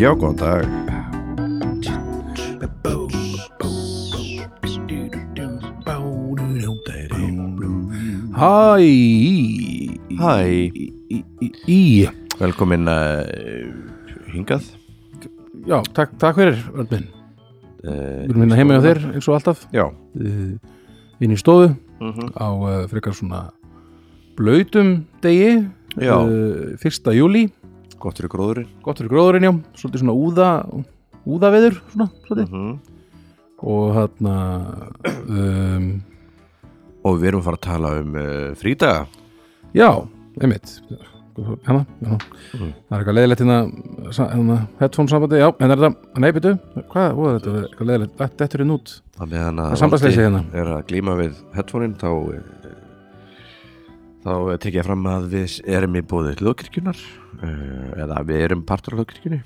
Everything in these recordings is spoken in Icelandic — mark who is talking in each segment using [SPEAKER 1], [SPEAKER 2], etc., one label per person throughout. [SPEAKER 1] Já, góðan dag.
[SPEAKER 2] Hæ
[SPEAKER 1] Hæ.
[SPEAKER 2] Í, í, í, í.
[SPEAKER 1] Velkomin uh, hingað.
[SPEAKER 2] Já, takk, takk fyrir Örn minn
[SPEAKER 1] Uh,
[SPEAKER 2] Við erum hérna heima hjá þér eins og alltaf
[SPEAKER 1] Já.
[SPEAKER 2] uh, inn í stofu
[SPEAKER 1] Mhm.
[SPEAKER 2] á uh, frekar svona blöytum degi
[SPEAKER 1] Já.
[SPEAKER 2] uh, 1. júli
[SPEAKER 1] Gott fyrir gróðurinn.
[SPEAKER 2] gott fyrir gróðurinn já svolítið svona úða úðaveður svona svolítið og hérna um,
[SPEAKER 1] Og við erum að fara að tala um uh, frídaga.
[SPEAKER 2] já, einmitt hérna, hérna
[SPEAKER 1] Mm.
[SPEAKER 2] það er eitthvað leiðilegt hérna, sa- hérna headphone sambandi, já, en er þetta nei, byrju, hvað, voru þetta er eitthvað leiðilegt þetta er inn út
[SPEAKER 1] Þannig að hann
[SPEAKER 2] Það er sambandsleysi
[SPEAKER 1] Valdi
[SPEAKER 2] hérna.
[SPEAKER 1] er að glíma við headphone-in þá eh, þá eh, tek ég fram að við erum í bóði hljóðkirkjunar eh, eða við erum partur á hljóðkirkjunni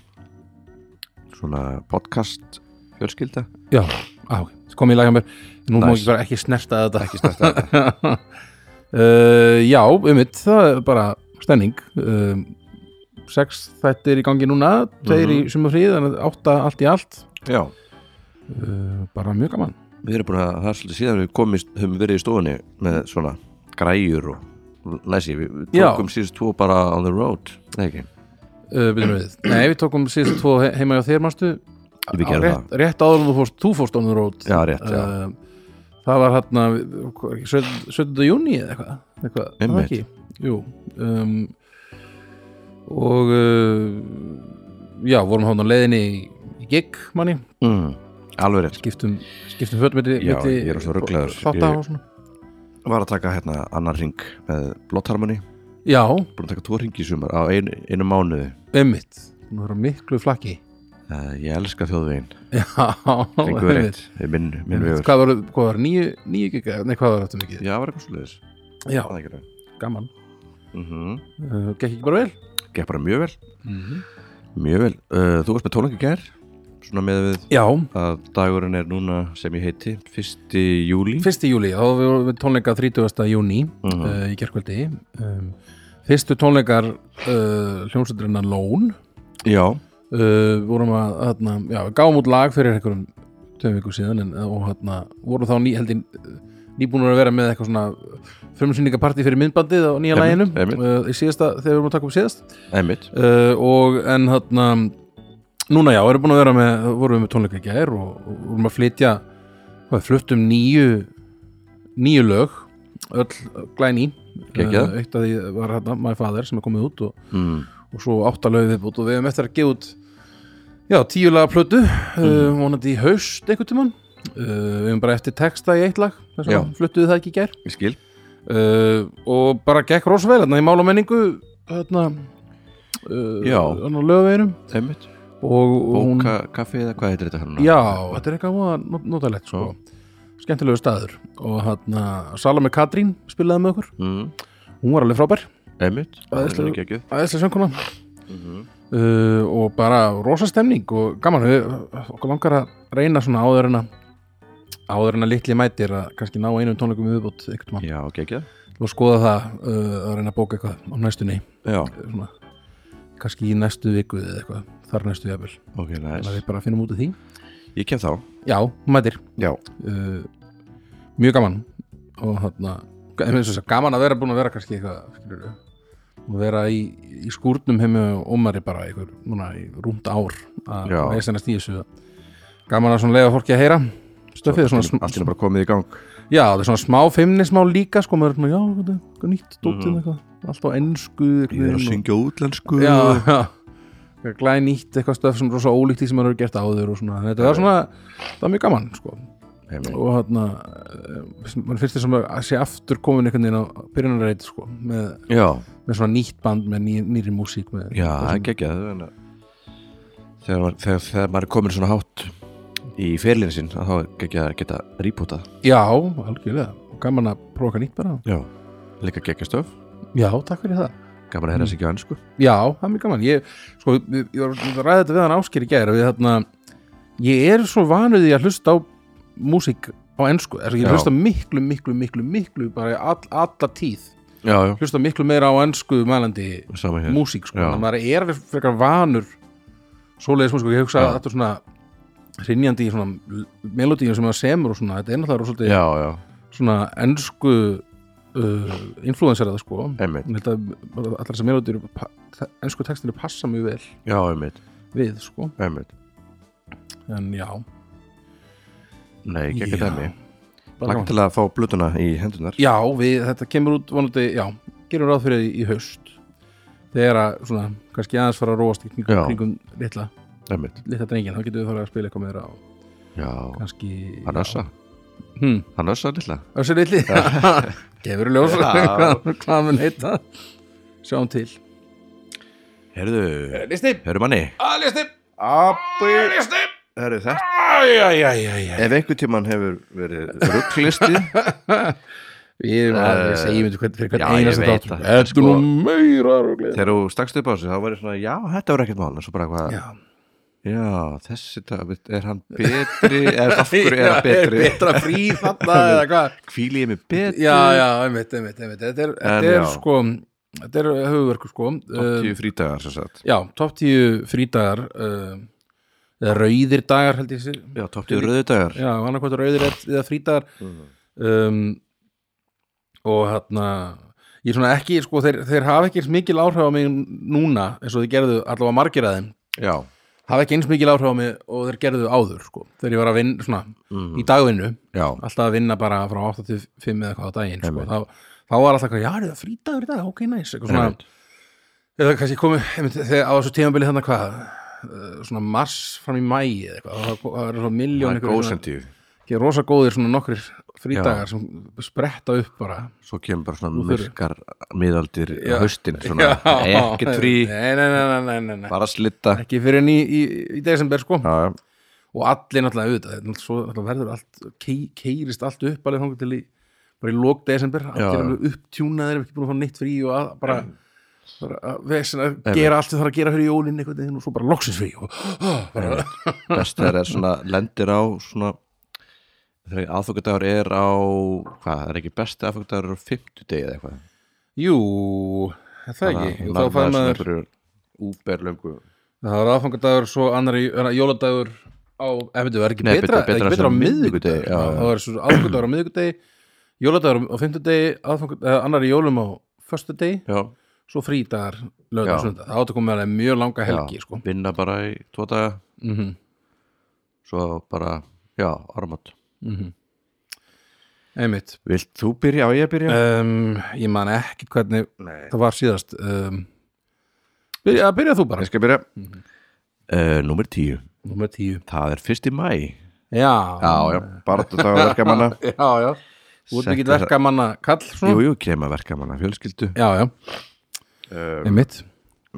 [SPEAKER 1] svona podcast fjölskylda
[SPEAKER 2] Já, á, Ah, kom í laga mér Nú má
[SPEAKER 1] Nice.
[SPEAKER 2] ég bara ekki snerta þetta
[SPEAKER 1] ekki stærsta
[SPEAKER 2] uh, Já, einmitt, það er bara stemning uh, Sex þættir í gangi núna Tveir
[SPEAKER 1] Mhm.
[SPEAKER 2] í sumafríð Þannig að átta allt í allt
[SPEAKER 1] Já, Mhm.
[SPEAKER 2] uh, Bara mjög gaman
[SPEAKER 1] við erum búin að það er svolítið síðan við komist, höfum verið í stofunni með svona græjur og læsi, við við
[SPEAKER 2] Já.
[SPEAKER 1] tókum síðust tvo bara on the road, Nei, ekki
[SPEAKER 2] uh, byrjum við. Nei, við tókum síðust tvo he- heima hjá þér manstu
[SPEAKER 1] Við
[SPEAKER 2] Á
[SPEAKER 1] gerum
[SPEAKER 2] rétt, rétt áður en þú fórst, þú fórst on the road
[SPEAKER 1] Já, rétt, já.
[SPEAKER 2] uh, Það var hérna 17. júni eða eitthvað, eitthvað var það
[SPEAKER 1] Einmitt.
[SPEAKER 2] ekki? Jú um, og uh, já, vorum hann á leiðinni í, í gig manni,
[SPEAKER 1] mm, Alveg rétt
[SPEAKER 2] skiptum skiptum fötum milli-
[SPEAKER 1] Já,
[SPEAKER 2] milli
[SPEAKER 1] ég er svo ruglaður.
[SPEAKER 2] þátta
[SPEAKER 1] Ég-
[SPEAKER 2] og svona.
[SPEAKER 1] Var að taka hérna annan ring með blóttarmanni
[SPEAKER 2] Já,
[SPEAKER 1] búin að taka tvo ringi í sumar á einu, einu mánuði
[SPEAKER 2] ummitt Nú er það miklu flakki
[SPEAKER 1] uh, ég elska þjóðvegin
[SPEAKER 2] Já,
[SPEAKER 1] Fengur
[SPEAKER 2] einmitt.
[SPEAKER 1] rétt, Ég minn, minn
[SPEAKER 2] Einmitt.
[SPEAKER 1] vegur
[SPEAKER 2] Hvað var, hvað var nýju, nýju gig eða- Nei, hvað var þetta mikið?
[SPEAKER 1] Já, var eitthvað sliðis
[SPEAKER 2] sko. Já, gaman uh, Gekk ekki bara vel?
[SPEAKER 1] Mhm. Gekk bara mjög vel Mhm. Mjög vel uh, Þú varst með tónleika í gær Svona með við
[SPEAKER 2] Já,
[SPEAKER 1] að dagurinn er núna sem ég heiti 1. júli
[SPEAKER 2] 1. júli, þá vorum við tónleika 30. júni
[SPEAKER 1] Mhm.
[SPEAKER 2] uh, í gerkvöldi um, fyrstu tónleikar uh, hljómsveiturinn Lón
[SPEAKER 1] Já,
[SPEAKER 2] uh, vorum að, hérna, já, við gáum út lag fyrir einhverjum tveim viku síðan en, og hérna, vorum þá ný, heldur nýbúnur að vera með eitthvað svona frumsýningapartí fyrir myndbandið á nýja læginu
[SPEAKER 1] Einmitt, einmitt.
[SPEAKER 2] uh, í síðasta, þegar við vorum að taka upp síðast
[SPEAKER 1] einmitt
[SPEAKER 2] uh, og en hérna núna já, erum búin að vera með vorum við með tónleika í gær og, og vorum að flytja hvað, fluttum nýju nýju lög öll glæni
[SPEAKER 1] Geggjað.
[SPEAKER 2] eitt af því var hérna My Father sem er komið út og,
[SPEAKER 1] mm.
[SPEAKER 2] og svo átta lög viðbútt og við hefum eftir að gefa út já, tíu laga plötu uh,
[SPEAKER 1] Mm.
[SPEAKER 2] vonandi í haust einhvern tímann uh, við hefum bara eftir texta í eitt lag þess
[SPEAKER 1] Já.
[SPEAKER 2] að fluttuðu það ekki í gær
[SPEAKER 1] Ég skil
[SPEAKER 2] uh, og bara gekk rosvel hérna í mála menningu hérna uh,
[SPEAKER 1] Já.
[SPEAKER 2] hérna á lögaveginum
[SPEAKER 1] Einmitt
[SPEAKER 2] og og hún
[SPEAKER 1] Bóka, kaffi eða hvað heitir þetta hérna
[SPEAKER 2] já, þetta er eitthvað voða not- notalegt sko. skemmtilegu staður og hérna Salome Katrín spilaði með okkur
[SPEAKER 1] mm.
[SPEAKER 2] hún var alveg frábær,
[SPEAKER 1] Einmitt
[SPEAKER 2] Það er
[SPEAKER 1] Það er ekki
[SPEAKER 2] aðeinslega sjönguna uh, og bara rosa stemning og gaman, við okkur langar að reyna svona áður en að áður en að litli mætir að kannski ná einum tónleikum í viðbót einhvern mann
[SPEAKER 1] Já, ekki
[SPEAKER 2] og skoða það uh, að reyna að bóka eitthvað á næstunni
[SPEAKER 1] Já,
[SPEAKER 2] svona, kannski í næstu viku eða eitthvað, þar næstu jafnvel
[SPEAKER 1] ok,
[SPEAKER 2] þannig að
[SPEAKER 1] næs
[SPEAKER 2] við bara finnum út af því
[SPEAKER 1] Ég kem þá
[SPEAKER 2] já, hún mætir,
[SPEAKER 1] Já,
[SPEAKER 2] uh, mjög gaman og þarna svo, gaman að vera búin að vera kannski eitthvað skilur, og vera í, í skúrnum heim og ómari bara einhver, núna, í rúmt ár að
[SPEAKER 1] Já.
[SPEAKER 2] veisennast í þessu gaman að svona leiða fólki að heyra stöfið, svona, svona,
[SPEAKER 1] allt er bara komið í gang
[SPEAKER 2] já, það er svona smá feimnismá líka, sko, maður er svona, já, hvað er- hvað er nýtt dóttin mm eitthvað, allt á ennsku
[SPEAKER 1] Mhm. Ég er að syngja útlensku
[SPEAKER 2] já, já. glæði nýtt eitthvað stöf sem er rosa ólíkt því sem maður hefur gert áður og svona, Þannig að þetta var svona það var mjög gaman sko.
[SPEAKER 1] Einmitt.
[SPEAKER 2] og hérna mann fyrst þess að maður sé aftur komin einhvern veginn á byrjunarreit sko, með,
[SPEAKER 1] Já,
[SPEAKER 2] með svona nýtt band með ný, nýri músík með,
[SPEAKER 1] Já, það er geggjað en að- þegar, maður- þegar, þegar maður er komin svona hátt í ferlinu sinn að þá er geggjað að geta rýpútað
[SPEAKER 2] já, algjörlega Og gaman að prófa eitthvað nýtt bara
[SPEAKER 1] Já Líka geggjastöf,
[SPEAKER 2] já, takk fyrir það
[SPEAKER 1] gaman að herra sig ekki á ennsku
[SPEAKER 2] já, það er mjög gaman ég, sko, ég, ég var að ræða þetta við hann ásker í gæri við þarna, hérna, ég er svo vanuð í að hlusta á músík á ennsku, ég
[SPEAKER 1] Já.
[SPEAKER 2] hlusta miklu, miklu, miklu, miklu bara all, alla tíð
[SPEAKER 1] Já, já,
[SPEAKER 2] hlusta miklu meira á ennsku mælandi
[SPEAKER 1] sama hér
[SPEAKER 2] músík sko,
[SPEAKER 1] Já.
[SPEAKER 2] þannig að maður er frekar vanur svoleiðis músík og ég hugsa
[SPEAKER 1] Já.
[SPEAKER 2] að þetta er svona hrinjandi í svona melodíu sem það semur og svona, þetta er náttúrulega rosalega
[SPEAKER 1] já, já,
[SPEAKER 2] svona ennsku uh, influencerað sko
[SPEAKER 1] einmitt
[SPEAKER 2] Ég held að bara allar þessar melodíur pa- te- ensku textinu passa mjög vel
[SPEAKER 1] já, einmitt,
[SPEAKER 2] við sko
[SPEAKER 1] einmitt
[SPEAKER 2] en já,
[SPEAKER 1] nei, ekki
[SPEAKER 2] Já.
[SPEAKER 1] ekki dæmi
[SPEAKER 2] bara
[SPEAKER 1] lagt
[SPEAKER 2] gaman.
[SPEAKER 1] til að fá blötuna í hendunar
[SPEAKER 2] já við, þetta kemur út vonandi, já, gerum ráð fyrir því í haust þegar að svona kannski aðeins fara að róast í
[SPEAKER 1] Já.
[SPEAKER 2] kringum, kringum litla,
[SPEAKER 1] einmitt,
[SPEAKER 2] litla drengin þá getum við farið að spila eitthvað með þeirra og
[SPEAKER 1] já,
[SPEAKER 2] kannski
[SPEAKER 1] hann össa
[SPEAKER 2] hmm,
[SPEAKER 1] hann össa lilla
[SPEAKER 2] össur litli gefur ljós
[SPEAKER 1] Já.
[SPEAKER 2] hvað, hvað mun heita sjáum til
[SPEAKER 1] herðu,
[SPEAKER 2] listi,
[SPEAKER 1] herðu manni
[SPEAKER 2] að listi,
[SPEAKER 1] abbi,
[SPEAKER 2] listi
[SPEAKER 1] herðu þetta
[SPEAKER 2] æjæjæjæjæ
[SPEAKER 1] ef einhvern tíman hefur verið rugglisti
[SPEAKER 2] Ég, uh, ég
[SPEAKER 1] Eh,
[SPEAKER 2] segjum þetta hvern- fyrir hvern
[SPEAKER 1] já, ég
[SPEAKER 2] einasta
[SPEAKER 1] veit
[SPEAKER 2] dátum
[SPEAKER 1] að-
[SPEAKER 2] Þetta er
[SPEAKER 1] sko-
[SPEAKER 2] nú meira rúglega
[SPEAKER 1] þegar þú stakst upp á þessu þá var ég svona, já, þetta var ekkert mál en svo bara hvað,
[SPEAKER 2] Já,
[SPEAKER 1] já, þessi dagur, er hann betri eða af hverju er hann betri
[SPEAKER 2] betra frí þarna eða hvað
[SPEAKER 1] hvíli ég mig betri
[SPEAKER 2] Já, já, einmitt, einmitt, einmitt Þetta er,
[SPEAKER 1] En
[SPEAKER 2] þetta er
[SPEAKER 1] já.
[SPEAKER 2] sko, þetta er höfuverku sko
[SPEAKER 1] Topp
[SPEAKER 2] uh,
[SPEAKER 1] tíu frídagar sem sagt
[SPEAKER 2] Já, topp tíu frídagar uh, eða rauðir dagar held ég sér
[SPEAKER 1] já, topp tíu rauðdagar
[SPEAKER 2] Já, annarkvæmt rauðir eða eða frídagar
[SPEAKER 1] Mhm.
[SPEAKER 2] um, og hérna ég er svona ekki, sko, þeir, þeir hafa ekki eins mikil áhrif á mig núna eins og þeir gerðu allavega margir að þeim
[SPEAKER 1] já,
[SPEAKER 2] hafa ekki eins mikil áhrif á mig og þeir gerðu áður sko, þegar ég var að vinna svona
[SPEAKER 1] Mhm.
[SPEAKER 2] í dagvinnu,
[SPEAKER 1] já,
[SPEAKER 2] alltaf að vinna bara frá 8 til 5 eða eitthvað á daginn sko,
[SPEAKER 1] Einmitt.
[SPEAKER 2] þá, þá var alltaf eitthvað, já, er það frítagur í dag ok, næs, eitthvað svona
[SPEAKER 1] Einmitt.
[SPEAKER 2] eða kannski komið, einmitt, þegar á þessu tímabili þannig hvað, eh, svona mars fram í mæ eða eitthvað, þá- þá er svona
[SPEAKER 1] það
[SPEAKER 2] miljón
[SPEAKER 1] er góðsentíð
[SPEAKER 2] ekki rosa góðir svona nokkrir frítagar sem spretta upp bara
[SPEAKER 1] svo kemur bara svona
[SPEAKER 2] þurru.
[SPEAKER 1] myrkar miðaldir
[SPEAKER 2] Já.
[SPEAKER 1] höstin svona, ekkert frí,
[SPEAKER 2] nei, nei, nei, nei, nei, nei, nei.
[SPEAKER 1] bara slitta
[SPEAKER 2] ekki fyrir en í, í, í desember sko
[SPEAKER 1] já,
[SPEAKER 2] og allir náttúrulega auðvitað þetta er náttúrulega svo náttúrulega verður allt kei, keirist allt upp alveg þangur til í bara í lók desember, allir
[SPEAKER 1] Já, Mm. já.
[SPEAKER 2] alveg upptjúnaðir ef ekki búin að fá neitt frí og að, bara bara að vesina, gera allt sem þarf að gera fyrir jólin einhvern veginn og svo bara loksins frí og bara,
[SPEAKER 1] best þegar er svona lendir á svona þegar aðfokadagur er á hvað, er ekki besti aðfokadagur á 50 degi eða eitthvað
[SPEAKER 2] jú er það ekki, jú, þá fæði maður
[SPEAKER 1] úberlöngu
[SPEAKER 2] það er aðfangadagur, svo annar í er það jóladagur á, ef þetta er ekki
[SPEAKER 1] Nei,
[SPEAKER 2] betra,
[SPEAKER 1] betra- betra
[SPEAKER 2] ekki
[SPEAKER 1] sem
[SPEAKER 2] betra á
[SPEAKER 1] miðvikudegi,
[SPEAKER 2] miðvikudegi
[SPEAKER 1] já, já.
[SPEAKER 2] þá er svo aðfangadagur á miðvikudegi jóladagur á fimmtudegi, aðfangadag- eh, annar í jólum á föstudegi
[SPEAKER 1] já,
[SPEAKER 2] svo frítagar lögðu
[SPEAKER 1] Já.
[SPEAKER 2] söndag það átt að koma með alveg mjög langa helgi
[SPEAKER 1] já,
[SPEAKER 2] sko.
[SPEAKER 1] vinna bara í tvo daga
[SPEAKER 2] mm
[SPEAKER 1] Mhm.
[SPEAKER 2] -hmm.
[SPEAKER 1] svo bara, já, armat
[SPEAKER 2] einmitt
[SPEAKER 1] Vilt þú byrja á ég að byrja?
[SPEAKER 2] um, ég man ekki hvernig
[SPEAKER 1] Nei.
[SPEAKER 2] það var síðast um, byrja, byrja þú bara
[SPEAKER 1] Ég skal byrja uh, Mhm. Númer 10,
[SPEAKER 2] nummer tíu
[SPEAKER 1] það er 1. mæ
[SPEAKER 2] já,
[SPEAKER 1] Já, já, bara þetta að verka manna
[SPEAKER 2] já, já. þú ert
[SPEAKER 1] Settu
[SPEAKER 2] ekki
[SPEAKER 1] það-
[SPEAKER 2] verka manna kall svona
[SPEAKER 1] Jú, jú, kem að verka manna fjölskyldu
[SPEAKER 2] já, já,
[SPEAKER 1] uh,
[SPEAKER 2] einmitt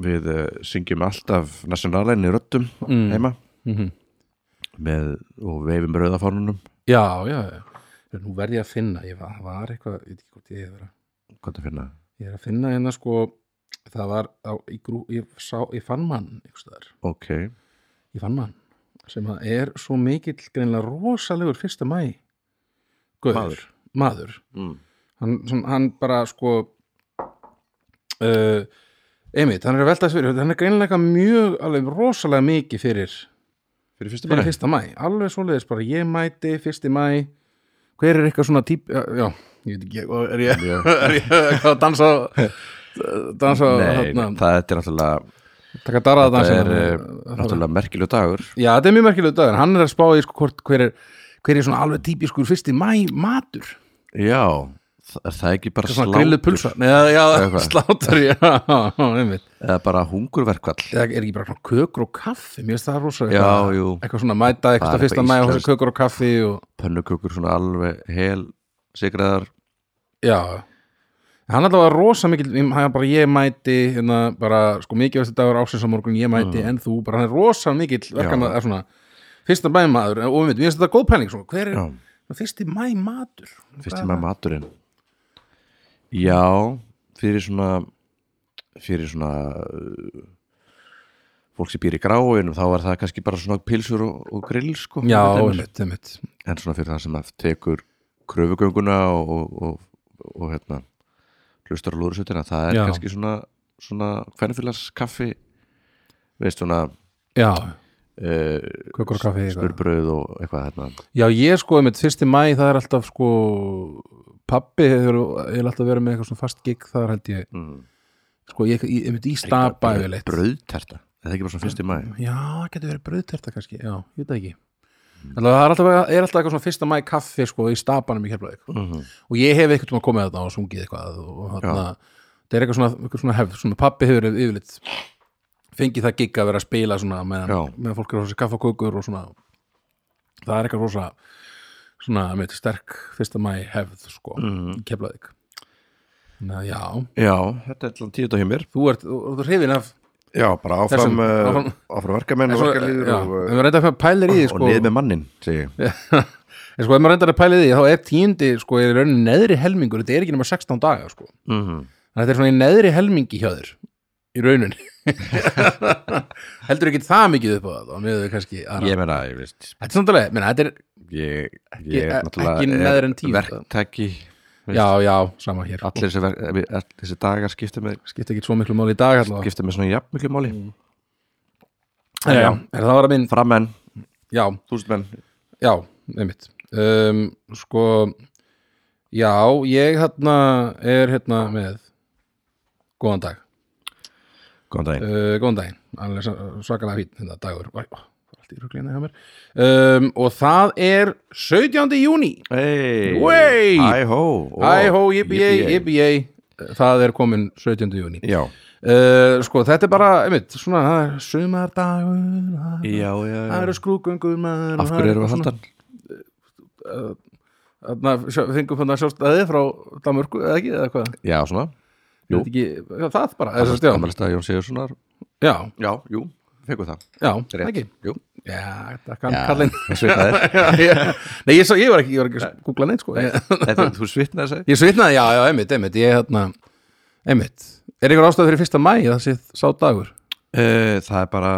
[SPEAKER 1] Við uh, syngjum alltaf nationalenni röddum heima
[SPEAKER 2] Mhm.
[SPEAKER 1] með, og veifum rauðafánunum
[SPEAKER 2] já, já, já nú verð ég að finna, ég var, var eitthvað ég veit ekki hvort ég er að
[SPEAKER 1] Hvað það finna?
[SPEAKER 2] ég er að finna hérna sko það var á, í grú, ég, sá, ég fann mann einhvers staðar
[SPEAKER 1] Ok,
[SPEAKER 2] ég fann mann sem að er svo mikill greinlega rosalegur fyrsta mæ Guður,
[SPEAKER 1] Maður.
[SPEAKER 2] maður.
[SPEAKER 1] mm.
[SPEAKER 2] Hann, sem, hann bara sko uh, einmitt, hann er að velta þess fyrir hann er greinlega mjög, alveg rosalega mikið fyrir,
[SPEAKER 1] fyrir 1.
[SPEAKER 2] fyrir
[SPEAKER 1] mæ?
[SPEAKER 2] fyrsta mæ alveg svoleiðis bara ég mæti fyrsti mæ hver er eitthvað svona típ já, já, ég veit ekki, og er ég, er ég að dansa dansa,
[SPEAKER 1] Nei,
[SPEAKER 2] hérna,
[SPEAKER 1] það þetta er náttúrulega
[SPEAKER 2] taka darraða
[SPEAKER 1] það
[SPEAKER 2] dansa
[SPEAKER 1] er uh, náttúrulega merkileg dagur
[SPEAKER 2] Já, þetta er mjög merkilega dagur, hann er að spá í sko hvort hver er, hver er svona alveg típiskur fyrsti mæ matur,
[SPEAKER 1] Já, það er það ekki bara
[SPEAKER 2] svona grilluð
[SPEAKER 1] slátur
[SPEAKER 2] pulsa Nei, já, já,
[SPEAKER 1] Eitthvað.
[SPEAKER 2] slátur, já, einmitt
[SPEAKER 1] eða bara hungurverkvall
[SPEAKER 2] Það er ekki bara svona kökur og kaffi, mér finnst það rosa
[SPEAKER 1] Já,
[SPEAKER 2] eitthvað-
[SPEAKER 1] jú.
[SPEAKER 2] Eitthvað svona mæta,
[SPEAKER 1] Það
[SPEAKER 2] eitthvað
[SPEAKER 1] er
[SPEAKER 2] fyrsta
[SPEAKER 1] eitthvað
[SPEAKER 2] mæ og
[SPEAKER 1] íslenskt.
[SPEAKER 2] kökur og kaffi og,
[SPEAKER 1] pönnukökur svona alveg hel sigraðar
[SPEAKER 2] já Hann alltaf var rosa mikil, hann bara ég mæti hérna, bara sko mikið veist dagur ásinsamorgun ég mæti
[SPEAKER 1] Mm.
[SPEAKER 2] en þú, bara hann er rosa mikill verkan að svona fyrsta mæ maður og einmitt, mér finnst þetta góð pæling svona, hver er
[SPEAKER 1] Já.
[SPEAKER 2] fyrsti mæ matur
[SPEAKER 1] fyrst með maturinn já fyrir svona fyrir svona uh, fólk sem býr í gráinum þá var það kannski bara svona pilsur og, og grill sko
[SPEAKER 2] Já,
[SPEAKER 1] fyrir þeim.
[SPEAKER 2] einmitt, einmitt
[SPEAKER 1] en svona fyrir það sem að tekur kröfugönguna og, og, og, og hérna hlustar á lúðursutina, það er
[SPEAKER 2] Já.
[SPEAKER 1] kannski svona svona hvernfélags kaffi veist svona
[SPEAKER 2] Já,
[SPEAKER 1] uh,
[SPEAKER 2] kökur og kaffi eitthvað.
[SPEAKER 1] spurbröð og eitthvað hérna
[SPEAKER 2] Já, ég sko, mitt fyrsti mæ, það er alltaf sko, pappi hefur, hefur alltaf verið með eitthvað svona fast gig, það er held ég,
[SPEAKER 1] mm.
[SPEAKER 2] sko, ég, ég, ég mitt í stapa yfirleitt.
[SPEAKER 1] bröðterta, er það ekki bara svona fyrst í mæ
[SPEAKER 2] Já, það getur verið brauðterta kannski, já, ég veit það ekki.
[SPEAKER 1] Mm.
[SPEAKER 2] Alltaf, það er alltaf, er alltaf eitthvað svona fyrsta mæ kaffi, sko, í stapanum í keflaðið.
[SPEAKER 1] Mhm.
[SPEAKER 2] Og ég hef eitthvað tíma komið þarna og sungið eitthvað og þarna, það er eitthvað svona, eitthvað svona hefð, svona pappi hefur yfirleitt fengið það gig að vera að spila svona meðan,
[SPEAKER 1] Já.
[SPEAKER 2] meðan fólk er að fá sér kaffa og kökur og svona, það er eitthvað rosa, svona, með sterk fyrsta mæ hefð, sko,
[SPEAKER 1] Mhm.
[SPEAKER 2] í keflaðið. Þannig að já,
[SPEAKER 1] Já, þetta er allan tíðut á hjá mér
[SPEAKER 2] þú ert, þú ert hrifin af
[SPEAKER 1] Já, bara áfram,
[SPEAKER 2] Þessum-
[SPEAKER 1] uh, áfram,
[SPEAKER 2] áfram-
[SPEAKER 1] verkamenn
[SPEAKER 2] En
[SPEAKER 1] og
[SPEAKER 2] svo-
[SPEAKER 1] verkalýður
[SPEAKER 2] já,
[SPEAKER 1] og,
[SPEAKER 2] ef maður reyndar að pælir í
[SPEAKER 1] uh,
[SPEAKER 2] því
[SPEAKER 1] og
[SPEAKER 2] sko,
[SPEAKER 1] niður með mannin segi ég.
[SPEAKER 2] en sko, ef maður reyndar að pælir í því þá er tíundi, sko, er í rauninni neðri helmingur þetta er ekki nema 16 daga, sko
[SPEAKER 1] Mhm.
[SPEAKER 2] Þannig að þetta er svona í neðri helmingi hjá þér í rauninni heldur ekki það mikið upp á það og miður kannski aðra
[SPEAKER 1] Ég meina, ég veist
[SPEAKER 2] þetta er samtalið, menn þetta er,
[SPEAKER 1] Ég,
[SPEAKER 2] Ekki-
[SPEAKER 1] ég
[SPEAKER 2] e-
[SPEAKER 1] er náttúrulega
[SPEAKER 2] ekki
[SPEAKER 1] er
[SPEAKER 2] neðri en tíu,
[SPEAKER 1] Verktaki, Veist.
[SPEAKER 2] já, já, sama hér
[SPEAKER 1] allir þessi, verk, allir þessi dagar skipta með,
[SPEAKER 2] skipta ekki svo miklu máli í dag allavega
[SPEAKER 1] skipta með svona jafnmiklu máli mm.
[SPEAKER 2] já, já, er það var að minn,
[SPEAKER 1] Framenn,
[SPEAKER 2] já,
[SPEAKER 1] þúsundmenn
[SPEAKER 2] já, einmitt um, sko já, ég hérna er hérna með góðan dag
[SPEAKER 1] Góðan daginn
[SPEAKER 2] uh, góðan daginn, alveg sa- svakalega fín þetta dagur, Æ, ó, allt í ruglina hjá mér um, og það er 17. júni
[SPEAKER 1] Hey, Oh,
[SPEAKER 2] Wey!
[SPEAKER 1] Æhó
[SPEAKER 2] Æ, hó, yippie, yippie það er komin 17. júni
[SPEAKER 1] Já,
[SPEAKER 2] uh, sko, þetta er bara, einmitt, svona það er sumardagur
[SPEAKER 1] já, já,
[SPEAKER 2] það
[SPEAKER 1] já.
[SPEAKER 2] eru skrúgöngum
[SPEAKER 1] Af hverju erum við að halda hann?
[SPEAKER 2] þarna fengum þannig að sjálfstæði frá Danmörku, eða ekki, eða hvað
[SPEAKER 1] Já, svona
[SPEAKER 2] Ég veit ekki, já, það bara, eða sérst, já
[SPEAKER 1] Amalista Jón Sigurssonar
[SPEAKER 2] já,
[SPEAKER 1] Já, jú, fekkum það
[SPEAKER 2] já,
[SPEAKER 1] Rétt.
[SPEAKER 2] ekki
[SPEAKER 1] Jú,
[SPEAKER 2] já, það kann
[SPEAKER 1] Já.
[SPEAKER 2] kallinn
[SPEAKER 1] það svitnaði
[SPEAKER 2] Já, ég- Nei, ég, svo, ég var ekki, ég var ekki að googla neitt sko. ég,
[SPEAKER 1] Þetta, þú svitnaði þessi
[SPEAKER 2] ég svitnaði, já, já, einmitt, einmitt Ég, hérna, einmitt Er einhver ástæð fyrir fyrsta mæ, það sé sá dagur
[SPEAKER 1] uh, Það er bara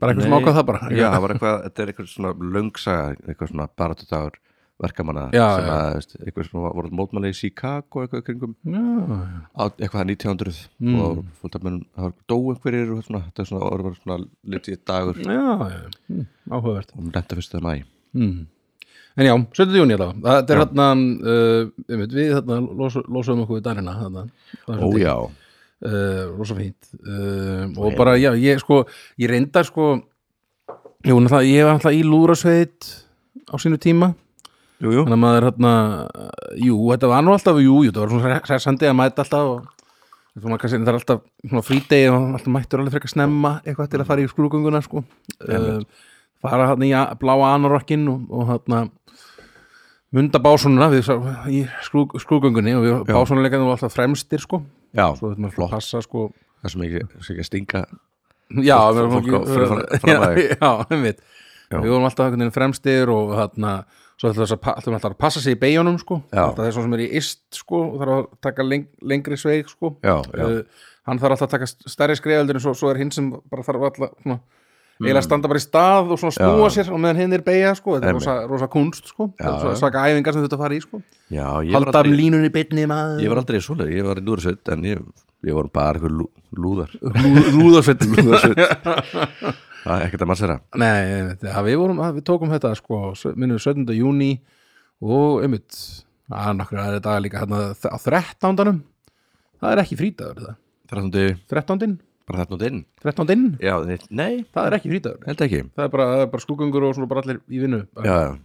[SPEAKER 2] Bara eitthvað sem
[SPEAKER 1] Nei.
[SPEAKER 2] ákvað það bara
[SPEAKER 1] Já, það var eitthvað, þetta er eitthvað svona löngsaga eitthvað svona baratudagur verkamanna
[SPEAKER 2] Já,
[SPEAKER 1] sem
[SPEAKER 2] já.
[SPEAKER 1] að, veist, eitthvað sem voru mótmæli í Chicago eitthvað kringum
[SPEAKER 2] Já, Mm.
[SPEAKER 1] á, eitthvað 1900 og fullt af mönnum, það var dó einhverjir og svona, þetta er svona, orður bara svona litið dagur
[SPEAKER 2] já, já, já. áhugavert
[SPEAKER 1] og renta fyrst að mæ
[SPEAKER 2] mm. En já, 17. júni alveg Það er hérna, uh, einmitt, við hérna los, losum okkur við dagina hérna,
[SPEAKER 1] Ójá,
[SPEAKER 2] uh, rosa fínt uh, og bara, já, ég sko ég reyndar sko jú, náttúrulega, ég var náttúrulega í lúðrasveit á sínu tíma
[SPEAKER 1] jú, jú
[SPEAKER 2] þannig að maður hérna jú, þetta var nú alltaf, jú, jú, það var svona sæsandi að mæta alltaf og svona, kannski, það er alltaf svona frídegi og alltaf mættur alveg frekar snemma eitthvað til að fara í skrúgönguna sko uh, fara hérna í a- bláa anorokkin og, og hérna munda básónuna við sá- í skrú, skrúgöngunni og við básónuleikandi var alltaf fremstir sko
[SPEAKER 1] Já,
[SPEAKER 2] svo þetta maður
[SPEAKER 1] flott.
[SPEAKER 2] flott passa sko
[SPEAKER 1] það sem ekki, sem ekki að stinga
[SPEAKER 2] já, við
[SPEAKER 1] fólk
[SPEAKER 2] vorum
[SPEAKER 1] á- fyrir fram-
[SPEAKER 2] ekki
[SPEAKER 1] fram að
[SPEAKER 2] já, já, einmitt
[SPEAKER 1] Já.
[SPEAKER 2] við vorum alltaf einhvern veginn fremstir og þarna svo ætlum við að, pa- ætlum alltaf að passa sig í beigunum sko
[SPEAKER 1] Já.
[SPEAKER 2] alltaf þess að sem er í ist sko og þarf að taka leng, lengri sveig sko
[SPEAKER 1] Já, já.
[SPEAKER 2] Uh, hann þarf alltaf að taka st- stærri skriðaldur en svo, svo er hinn sem bara þarf alltaf svona,
[SPEAKER 1] Mm.
[SPEAKER 2] eiginlega að standa bara í stað og svona snúa sér og meðan hinn er beigja sko þetta er
[SPEAKER 1] Einmitt.
[SPEAKER 2] rosa, rosa kunst sko
[SPEAKER 1] Já,
[SPEAKER 2] Þetta er
[SPEAKER 1] já.
[SPEAKER 2] svo- svaka æfingar sem þetta fara í sko
[SPEAKER 1] Já, ég var
[SPEAKER 2] halda um
[SPEAKER 1] aldrei,
[SPEAKER 2] línunni beinni maður
[SPEAKER 1] ég var aldrei svoleið, ég var í lúðarsveit en ég, ég voru bara eitthvað lú, lúðar
[SPEAKER 2] rúðarsveit
[SPEAKER 1] lúðarsveit Það er ekkert að massera
[SPEAKER 2] Nei, einmitt, ja, við, vorum, að- við tókum þetta sko, s- minnum 17. júni og einmitt, að nokkur aðri dagar líka hérna þ- á 13. Það er ekki frítagur það.
[SPEAKER 1] 13.
[SPEAKER 2] 13.
[SPEAKER 1] bara þarna út inn
[SPEAKER 2] 13.
[SPEAKER 1] Já, þitt- nei,
[SPEAKER 2] Það er ekki frítagur.
[SPEAKER 1] held ekki
[SPEAKER 2] Það er bara, það er bara skúgöngur og svona bara allir í vinnu.
[SPEAKER 1] Já, já,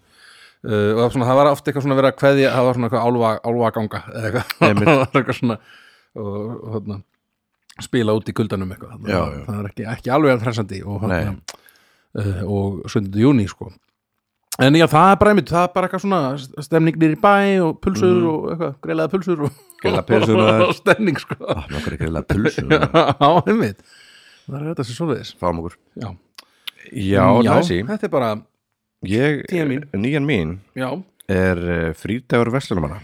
[SPEAKER 2] Uh, og það, svona, það var oft eitthvað svona verið að kveðja, það var svona eitthvað álfa, álfaganga eða eitthvað.
[SPEAKER 1] Einmitt.
[SPEAKER 2] það var eitthvað svona og, og hérna, spila út í kuldanum eitthvað. Þannig
[SPEAKER 1] Já,
[SPEAKER 2] að
[SPEAKER 1] já.
[SPEAKER 2] Það er ekki, ekki alveg að hressandi og
[SPEAKER 1] nei
[SPEAKER 2] hérna, uh, og 7. júni sko. en já, það er bara einmitt, það er bara eitthvað svona stemning nýri bæ og pulsur
[SPEAKER 1] Mhm.
[SPEAKER 2] og eitthvað, greilaða pulsur og,
[SPEAKER 1] Greilaðar pylsurnar.
[SPEAKER 2] og stemning sko
[SPEAKER 1] Ah, Mér okkar ekki reyla pulsu
[SPEAKER 2] á einmitt það er þetta sem svoleiðis
[SPEAKER 1] Fáum okkur
[SPEAKER 2] já,
[SPEAKER 1] Já, já. næsi
[SPEAKER 2] þetta er bara,
[SPEAKER 1] Ég, eh,
[SPEAKER 2] Tíðan mín.
[SPEAKER 1] nýjan mín
[SPEAKER 2] já
[SPEAKER 1] er eh, frídagur verslunumanna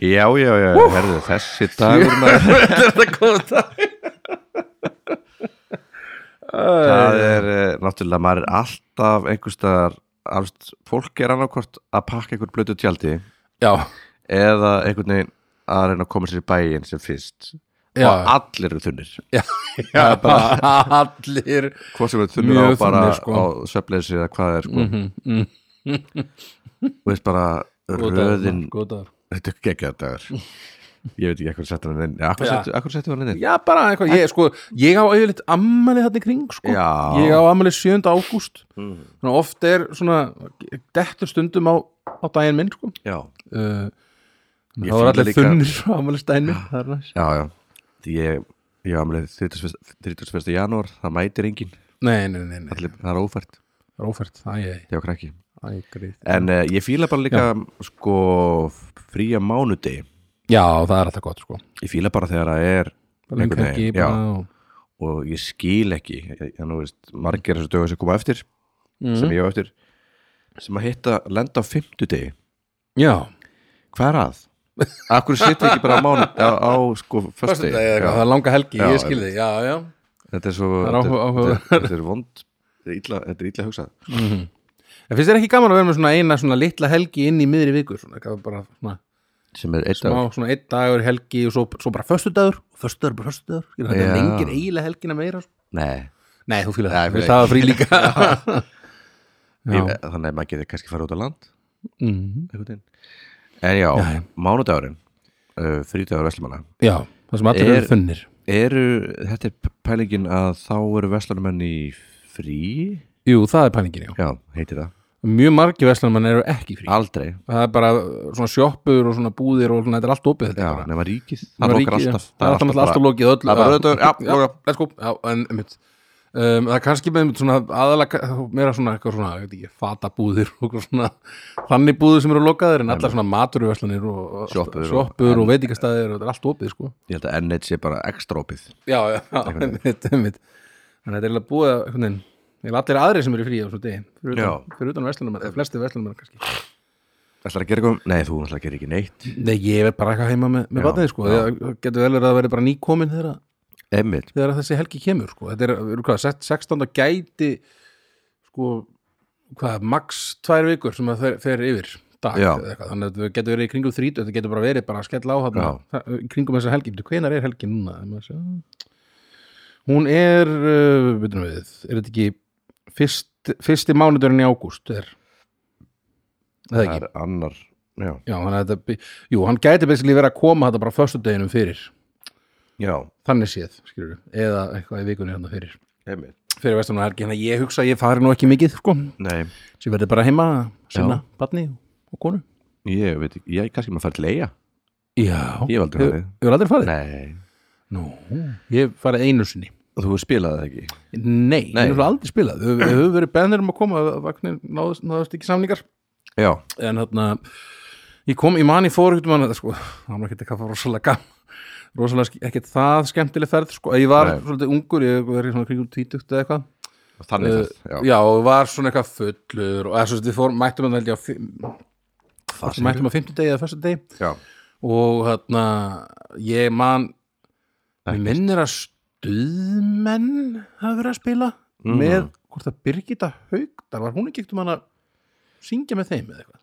[SPEAKER 1] Já, já, já, herðu, þessi dagur maður,
[SPEAKER 2] þetta er góð dag
[SPEAKER 1] það er eh, náttúrulega, maður er alltaf einhverstaðar alveg, fólk er annarkvort að pakka einhvern blötu tjaldi
[SPEAKER 2] já,
[SPEAKER 1] eða einhvern veginn að reyna að koma sér í bæinn sem fyrst
[SPEAKER 2] Já.
[SPEAKER 1] og allir eru þunnir
[SPEAKER 2] já allir
[SPEAKER 1] hvað sem eru þunnir á
[SPEAKER 2] Mjög
[SPEAKER 1] bara
[SPEAKER 2] þunnir, sko. Mhm,
[SPEAKER 1] á svefleysi eða hvað er sko. og veist bara röðin
[SPEAKER 2] góðar
[SPEAKER 1] þetta er geggjað dagur ég veit ekki hvað settum hann inn akkur
[SPEAKER 2] Já.
[SPEAKER 1] settum akkur settum hann inn
[SPEAKER 2] Já, bara eitthvað, ég, sko, ég á auðvitað ammæli þarna í kring, sko
[SPEAKER 1] Já. Mm.
[SPEAKER 2] Ég á ammæli 7. ágúst Þannig að oft er svona, dettur stundum á, á daginn minn, sko
[SPEAKER 1] já,
[SPEAKER 2] uh,
[SPEAKER 1] Eh, Ég
[SPEAKER 2] Það
[SPEAKER 1] fíla
[SPEAKER 2] var allir
[SPEAKER 1] líka- Ah.
[SPEAKER 2] þunnir á ammæli stæðin minn, það er næs
[SPEAKER 1] já, já Því ég, ég var aðmelið 31. janúar það mætir enginn,
[SPEAKER 2] Nei, nei, nei, nei,
[SPEAKER 1] allir, það er ófært
[SPEAKER 2] það er ófært, æ, æ,
[SPEAKER 1] ég á krakki
[SPEAKER 2] æ, greið
[SPEAKER 1] en uh, ég fíla bara líka sko fría mánudegi
[SPEAKER 2] Já, það er alltaf gott, sko
[SPEAKER 1] ég fíla bara þegar það er
[SPEAKER 2] Bara
[SPEAKER 1] einhvern
[SPEAKER 2] lengi,
[SPEAKER 1] veginn, já,
[SPEAKER 2] bara,
[SPEAKER 1] og ég skil ekki ég, nú veist, margir þessu dögum sem koma á eftir
[SPEAKER 2] Mhm.
[SPEAKER 1] sem ég á eftir sem að hitta lenda á fimmtudegi
[SPEAKER 2] já
[SPEAKER 1] hvað er að? Akkur sittu ekki bara á mánu á, á sko fösti
[SPEAKER 2] Föstudegi eða eitthvað, það er langa helgi,
[SPEAKER 1] Já,
[SPEAKER 2] ég skil þig, já, já
[SPEAKER 1] þetta er svo
[SPEAKER 2] Það
[SPEAKER 1] þetta
[SPEAKER 2] er áhuga-
[SPEAKER 1] þetta er-
[SPEAKER 2] áhuga-
[SPEAKER 1] þetta er vond þetta er illa, þetta er illa hugsað
[SPEAKER 2] En finnst þér ekki gaman að vera með svona eina svona litla helgi inn í miðri viku, svona, eitthvað bara, svona
[SPEAKER 1] sem er eitt
[SPEAKER 2] smá svona einn dagur í helgi og svo, svo bara föstudagur og föstudagur er bara föstudagur Skilur, þetta
[SPEAKER 1] Já.
[SPEAKER 2] er lengir eiginlega helgina meira sko.
[SPEAKER 1] Nei,
[SPEAKER 2] nei þú fýlar
[SPEAKER 1] Nei,
[SPEAKER 2] það,
[SPEAKER 1] ég
[SPEAKER 2] þú
[SPEAKER 1] fíla
[SPEAKER 2] veist það var frí líka
[SPEAKER 1] ég, þannig að maður getur kannski fara út á land
[SPEAKER 2] Mhm.
[SPEAKER 1] einhvern veginn. en já, já. mánudagurinn uh, þrítudagur Vestlumanna
[SPEAKER 2] já, það sem allir
[SPEAKER 1] Er-
[SPEAKER 2] eru þunnir
[SPEAKER 1] eru, þetta er p- pælingin að þá eru Vestlumann í frí
[SPEAKER 2] jú, það er pælingin, já,
[SPEAKER 1] já, heiti það,
[SPEAKER 2] mjög margi veslanumann eru ekki frí
[SPEAKER 1] aldrei
[SPEAKER 2] það er bara svona sjoppur og svona búðir og svona, þetta er allt opið þetta er
[SPEAKER 1] já,
[SPEAKER 2] bara
[SPEAKER 1] nema ríkið,
[SPEAKER 2] Nema
[SPEAKER 1] það lokar
[SPEAKER 2] ríkið, já.
[SPEAKER 1] alltaf
[SPEAKER 2] það er alltaf, alltaf, alltaf lokið öll
[SPEAKER 1] Það er bara rauðdagur, já,
[SPEAKER 2] já,
[SPEAKER 1] loka.
[SPEAKER 2] let's go já, en, einmitt. um, það er kannski með einmitt svona aðalega meira svona eitthvað svona ég veit ekki, fatabúðir og eitthvað svona þannig búðir sem eru lokaðir en allar svona maturverslanir og og-
[SPEAKER 1] Sjoppur og-
[SPEAKER 2] sjoppur og, og veitingastæðir og þetta er allt opið sko
[SPEAKER 1] ég held að N1 sé bara ekstra opið
[SPEAKER 2] já, já, einmitt, einmitt þannig að þetta er eiginlega búið að einhvern veginn Ég allir aðrir sem eru frí á svo degi fyrir utan,
[SPEAKER 1] Já.
[SPEAKER 2] fyrir utan verslunumann, eða flesti verslunumann kannski
[SPEAKER 1] ætlar að gera eitthvað, nei þú ætlar að gera ekki neitt
[SPEAKER 2] Nei, ég er bara eitthvað heima með, með batnið sko, það getur vel verið að það verið bara nýkomin þegar að-
[SPEAKER 1] Emil,
[SPEAKER 2] þegar þessi helgi kemur sko. þetta er, er hvað, sett- 16. gæti sko hvað, max tvær vikur sem það fer, fer yfir dag,
[SPEAKER 1] Já.
[SPEAKER 2] eða eitthvað, þannig að þetta getur verið í kringum 30, þetta getur bara verið bara að skella á hana,
[SPEAKER 1] Já.
[SPEAKER 2] í kringum þessa helgi, Bíddu, hvenær er helgin núna Ef maður sjá. hún er uh, veitum við, er þetta ekki fyrst, fyrsti mánudurinn í ágúst er eða
[SPEAKER 1] það
[SPEAKER 2] ekki,
[SPEAKER 1] er annar já,
[SPEAKER 2] já, þannig að þetta by- jú, hann gæti basically verið að koma þetta bara föstudeginum fyrir,
[SPEAKER 1] já,
[SPEAKER 2] þannig séð skilur, eða eitthvað í vikunni hérna fyrir
[SPEAKER 1] Emil
[SPEAKER 2] fyrir vestunar helgi, þannig að ég hugsa að ég fari nú ekki mikið sko,
[SPEAKER 1] nei,
[SPEAKER 2] sem verði bara heima að sinna barni og konu
[SPEAKER 1] ég veit ekki, ég kannski maður fara til eiga
[SPEAKER 2] Já,
[SPEAKER 1] Ég hef aldrei farið.
[SPEAKER 2] Ég hef aldrei farið?
[SPEAKER 1] nei,
[SPEAKER 2] Nú, ég hef farið einu sinni
[SPEAKER 1] og þú spilaði það ekki
[SPEAKER 2] Nei,
[SPEAKER 1] Nei.
[SPEAKER 2] ég hef aldrei spilað Við við höfum verið bennir um að koma að vagnir náðust, náðust ekki samlingar
[SPEAKER 1] já,
[SPEAKER 2] en þarna ég kom, ég man, ég fór ekkert mann sko, það var ekkert eitthvað rosalega gaman rosalega ske- ekkert það skemmtileg ferð sko, ég var
[SPEAKER 1] Nei.
[SPEAKER 2] svolítið ungur, ég var í svona kringum tvítugt eða eitthvað
[SPEAKER 1] og þannig
[SPEAKER 2] Uh,
[SPEAKER 1] það, já,
[SPEAKER 2] já, og var svona eitthvað fullur og eða, svo, sem við fórum, mættum að velja á fimm-
[SPEAKER 1] það
[SPEAKER 2] Við mættum á 50 degi eða 1. degi
[SPEAKER 1] já,
[SPEAKER 2] og hérna ég man
[SPEAKER 1] Ekkert.
[SPEAKER 2] mér minnir að stuðmenn hafa verið að spila
[SPEAKER 1] Mhm.
[SPEAKER 2] með hvort það Birgitta Haugdal var hún ekki ekkert um hann að syngja með þeim eða eitthvað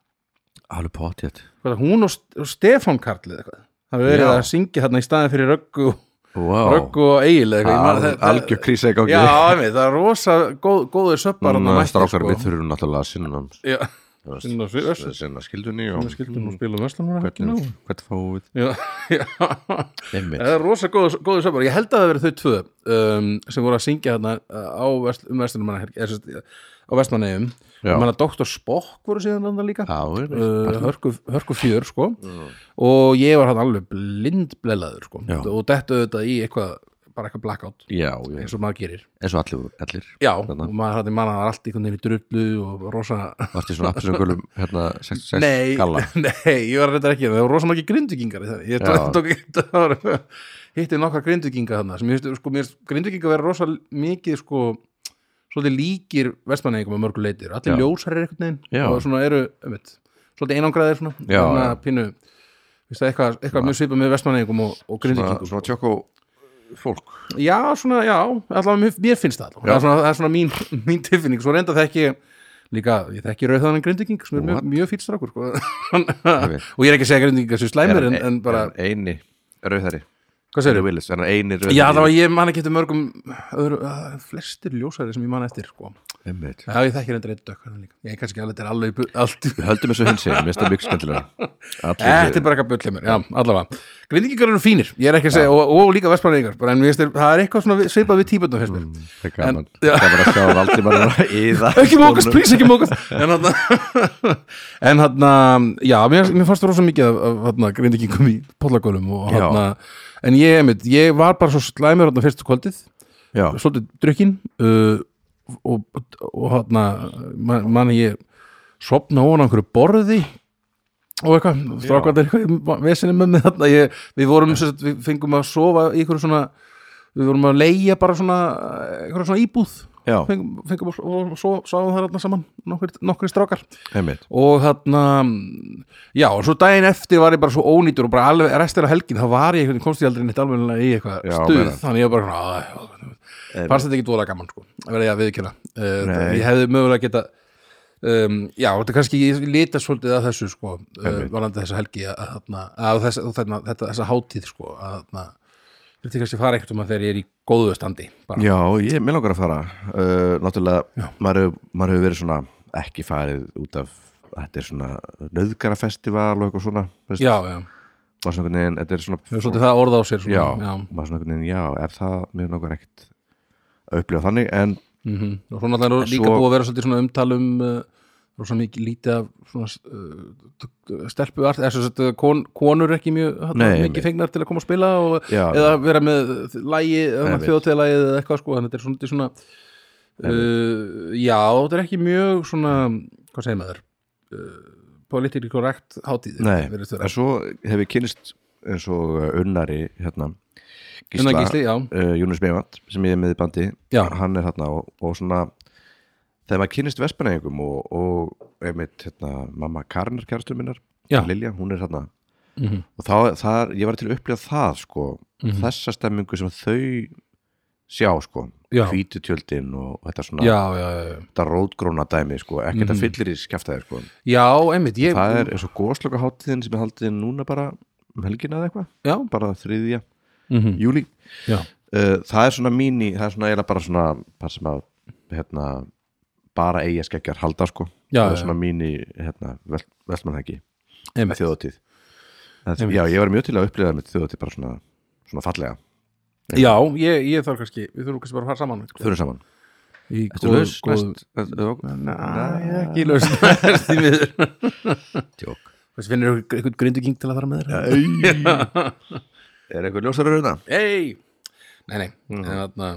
[SPEAKER 1] alveg potið
[SPEAKER 2] Hvort að hún og, St- og Stefán Karl eða eitthvað hafa verið
[SPEAKER 1] Já.
[SPEAKER 2] að syngja þarna í staðin fyrir Röggu,
[SPEAKER 1] wow,
[SPEAKER 2] Röggu og Egil eða eitthvað Ég man að þetta-
[SPEAKER 1] algjör krísa ekki
[SPEAKER 2] Já, einmitt, það er rosa góð, góður söppar þarna mættir,
[SPEAKER 1] strákar
[SPEAKER 2] sko.
[SPEAKER 1] við þurfum náttúrulega að sinna
[SPEAKER 2] Já,
[SPEAKER 1] sinna,
[SPEAKER 2] sinna
[SPEAKER 1] sinna, sinna skildunni og
[SPEAKER 2] skildum og spila verslanur
[SPEAKER 1] hvernig, hvernig fáum við
[SPEAKER 2] Já, Uh, já
[SPEAKER 1] Emil,
[SPEAKER 2] Það er rosa góðu, góðu sömur Ég held að það verið þau tvö um, sem voru að syngja þarna uh, á vest, um vestunum uh, á vestmanneigum
[SPEAKER 1] Já.
[SPEAKER 2] Man að Dr. Spock voru síðan þarna líka
[SPEAKER 1] það er
[SPEAKER 2] uh, hörku, hörku fjör sko og ég var hann alveg blindblelaður sko
[SPEAKER 1] Já.
[SPEAKER 2] og dettu þetta í eitthvað bara eitthvað blackout
[SPEAKER 1] já, já,
[SPEAKER 2] eins og maður gerir
[SPEAKER 1] eins og allir, allir.
[SPEAKER 2] Já,
[SPEAKER 1] Þarna.
[SPEAKER 2] og maður hætti manna var allt einhvern veginn í drullu og rosa
[SPEAKER 1] Varst í svona appisöngulum hérna 66
[SPEAKER 2] Nei,
[SPEAKER 1] galla
[SPEAKER 2] nei, ég var reyndar ekki það voru rosa margir grindugingar í það
[SPEAKER 1] Já.
[SPEAKER 2] ég tók, tók, var, hitti nokkra grinduginga þarna sem ég veist, sko, mér finnst grinduginga vera rosa mikið sko, svolítið líkir vestmanningum að mörgu leitir, allir
[SPEAKER 1] Já.
[SPEAKER 2] ljósar er einhvern veginn
[SPEAKER 1] Já.
[SPEAKER 2] og svona eru, um veit svolítið einangraðir svona,
[SPEAKER 1] Já,
[SPEAKER 2] svona
[SPEAKER 1] já.
[SPEAKER 2] pínu veist það, eitthvað, eitthvað mjög svipað með vestmanningum og, og grindugingum
[SPEAKER 1] Svona tjókó fólk
[SPEAKER 2] Já, svona, já, allavega mér, mér finnst það allavega. það er svona, það er svona mín, mín tilfinning, svo reynda það ekki líka, ég þekki rauð þannig grindviking sem er
[SPEAKER 1] What?
[SPEAKER 2] mjög, mjög fýtt strákur sko.
[SPEAKER 1] Ég veit.
[SPEAKER 2] og ég er ekki að segja grindvikinga sem slæmir en, en bara,
[SPEAKER 1] er hann eini rauðari
[SPEAKER 2] hvað segir
[SPEAKER 1] Willis, er hann eini rauðari
[SPEAKER 2] Já, það var ég man ekki eftir mörgum öðru, uh, flestir ljósæri sem ég man eftir sko.
[SPEAKER 1] Einmitt.
[SPEAKER 2] Já, ég þekki reyndar eitt dökkar líka. Ég er kannski alveg þetta er alveg bu- allt
[SPEAKER 1] Við höldum þessu hins einu, minnst það mjög skemmtilega
[SPEAKER 2] Þetta er bara eitthvað bullið mér, já, allavega Grindvíkingar eru fínir, ég er ekki að segja, og, og líka vestmanningar, bara en mér finnst þeir- það er eitthvað svona við- svipað við tíbundum fyrst mér
[SPEAKER 1] Það er gaman,
[SPEAKER 2] En- Já.
[SPEAKER 1] það er bara að sjá Valdimar í það
[SPEAKER 2] Ekki mókast, please, ekki mókast En hann En hann, já, mér, mér fannst það rosa mikið af, af hann, grindvíkingum í pollagölum og
[SPEAKER 1] Já.
[SPEAKER 2] hann, en ég, einmitt, ég var bara svo slæmur hann fyrstu kvöldið
[SPEAKER 1] Já,
[SPEAKER 2] svolítið drukkin uh, og, og hann man, manni ég sopna ofan á einhverju borði og eitthvað, strákvæðar eitthvað vesinni með mig þarna, ég, við vorum sem sagt, við fengum að sofa í einhverju svona við vorum að leigja bara svona einhverju svona íbúð
[SPEAKER 1] já,
[SPEAKER 2] fengum, fengum að sofa, sofa, sofa þar þarna saman nokkri, nokkri strákar
[SPEAKER 1] einmitt
[SPEAKER 2] og þarna já, og svo daginn eftir var ég bara svo ónýtur og bara alveg restir af helgin, þá var ég einhvern veginn- komst ég aldrei neitt alveg í eitthvað
[SPEAKER 1] Já,
[SPEAKER 2] stuð,
[SPEAKER 1] meira.
[SPEAKER 2] þannig ég var bara svona, "Æ, já, fannst þetta ekki dvolega gaman sko, að vera ég að viðkjöna uh,
[SPEAKER 1] Nei.
[SPEAKER 2] ég hefði mögulega geta um, já, þetta er kannski, ég lita svolítið að þessu sko, uh,
[SPEAKER 1] Einmitt.
[SPEAKER 2] varandi þessa helgi að, að, að þess, þarna, þetta, þessa hátíð sko, að þarna þetta kannski fara eitthvað um þegar ég er í góðu standi bara.
[SPEAKER 1] Já, ég mér langar að fara uh, Náttúrulega,
[SPEAKER 2] Já.
[SPEAKER 1] maður hefur maður hefur verið svona ekki farið út af þetta er svona nöðgarafestival og eitthvað svona veist,
[SPEAKER 2] já, já,
[SPEAKER 1] maður svona einhvern veginn, þetta er svona
[SPEAKER 2] hefur svolítið það orða á sér
[SPEAKER 1] Já,
[SPEAKER 2] svona, já.
[SPEAKER 1] maður svona einhvern veginn, já, er það mér langar ekkert að upplifa þannig en
[SPEAKER 2] mm og svo náttúrulega er
[SPEAKER 1] En
[SPEAKER 2] líka
[SPEAKER 1] svo-
[SPEAKER 2] búið að vera svolítið svona umtalum uh, rosa mikið lítið af svona uh, stelpuart eða svo að kon, konur ekki mjög hann,
[SPEAKER 1] Nei,
[SPEAKER 2] mikið fengnar til að koma að spila og,
[SPEAKER 1] Já.
[SPEAKER 2] eða vera með lægi
[SPEAKER 1] Nei, við-
[SPEAKER 2] þjóðtelagið eða eitthvað sko þannig þetta er svona, þetta er svona uh, já, þetta er ekki mjög svona hvað segir maður uh, politík korrekt hátíð
[SPEAKER 1] Nei, en svo hef ég kynist eins og uh, unnari hérna,
[SPEAKER 2] Gísla, gísli, já,
[SPEAKER 1] uh, Jónus Meivand sem ég er með í bandi
[SPEAKER 2] Já.
[SPEAKER 1] hann er þarna og, og svona þegar maður kynist vespanæðingum og, og einmitt hérna, mamma Karnar kærastur minnar
[SPEAKER 2] Já.
[SPEAKER 1] Lilja, hún er þarna
[SPEAKER 2] mm -hmm.
[SPEAKER 1] og þá, þar, ég var til að upplifa það sko,
[SPEAKER 2] Mhm.
[SPEAKER 1] þessa stemmingu sem þau sjá sko,
[SPEAKER 2] Já.
[SPEAKER 1] hvítu tjöldin og þetta svona
[SPEAKER 2] já, já, já, já.
[SPEAKER 1] þetta rótgróna dæmi sko, ekkert
[SPEAKER 2] Mhm.
[SPEAKER 1] að fyllir í skjaftaði sko.
[SPEAKER 2] já, einmitt ég,
[SPEAKER 1] það er eins og góðslöka hátíðin sem er haldið núna bara um helgina eða eitthvað
[SPEAKER 2] já,
[SPEAKER 1] bara þriðja
[SPEAKER 2] mm
[SPEAKER 1] júli
[SPEAKER 2] já,
[SPEAKER 1] uh, það er svona mín í, það er svona eiginlega bara svona bara sem að hérna, bara eiga skeggjar halda sko það
[SPEAKER 2] Já, já.
[SPEAKER 1] er svona mín í hérna, vel, veltmannhæki
[SPEAKER 2] einmitt
[SPEAKER 1] þjóðatíð það,
[SPEAKER 2] Einmitt.
[SPEAKER 1] já, ég var mjög til að upplifa mitt þjóðatíð bara svona, svona fallega,
[SPEAKER 2] Já, ég, ég þarf kannski, við þurfum kannski bara að fara saman sko.
[SPEAKER 1] þurfum saman
[SPEAKER 2] Í
[SPEAKER 1] Ertu laus
[SPEAKER 2] góð-
[SPEAKER 1] næst?
[SPEAKER 2] Nei, ég
[SPEAKER 1] Næ,
[SPEAKER 2] er ekki laus næst í miður
[SPEAKER 1] tjók
[SPEAKER 2] Þessi finnir ykkur einhvern grinduking til að fara með þér
[SPEAKER 1] Er hérna? eitthvað ljósar að rauna?
[SPEAKER 2] Ei Nei, nei,
[SPEAKER 1] Mhm.
[SPEAKER 2] en þarna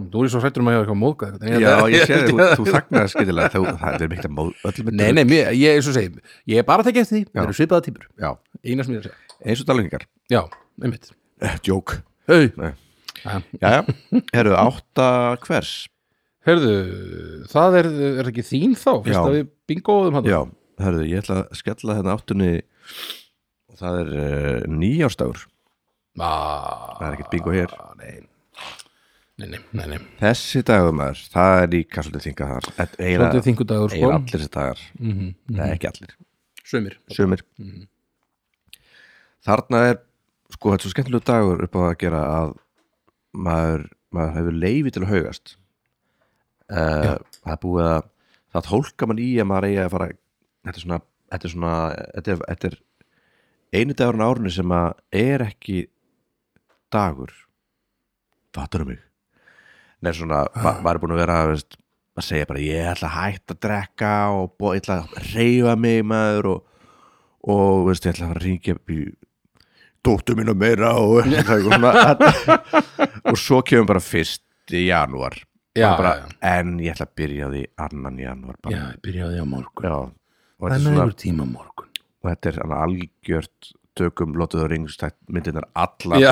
[SPEAKER 2] Þú er svo hrættur um að ég hafa eitthvað móðgað eitthvað. Ég-
[SPEAKER 1] Já,
[SPEAKER 2] þetta-
[SPEAKER 1] ég sé þig, þú, þú þagnaði skitilega þú, það er mikla móð, öllum er
[SPEAKER 2] Nei, nei, mér, ég er svo segi Ég er bara að tekja eftir því, það eru svipaða típur
[SPEAKER 1] Já,
[SPEAKER 2] Eina sem ég er að segja
[SPEAKER 1] eins og dalengar
[SPEAKER 2] Já, einmitt
[SPEAKER 1] Jók
[SPEAKER 2] Hey.
[SPEAKER 1] Nei.
[SPEAKER 2] Jæja.
[SPEAKER 1] Jæja, herru, átta hvers
[SPEAKER 2] Herðu, það er, er ekki þín þá Fyrst
[SPEAKER 1] Já.
[SPEAKER 2] að við bingoðum hann
[SPEAKER 1] Já, hörðu, ég ætla að skella hérna áttunni og það er uh, nýjárstagur
[SPEAKER 2] Það
[SPEAKER 1] Það er ekkert bingo hér.
[SPEAKER 2] Nei, Ah. nei, nei, nei, nei.
[SPEAKER 1] Þessi dagur maður, það er líka svolítið þinga þar Þetta er
[SPEAKER 2] Svolítið
[SPEAKER 1] eiginlega-
[SPEAKER 2] þingudagur sko
[SPEAKER 1] eiginlega allir þessi dagar
[SPEAKER 2] mm -hmm.
[SPEAKER 1] Nei, ekki allir,
[SPEAKER 2] Sumir
[SPEAKER 1] sömur Mhm. Þarna er, sko, þetta er svo skemmtilegu dagur upp á það að gera að maður, maður hefur leifi til að haugast uh, Það er búið að það hólka mann í að maður eigi að fara Þetta er svona, þetta er svona þetta er, þetta er einu dagurinn á árinu sem að er ekki dagur fattur um mig Nei, svona, ma maður er búin að vera veist, að segja bara ég ætla að hætta að drekka og bó, ég ætla að reyfa mig maður og, og veist, ég ætla að fara að ringja upp í dóttur mínu meira og, það er eitthvað svona, og svo kemur bara fyrst í janúar
[SPEAKER 2] Já,
[SPEAKER 1] bara,
[SPEAKER 2] já,
[SPEAKER 1] en ég ætla að byrja á því annan janúar bara.
[SPEAKER 2] já, ég byrjaði á morgun
[SPEAKER 1] Já, og þetta er
[SPEAKER 2] Það er
[SPEAKER 1] svona
[SPEAKER 2] nægur tíma morgun
[SPEAKER 1] og þetta er hann algjört tökum Lottuð og Ringstætt myndirnar allar
[SPEAKER 2] Já,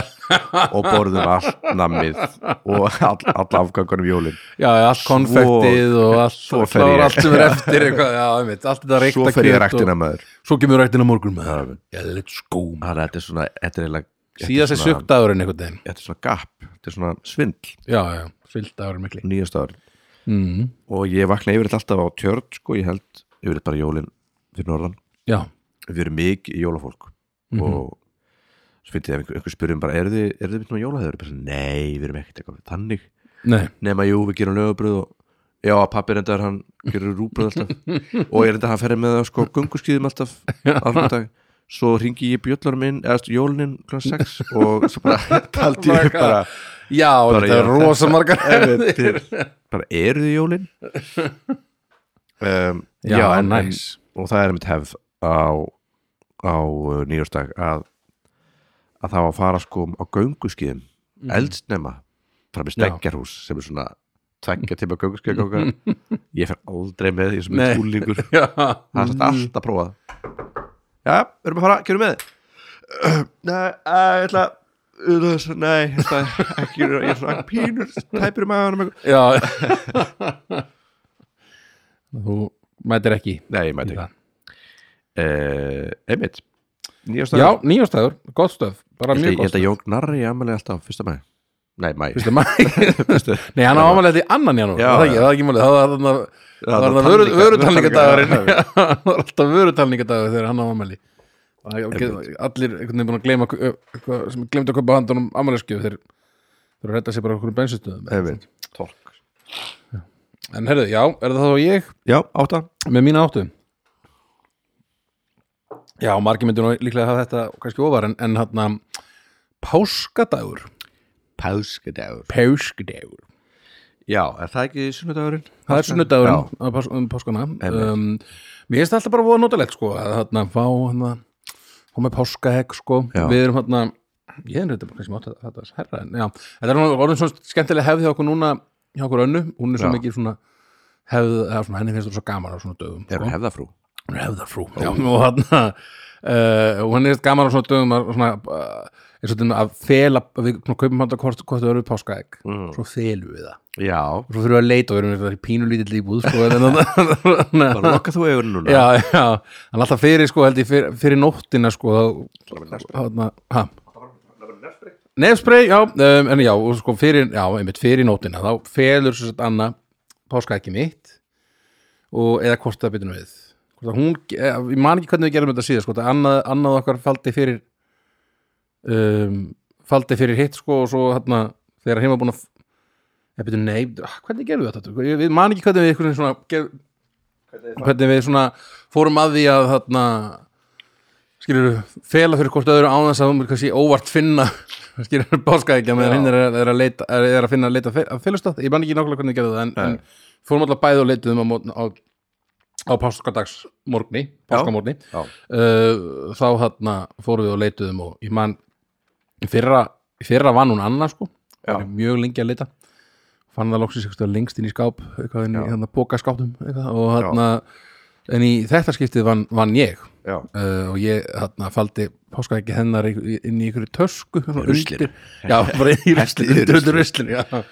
[SPEAKER 1] og borðum allt nammið og all, all afgangunum jólin
[SPEAKER 2] já, já, allt konfektið og allt,
[SPEAKER 1] svo fer
[SPEAKER 2] klárar
[SPEAKER 1] ég.
[SPEAKER 2] allt sem er eftir eitthvað, já, einmitt, allt þetta reykta
[SPEAKER 1] svo fer ég
[SPEAKER 2] kjöt
[SPEAKER 1] ræktina maður
[SPEAKER 2] og, Svo kemur ræktina morgun með
[SPEAKER 1] Já, já.
[SPEAKER 2] Já, let's go
[SPEAKER 1] þannig að þetta er svona þetta er eiginlega þetta er
[SPEAKER 2] Síðast er
[SPEAKER 1] svona-
[SPEAKER 2] sökdagurinn einhvern veginn
[SPEAKER 1] þetta er svona gap, þetta er svona svindl
[SPEAKER 2] Já, já, svildagurinn mikli
[SPEAKER 1] nýjast ári
[SPEAKER 2] mm.
[SPEAKER 1] og ég vakna yfirleitt alltaf á tjörn sko, ég held yfirleitt bara jólin fyrir norðan,
[SPEAKER 2] já,
[SPEAKER 1] við erum mikið jólafólk og svo finnst ég ef einhver, einhver spurðum bara, eru þið, eru þið mitt nú jólahæður? Bara, svona, Nei, við erum ekkert eitthvað þannig
[SPEAKER 2] nei,
[SPEAKER 1] nema jú, við gerum lögabröð og já, pappi reyndar hann gerir rúbröð alltaf og ég reyndar hann ferði með það sko gunguskýðum alltaf alfandag svo ringi ég bjöllar minn, eða stu, jólinin kl. 6 og svo bara taldi ég bara
[SPEAKER 2] já,
[SPEAKER 1] Bara
[SPEAKER 2] þetta er
[SPEAKER 1] já,
[SPEAKER 2] rosa margar
[SPEAKER 1] eftir, bara eru þið jólin um,
[SPEAKER 2] Já,
[SPEAKER 1] en- en-
[SPEAKER 2] nice.
[SPEAKER 1] og það er mitt hefð á, á uh, nýjórsdag að, að það var að fara sko á gönguskiðum
[SPEAKER 2] Mhm.
[SPEAKER 1] mm. eldsnema fram í stegjarhús sem er svona tveggja tíma gönguskið ég fer aldrei með því sem
[SPEAKER 2] Nei.
[SPEAKER 1] er skúlingur
[SPEAKER 2] já,
[SPEAKER 1] það er satt alltaf prófað já, við erum að fara, gerum við nei, ég ætla að- nei, ég ætla ekki ég er svona pínur, tæpir í maður
[SPEAKER 2] já þú mætir ekki
[SPEAKER 1] nei, ég mæti
[SPEAKER 2] í
[SPEAKER 1] ekki
[SPEAKER 2] það.
[SPEAKER 1] uh, einmitt nýjastag
[SPEAKER 2] já, nýjastæður, gott stöð bara
[SPEAKER 1] Ég
[SPEAKER 2] mjög
[SPEAKER 1] held
[SPEAKER 2] gott
[SPEAKER 1] að
[SPEAKER 2] stöð
[SPEAKER 1] Jón Gnarri ammæli alltaf á fyrsta mæ Nei, mæ
[SPEAKER 2] Fyrsta maí. Nei, hann á ámælið í annan janúar
[SPEAKER 1] Já,
[SPEAKER 2] Það er ekki-
[SPEAKER 1] já.
[SPEAKER 2] það er ekki málið, það var þarna Það var þarna vöru-
[SPEAKER 1] talningar-
[SPEAKER 2] vörutalningadagurinn
[SPEAKER 1] vörutalningar-
[SPEAKER 2] Já, Það var alltaf vörutalningadagur þegar hann á ámæli Allir einhvern veginn búin að gleyma ö, eitthvað sem glemdi að kaupa handan um ámæliskjöf þeir þeir redda sér bara okkur um bensinstöðum
[SPEAKER 1] Einmitt. Tork
[SPEAKER 2] En herðu, já, er það þá ég
[SPEAKER 1] Já, átta
[SPEAKER 2] með mína áttu Já, margir myndir nú líklega hafa þetta kannski ofar en, en hann Páskadagur
[SPEAKER 1] Páskadagur
[SPEAKER 2] Páskadagur
[SPEAKER 1] Já, er það ekki sunnudagurinn?
[SPEAKER 2] Það er sunnudagurinn á pás, um páskana um, Mér finnst það alltaf bara voða notalegt sko, að þarna fá hana, hún með páskahegg sko.
[SPEAKER 1] Já.
[SPEAKER 2] við erum hérna ég er þetta bara kannski mátt að þetta er herra en, já, þetta er nú orðin svona skemmtileg hefð hjá okkur núna hjá okkur önnu, hún er svo
[SPEAKER 1] Já.
[SPEAKER 2] mikið svona hefð, eða svona henni finnst það svo gaman á svona dögum
[SPEAKER 1] Er
[SPEAKER 2] sko.
[SPEAKER 1] hún hefðafrú?
[SPEAKER 2] hún er hefðarfrú já, og hérna uh, og henni finnst gaman á svona dögum að, svona, uh, eins og þetta að fela að við svona, kaupum hann það hvort, hvort þau eru páskahegg
[SPEAKER 1] Mm.
[SPEAKER 2] svo felum við það
[SPEAKER 1] Já
[SPEAKER 2] og svo þurfum við að leita og við erum eitthvað í pínulítill íbúð sko, en þannig
[SPEAKER 1] Bara lokka þú augun núna
[SPEAKER 2] já, já, en alltaf fyrir sko held ég fyrir, fyrir nóttina sko hana, ha nefsprey, já, um, en já og sko fyrir, já, einmitt fyrir nóttina þá felur svo sett Anna páska ekki mitt og eða hvort það byrjum við hvort að hún, eh, ég man ekki hvernig við gerum þetta síðan sko, það annað, annað okkar faldi fyrir um, faldi fyrir hitt sko og svo hérna þegar heima búin að eða byrjum, nei, ah, hvernig gerum við þetta Ég- við man ekki hvernig við einhvern veginn svona ger, hvernig við svona fórum að því að þarna skilur fela fyrir hvort öðru án þess að hún mér kannski óvart finna skilur báska ekki að meðan hinn er, að- er að leita er, er að finna að leita fe- að félastátt ég man ekki nákvæmlega hvernig ég gerði það en, en fórum alltaf bæði og leituðum á, mótn- á, á páskadags morgni páskamorgni
[SPEAKER 1] Já.
[SPEAKER 2] uh, þá þarna fórum við og leituðum og ég man í fyrra, í fyrra vann hún annað sko
[SPEAKER 1] Já.
[SPEAKER 2] Var mjög lengi að leita fann það loksins eitthvað lengst inn í skáp eitthvað inn í
[SPEAKER 1] Já.
[SPEAKER 2] hérna bókaskáptum eitthvað, og hérna en í þetta skiptið vann, vann ég
[SPEAKER 1] Já
[SPEAKER 2] uh, og ég hérna faldi páska ekki hennar í- í- inn í einhverju tösku svona
[SPEAKER 1] ruslinu.
[SPEAKER 2] undir- já, bara inn í
[SPEAKER 1] Hellið
[SPEAKER 2] ruslinu
[SPEAKER 1] í
[SPEAKER 2] undir, undir ruslinu, já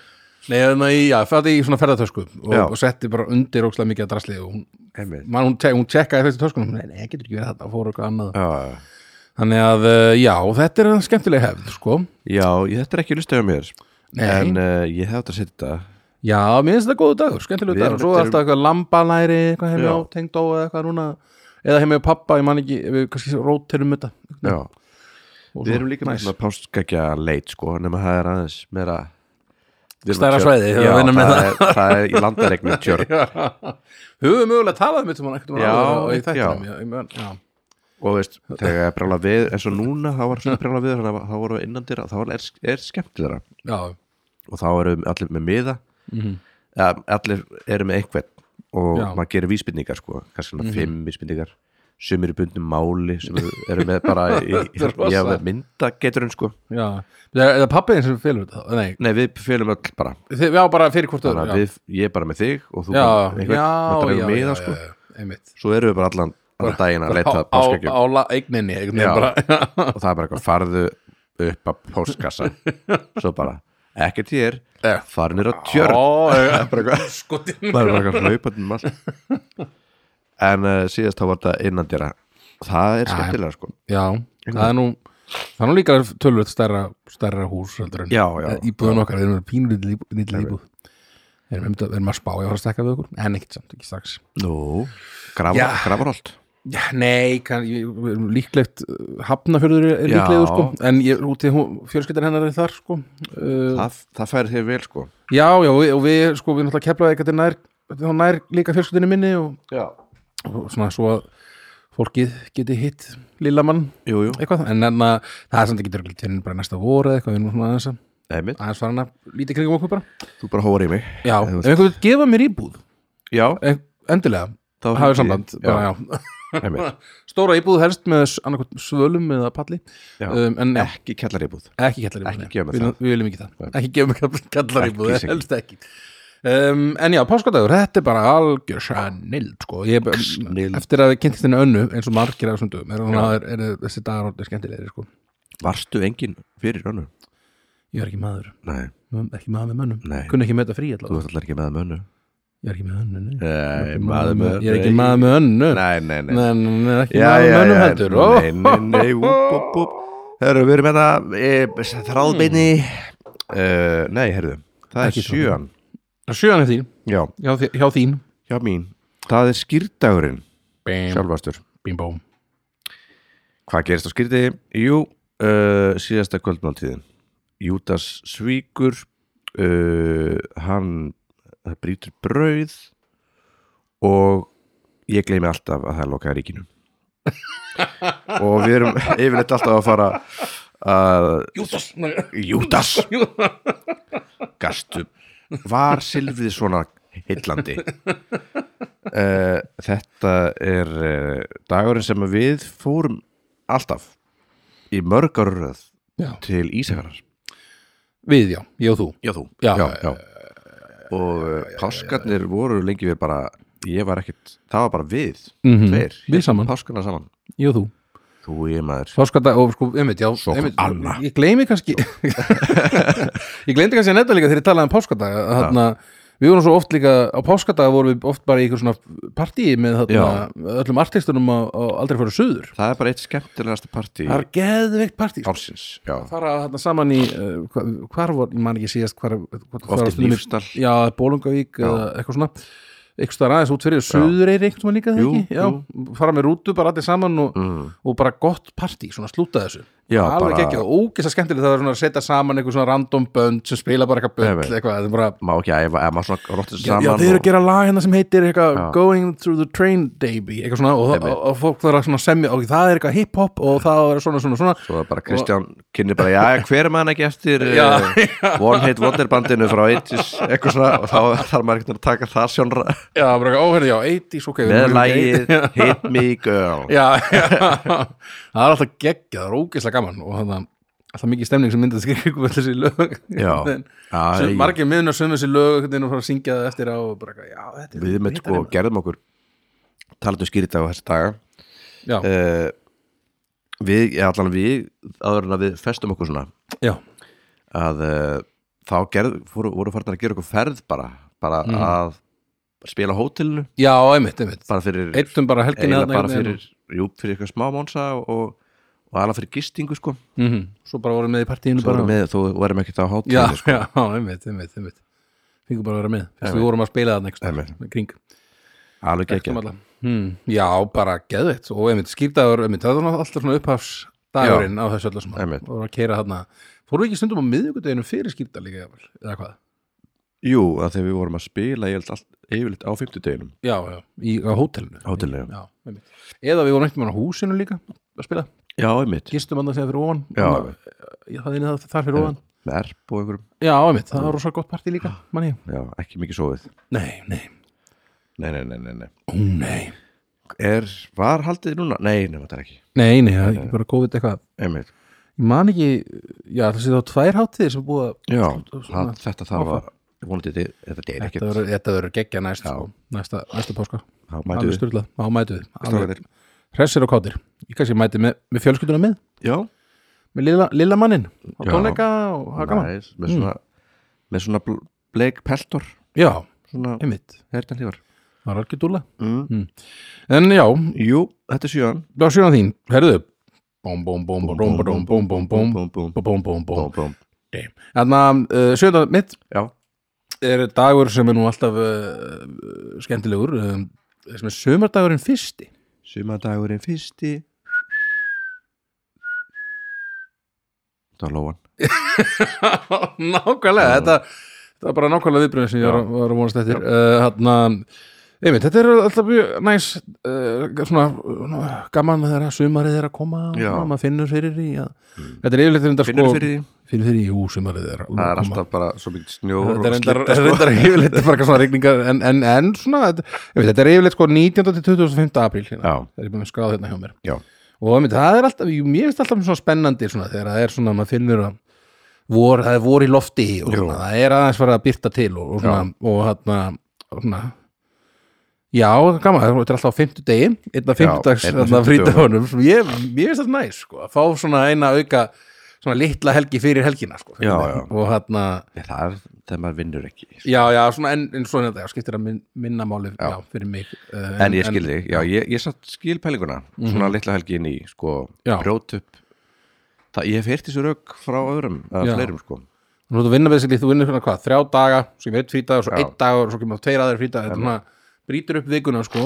[SPEAKER 2] Nei, þannig, að ég- já, faldi í svona ferðatösku og,
[SPEAKER 1] Já.
[SPEAKER 2] og setti bara undir ókslega mikið að drasli og hún,
[SPEAKER 1] Einmitt
[SPEAKER 2] man, hún, te hún tjekkaði þessi töskunum nei, nei, getur ekki verið þetta, fór eitthvað annað
[SPEAKER 1] Já,
[SPEAKER 2] Þannig að, uh, já, þetta er skemmtileg hefð, sko.
[SPEAKER 1] já ég- þetta er ekki listið á mér
[SPEAKER 2] Nei.
[SPEAKER 1] En uh, ég hef þetta að setja þetta
[SPEAKER 2] Já, mér finnst þetta góðu dagur, skemmtileg
[SPEAKER 1] Við
[SPEAKER 2] dagur.
[SPEAKER 1] erum-
[SPEAKER 2] Svo er alltaf eitthvað lambalæri, eitthvað
[SPEAKER 1] Já.
[SPEAKER 2] heimi á tengdó eða eitthvað núna. Eða heimi á pappa, ég man ekki, við kannski rótirum þetta.
[SPEAKER 1] Já
[SPEAKER 2] Og
[SPEAKER 1] Við
[SPEAKER 2] svo-
[SPEAKER 1] erum líka
[SPEAKER 2] Nice.
[SPEAKER 1] með svona páskækja leit sko, nema það er aðeins meira Við erum
[SPEAKER 2] Stærra
[SPEAKER 1] á tjörn.
[SPEAKER 2] svæði, þau
[SPEAKER 1] Já,
[SPEAKER 2] vinna með
[SPEAKER 1] það er, það er í landaregnum tjörn
[SPEAKER 2] Höfum mögulega talað um þetta mann ekkert um
[SPEAKER 1] Já,
[SPEAKER 2] áður og í
[SPEAKER 1] já.
[SPEAKER 2] þættinum, já, ég man- já.
[SPEAKER 1] og veist, þegar ég brjála við eins og núna, þá var svona brjála við þannig að þá vorum við innan dyra, þá er, er skemmtilegra
[SPEAKER 2] Já,
[SPEAKER 1] og þá erum við allir með miða eða allir eru með einhvern og
[SPEAKER 2] Mhm. Já. Mhm.
[SPEAKER 1] maður gerir vísbendingar sko, kannski svona fimm vísbendingar sem eru bundum máli sem eru, eru með bara í, í,
[SPEAKER 2] Þetta er rosa.
[SPEAKER 1] já, með myndageturinn sko
[SPEAKER 2] já. Eða, eða pappiðin sem fylgur þetta, nei.
[SPEAKER 1] nei, við fylgum öll bara
[SPEAKER 2] Þið, já, bara fyrir hvort
[SPEAKER 1] þannig
[SPEAKER 2] öðru,
[SPEAKER 1] að
[SPEAKER 2] já.
[SPEAKER 1] við, ég er bara með þig og þú
[SPEAKER 2] Já,
[SPEAKER 1] bara
[SPEAKER 2] já,
[SPEAKER 1] einhvern, maður
[SPEAKER 2] já,
[SPEAKER 1] dregur miða
[SPEAKER 2] já,
[SPEAKER 1] sko
[SPEAKER 2] já, einmitt.
[SPEAKER 1] svo erum við bara allan, allan daginn að leita
[SPEAKER 2] Á,
[SPEAKER 1] að
[SPEAKER 2] á,
[SPEAKER 1] páskeggjum
[SPEAKER 2] á la- eigninni, einhvern
[SPEAKER 1] Já.
[SPEAKER 2] veginn bara, já.
[SPEAKER 1] og það er bara eitthvað farðu upp að póstkassa svo bara, ekkert ég er
[SPEAKER 2] Já.
[SPEAKER 1] farinir á tjörn
[SPEAKER 2] Ó, já,
[SPEAKER 1] bara eitthvað,
[SPEAKER 2] skotin
[SPEAKER 1] það er bara eitthvað hlaupandi um allt en uh, síðast þá var þetta innan dýra það er skemmtilega sko
[SPEAKER 2] Já, það er nú það er nú líka tölvöld stærra, stærra hús heldur en
[SPEAKER 1] Já, já.
[SPEAKER 2] íbúðun okkar, við erum pínlítið íbúð erum, einmitt að- erum að spá í að fara að stekka við okkur en ekkert samt, ekki strax
[SPEAKER 1] Nú,
[SPEAKER 2] Já.
[SPEAKER 1] grafarholt
[SPEAKER 2] Já, nei, kann, ég, við erum líklegt uh, hafnafjörður er
[SPEAKER 1] Já.
[SPEAKER 2] líklegur sko en ég, úti, hún, fjölskyldar hennar er þar sko uh,
[SPEAKER 1] Það, það færi þér vel sko
[SPEAKER 2] Já, já, og við, og við sko, við náttúrulega keflaði eitthvað til nær, þá nær líka fjölskyldinni minni og,
[SPEAKER 1] Já
[SPEAKER 2] og svona svo að fólkið geti hitt lillamann
[SPEAKER 1] Jú, jú,
[SPEAKER 2] eitthvað, en enna, það er samt ekki dörgulegt fyrir bara næsta voru eða eitthvað, við erum svona aðeins að
[SPEAKER 1] einmitt
[SPEAKER 2] aðeins farin að líti kringum okkur bara
[SPEAKER 1] Þú bara hóður í mig
[SPEAKER 2] Já,
[SPEAKER 1] Þú
[SPEAKER 2] ef
[SPEAKER 1] veist.
[SPEAKER 2] einhvern veit gefa mér íbúð
[SPEAKER 1] Já,
[SPEAKER 2] eh, endilega,
[SPEAKER 1] þá
[SPEAKER 2] hafið
[SPEAKER 1] hringi
[SPEAKER 2] samband
[SPEAKER 1] ég.
[SPEAKER 2] bara, já.
[SPEAKER 1] Já, einmitt
[SPEAKER 2] Stóra íbúð helst með s- annaðhvort svölum eða palli
[SPEAKER 1] Já.
[SPEAKER 2] um, en já,
[SPEAKER 1] Ekki kjallaríbúð
[SPEAKER 2] ekki kallar
[SPEAKER 1] Ekki gefa mér
[SPEAKER 2] við,
[SPEAKER 1] það.
[SPEAKER 2] við viljum ekki það,
[SPEAKER 1] Nei.
[SPEAKER 2] ekki gefa mér kallar íbúð
[SPEAKER 1] Ekki,
[SPEAKER 2] helst ekki um, en já, páskadagur, þetta er bara algjör snild, sko ég,
[SPEAKER 1] Snild.
[SPEAKER 2] eftir að við kynntist henni önnu eins og margir af þessum dögum, er, hún- er, er, er þessi dagar orðið skemmtilegri, sko,
[SPEAKER 1] Varstu engin fyrir önnu?
[SPEAKER 2] ég er ekki maður
[SPEAKER 1] Nei,
[SPEAKER 2] ekki maður með mönnum,
[SPEAKER 1] Nei.
[SPEAKER 2] kunni ekki með þetta frí
[SPEAKER 1] þú
[SPEAKER 2] allavega,
[SPEAKER 1] ert allar ekki með mönnu
[SPEAKER 2] ég er ekki með önnu nei.
[SPEAKER 1] Nei,
[SPEAKER 2] ég er ekki maður með önnu
[SPEAKER 1] Nei, nei, nei
[SPEAKER 2] Nei, nei, nei, ekki
[SPEAKER 1] Já,
[SPEAKER 2] maður
[SPEAKER 1] já,
[SPEAKER 2] mönnum
[SPEAKER 1] já,
[SPEAKER 2] heldur ó.
[SPEAKER 1] nei, nei, nei, úp, úp, úp Herru, við erum hérna e, Þráðbeini uh, Nei, herru, það
[SPEAKER 2] Ekki
[SPEAKER 1] er sjöan
[SPEAKER 2] Sjöan er þín,
[SPEAKER 1] Já,
[SPEAKER 2] hjá, þi- hjá þín
[SPEAKER 1] hjá mín Það er skýrdagurinn,
[SPEAKER 2] Bim,
[SPEAKER 1] sjálfastur
[SPEAKER 2] bim, bóm
[SPEAKER 1] Hvað gerist á skýrti? Jú, uh, síðasta kvöldmáltíðin Júdas svíkur uh, Hann það brýtur brauð og ég gleymi alltaf að það er lokað ríkinu og við erum yfirleitt alltaf að fara að
[SPEAKER 2] Jústas
[SPEAKER 1] Júdas Gastu Var Silfrið svona heillandi uh, Þetta er uh, dagurinn sem við fórum alltaf í mörgar röð til Ísakarar
[SPEAKER 2] Við, já, ég og þú
[SPEAKER 1] Já, þú
[SPEAKER 2] Já,
[SPEAKER 1] já, já. Og uh, páskarnir voru lengi við bara ég var ekkert, það var bara við
[SPEAKER 2] Mhm.
[SPEAKER 1] tveir,
[SPEAKER 2] Við saman.
[SPEAKER 1] páskarna saman
[SPEAKER 2] ég og þú
[SPEAKER 1] Þú og ég maður
[SPEAKER 2] Fáskata og sko, einmitt, já
[SPEAKER 1] Svo kom
[SPEAKER 2] einmitt,
[SPEAKER 1] Anna.
[SPEAKER 2] Ég gleymi kannski Ég gleymdi kannski að nefna líka þegar ég talaði um páskata Þarna, við vorum svo oft líka Á páskata vorum við oft bara í einhver svona partí Með þarna, öllum artistunum á, á aldrei fyrir söður
[SPEAKER 1] Það er bara eitt skemmtilegasta partí
[SPEAKER 2] Það er geðveikt partí sko.
[SPEAKER 1] ársins Já,
[SPEAKER 2] fara þarna saman í uh, hva- hvar var, ég man ekki síðast hvar, hvar, hvar
[SPEAKER 1] oft í
[SPEAKER 2] stundum í-
[SPEAKER 1] lífstall
[SPEAKER 2] já, Bólungavík eða eitthvað svona eitthvað staðar aðeins út fyrir Suðureyri eitthvað líka þegar
[SPEAKER 1] Jú, Mm.
[SPEAKER 2] ekki, já, fara með rútu bara allir saman og, og bara gott partí svona slúta þessu,
[SPEAKER 1] Já,
[SPEAKER 2] alveg
[SPEAKER 1] bara-
[SPEAKER 2] ekki og ógist að skemmtilega það er svona að setja saman eitthvað svona random bönd sem spila bara eitthvað
[SPEAKER 1] Nei,
[SPEAKER 2] bönd
[SPEAKER 1] nei.
[SPEAKER 2] eitthvað, það er bara
[SPEAKER 1] má ekki æfa, ef maður svona rottir
[SPEAKER 2] Já,
[SPEAKER 1] saman
[SPEAKER 2] já, þeir eru
[SPEAKER 1] og-
[SPEAKER 2] að gera lag hérna sem heitir eitthvað,
[SPEAKER 1] Já.
[SPEAKER 2] Going Through the Train Baby eitthvað svona og, og, og fólk þarf að svona semja og það er eitthvað hip-hop og það er svona svona svona
[SPEAKER 1] Svo er bara Kristján kynni bara, já, hver er maður ekki eftir
[SPEAKER 2] Já,
[SPEAKER 1] uh, One Hit Wonder bandinu frá 80s, eitthvað svona og þá þarf maður ekkert að taka það sjónra
[SPEAKER 2] Já, bara eitthvað, óherði, já, 80s, ok við
[SPEAKER 1] með
[SPEAKER 2] erum ekki-
[SPEAKER 1] lagið Hit Me Girl
[SPEAKER 2] Já, já, það er alltaf geggja, það er ógeðslega gaman og þannig að alltaf mikið stemning sem myndast kringum öll þessi lög
[SPEAKER 1] Já.
[SPEAKER 2] En
[SPEAKER 1] Já,
[SPEAKER 2] sem
[SPEAKER 1] ég-
[SPEAKER 2] margir miðun að sömu þessi lög einhvern veginn og fara að syngja það eftir á og bara, eitthvað, já, um þetta er
[SPEAKER 1] Við með sko gerðum okkur talaðu skýrita á þessi daga
[SPEAKER 2] Já,
[SPEAKER 1] uh, Við, já, allan við áður en að við festum okkur svona
[SPEAKER 2] já,
[SPEAKER 1] að uh, þá gerð, fóru, voru farnar að gera okkur ferð bara, bara
[SPEAKER 2] Mm.
[SPEAKER 1] að spila á hótelinu,
[SPEAKER 2] já, einmitt, einmitt
[SPEAKER 1] bara fyrir
[SPEAKER 2] Eittum bara helginni
[SPEAKER 1] eiginlega
[SPEAKER 2] þarna
[SPEAKER 1] bara
[SPEAKER 2] einhvern veginn.
[SPEAKER 1] fyrir, jú, fyrir eitthvað smá mónsa og, og alveg fyrir gistingu sko
[SPEAKER 2] Mhm, Svo bara vorum með í partíinu
[SPEAKER 1] Svo
[SPEAKER 2] bara
[SPEAKER 1] erum við, þú verðum ekkert á hátíð
[SPEAKER 2] Já,
[SPEAKER 1] sko.
[SPEAKER 2] já, einmitt, einmitt, einmitt Fingum bara að vera með, Fyrst við vorum að spila það
[SPEAKER 1] Einmitt.
[SPEAKER 2] next kring
[SPEAKER 1] alveg ekki
[SPEAKER 2] Þekktum alla. Hmm, já, bara geðveitt og einmitt skýrdagur, einmitt, það var alltaf svona upphafsdagurinn á þessu öllu saman
[SPEAKER 1] Einmitt.
[SPEAKER 2] og voru að keira þarna, fórum við ekki stundum á miðvikudeginu fyrir skýrda líka, jafnvel, eða hvað
[SPEAKER 1] Jú, að þegar við vorum að spila ég held allt yfirleitt á fimmtudeginum
[SPEAKER 2] já, já, í, á hótelinu
[SPEAKER 1] Hótelinu.
[SPEAKER 2] já, einmitt. eða við vorum einhvern veginn á húsinu líka að spila,
[SPEAKER 1] Já, einmitt
[SPEAKER 2] gistum annað þegar fyrir ofan eh,
[SPEAKER 1] Já.
[SPEAKER 2] já, það er inni það þar fyrir ofan
[SPEAKER 1] Með erp og einhverjum
[SPEAKER 2] já, einmitt, það var rosa gott partí líka, manni
[SPEAKER 1] Já, ekki mikið sofið
[SPEAKER 2] nei, nei,
[SPEAKER 1] Nei, nei, nei, nei, nei.
[SPEAKER 2] ó nei
[SPEAKER 1] Er, var haldið núna? Nei, nema þetta er ekki
[SPEAKER 2] nei, nei, það er ekki bara COVID eitthvað
[SPEAKER 1] Einmitt
[SPEAKER 2] ég man ekki, já, þessi þá tvær hátíðir sem búið að
[SPEAKER 1] Já,
[SPEAKER 2] svona-
[SPEAKER 1] það, þetta það var vonandi þið, þetta er
[SPEAKER 2] Þetta
[SPEAKER 1] ekkert
[SPEAKER 2] verður- Þetta verður geggja næst
[SPEAKER 1] Já.
[SPEAKER 2] sko, næsta, næsta páska
[SPEAKER 1] Þá mætu
[SPEAKER 2] Alveg
[SPEAKER 1] við
[SPEAKER 2] styrlað, á mætu
[SPEAKER 1] Strákarnir.
[SPEAKER 2] við Hressir og kátir Ég kannski mæti með, með fjölskylduna með
[SPEAKER 1] Já,
[SPEAKER 2] Með lilla, lilla mannin á
[SPEAKER 1] Já.
[SPEAKER 2] tónleika og það er gaman Mm.
[SPEAKER 1] næs, með svona með svona bl- bleik peltor
[SPEAKER 2] Já,
[SPEAKER 1] svona
[SPEAKER 2] einmitt,
[SPEAKER 1] hertan hlífar
[SPEAKER 2] það var algjör dúla
[SPEAKER 1] mm.
[SPEAKER 2] En já,
[SPEAKER 1] Jú, þetta er sjöan
[SPEAKER 2] það sjöna þín, herðu Bóm, bóm, bóm, bóm, bóm, bóm, bóm,
[SPEAKER 1] búm,
[SPEAKER 2] bóm, bóm
[SPEAKER 1] búm,
[SPEAKER 2] Bóm, bóm, bóm, bóm
[SPEAKER 1] búm
[SPEAKER 2] Þannig að uh, sjöna eh, mitt
[SPEAKER 1] Já,
[SPEAKER 2] eh, er dagur sem er nú alltaf uh, skemmtilegur um, sem er sömardagurinn fyrsti
[SPEAKER 1] Sumadagurinn fyrsti Það var lóan
[SPEAKER 2] nákvæmlega,
[SPEAKER 1] Já.
[SPEAKER 2] þetta, þetta var bara nákvæmlega viðbrunni sem ég var,
[SPEAKER 1] Já.
[SPEAKER 2] var að vonast eftir uh, hann Einmitt, þetta er alltaf mjög næs uh, svona, svona gaman þegar að sumarið er að koma og
[SPEAKER 1] Já. Mm.
[SPEAKER 2] maður finnur fyrir í að, þetta er yfirleitt reyndar
[SPEAKER 1] Finnur
[SPEAKER 2] sko
[SPEAKER 1] fyrir því
[SPEAKER 2] finnur fyrir í, jú, sumarið er að
[SPEAKER 1] Það er
[SPEAKER 2] koma.
[SPEAKER 1] alltaf bara svo mikið snjór
[SPEAKER 2] þetta er
[SPEAKER 1] og
[SPEAKER 2] reyndar,
[SPEAKER 1] slydda, sko.
[SPEAKER 2] reyndar yfirleitt bara eitthvað svona regningar en, en, en svona, þetta, ég veit, þetta er yfirleitt sko 19. til 25. apríl hérna,
[SPEAKER 1] Já,
[SPEAKER 2] það er búin að skráða hérna hjá mér
[SPEAKER 1] já,
[SPEAKER 2] og einmitt, það er alltaf, jú, mér finnst alltaf svona spennandi svona, þegar það er svona, maður finnur að vor, það er vor í lofti og
[SPEAKER 1] Jú.
[SPEAKER 2] svona, það er aðeins farið að byrta til og, og svona, og hérna og svona Já, það er gaman, þetta er alltaf á fimmtudegi einn
[SPEAKER 1] Já,
[SPEAKER 2] af fimmtudags
[SPEAKER 1] einn af
[SPEAKER 2] þarna
[SPEAKER 1] fimmtudögum.
[SPEAKER 2] frídagunum sem ég, mér finnst þetta næs sko, að fá svona eina auka svona litla helgi fyrir helgina sko,
[SPEAKER 1] Já, já.
[SPEAKER 2] og hérna
[SPEAKER 1] það er þegar maður vinnur ekki sko.
[SPEAKER 2] Já, já, svona en, en svona þetta, já, skiptir að min, minna máli já.
[SPEAKER 1] Já.
[SPEAKER 2] fyrir mig uh,
[SPEAKER 1] En ég skil þig, já, Mhm. ég, ég satt skil pælinguna Svona litla helgi inn í, sko,
[SPEAKER 2] Já.
[SPEAKER 1] brjót upp Það, ég hef heyrt þessu rauk frá öðrum, eða
[SPEAKER 2] Já.
[SPEAKER 1] fleirum, sko
[SPEAKER 2] Nú þú vinna basically, þú vinnur hérna hvað, þrjá daga svo kemur eitt frídag,
[SPEAKER 1] Já.
[SPEAKER 2] svo
[SPEAKER 1] Mhm.
[SPEAKER 2] einn dag og svo kemur tveir aðeir frídag, þetta er svona brýtur upp vikuna, sko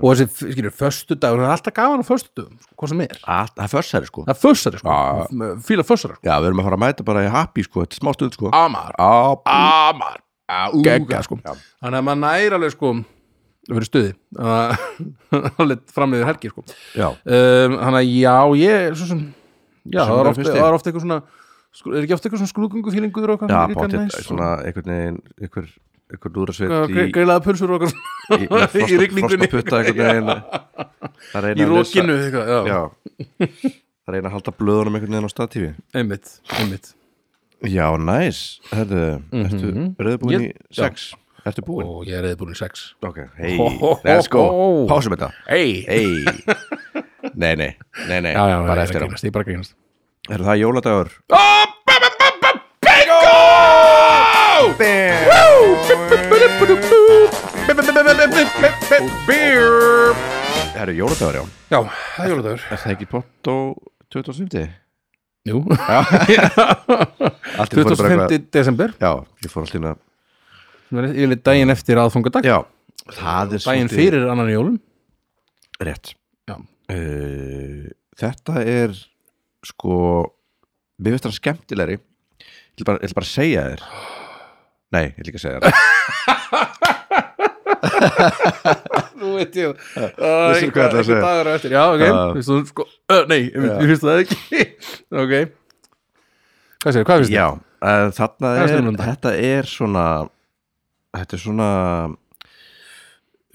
[SPEAKER 2] og þessi, skilur, föstu dagur, það er alltaf gaman á föstu dagum, sko, hvað sem er
[SPEAKER 1] Allt- Það er fössari, sko
[SPEAKER 2] það er fössari, sko,
[SPEAKER 1] Já.
[SPEAKER 2] M- fíla fössari, sko
[SPEAKER 1] Já, við erum að fara að mæta bara í happy, sko, þetta er smá stund, sko
[SPEAKER 2] amar,
[SPEAKER 1] Á,
[SPEAKER 2] amar geggjað, sko
[SPEAKER 1] Já.
[SPEAKER 2] þannig að maður næri alveg, sko það verið stuði að- alveg framleiður helgi, sko
[SPEAKER 1] já,
[SPEAKER 2] um, hann að já, ég svo sem,
[SPEAKER 1] Sem
[SPEAKER 2] já,
[SPEAKER 1] er
[SPEAKER 2] það var ofta,
[SPEAKER 1] fyrsti.
[SPEAKER 2] það var ofta eitthvað svona skrú- er ekki ofta eitthvað svona skrúðgöngu fílinguður okkar
[SPEAKER 1] já,
[SPEAKER 2] líka
[SPEAKER 1] bóttið,
[SPEAKER 2] næs? sko?
[SPEAKER 1] svona einhvern veginn, einhver, einhver lúðrasveit
[SPEAKER 2] Eitthvað gre- greilaða pulsur okkar svona
[SPEAKER 1] í, í,
[SPEAKER 2] í rigningunni.
[SPEAKER 1] frostaputta einhvern veginn Það reyna
[SPEAKER 2] í
[SPEAKER 1] að lesa-
[SPEAKER 2] rókinu eitthvað, já,
[SPEAKER 1] já það reyna að halda blöðunum einhvern veginn á statífi
[SPEAKER 2] einmitt, einmitt
[SPEAKER 1] já, næs, herðu ertu reyðbúin í
[SPEAKER 2] Ég- já.
[SPEAKER 1] sex ertu búin?
[SPEAKER 2] og ég er reyði búin í sex
[SPEAKER 1] ok, hei,
[SPEAKER 2] Ho, ho, ho,
[SPEAKER 1] let's go
[SPEAKER 2] ho.
[SPEAKER 1] pásum þetta,
[SPEAKER 2] hei,
[SPEAKER 1] hei nei, nei, nei, nei,
[SPEAKER 2] já, já, já,
[SPEAKER 1] bara
[SPEAKER 2] ég er
[SPEAKER 1] eftir
[SPEAKER 2] að
[SPEAKER 1] á
[SPEAKER 2] grínast, ég er bara að grínast
[SPEAKER 1] er það jóladagur?
[SPEAKER 2] bingo
[SPEAKER 1] herru, jóladagur, já
[SPEAKER 2] já, það er jóladagur
[SPEAKER 1] er það ekki pott og 2050?
[SPEAKER 2] jú,
[SPEAKER 1] Allt í einu fór ég bara eitthvað-
[SPEAKER 2] 25. desember
[SPEAKER 1] já, ég fór alltaf inn að
[SPEAKER 2] ég er daginn eftir aðfangadag
[SPEAKER 1] já, það er
[SPEAKER 2] daginn
[SPEAKER 1] svolítið-
[SPEAKER 2] fyrir annan í jólum
[SPEAKER 1] rétt
[SPEAKER 2] já,
[SPEAKER 1] uh, þetta er sko mér finnst það skemmtilegri ég ætla bara, ég ætla bara að segja þér nei, ég ætla ekki að segja þér
[SPEAKER 2] Nú veit ég það.
[SPEAKER 1] vissir hvað ég ætlaði að segja.
[SPEAKER 2] Dagur á eftir, já, ok.
[SPEAKER 1] Já.
[SPEAKER 2] Uh. Þú, sko, uh, nei, ég
[SPEAKER 1] Já.
[SPEAKER 2] ég finnst það ekki. ok. Hvað séu, hvað finnst
[SPEAKER 1] já, uh, þarna
[SPEAKER 2] Hvað er
[SPEAKER 1] er
[SPEAKER 2] stundum þetta?
[SPEAKER 1] þetta er svona þetta er svona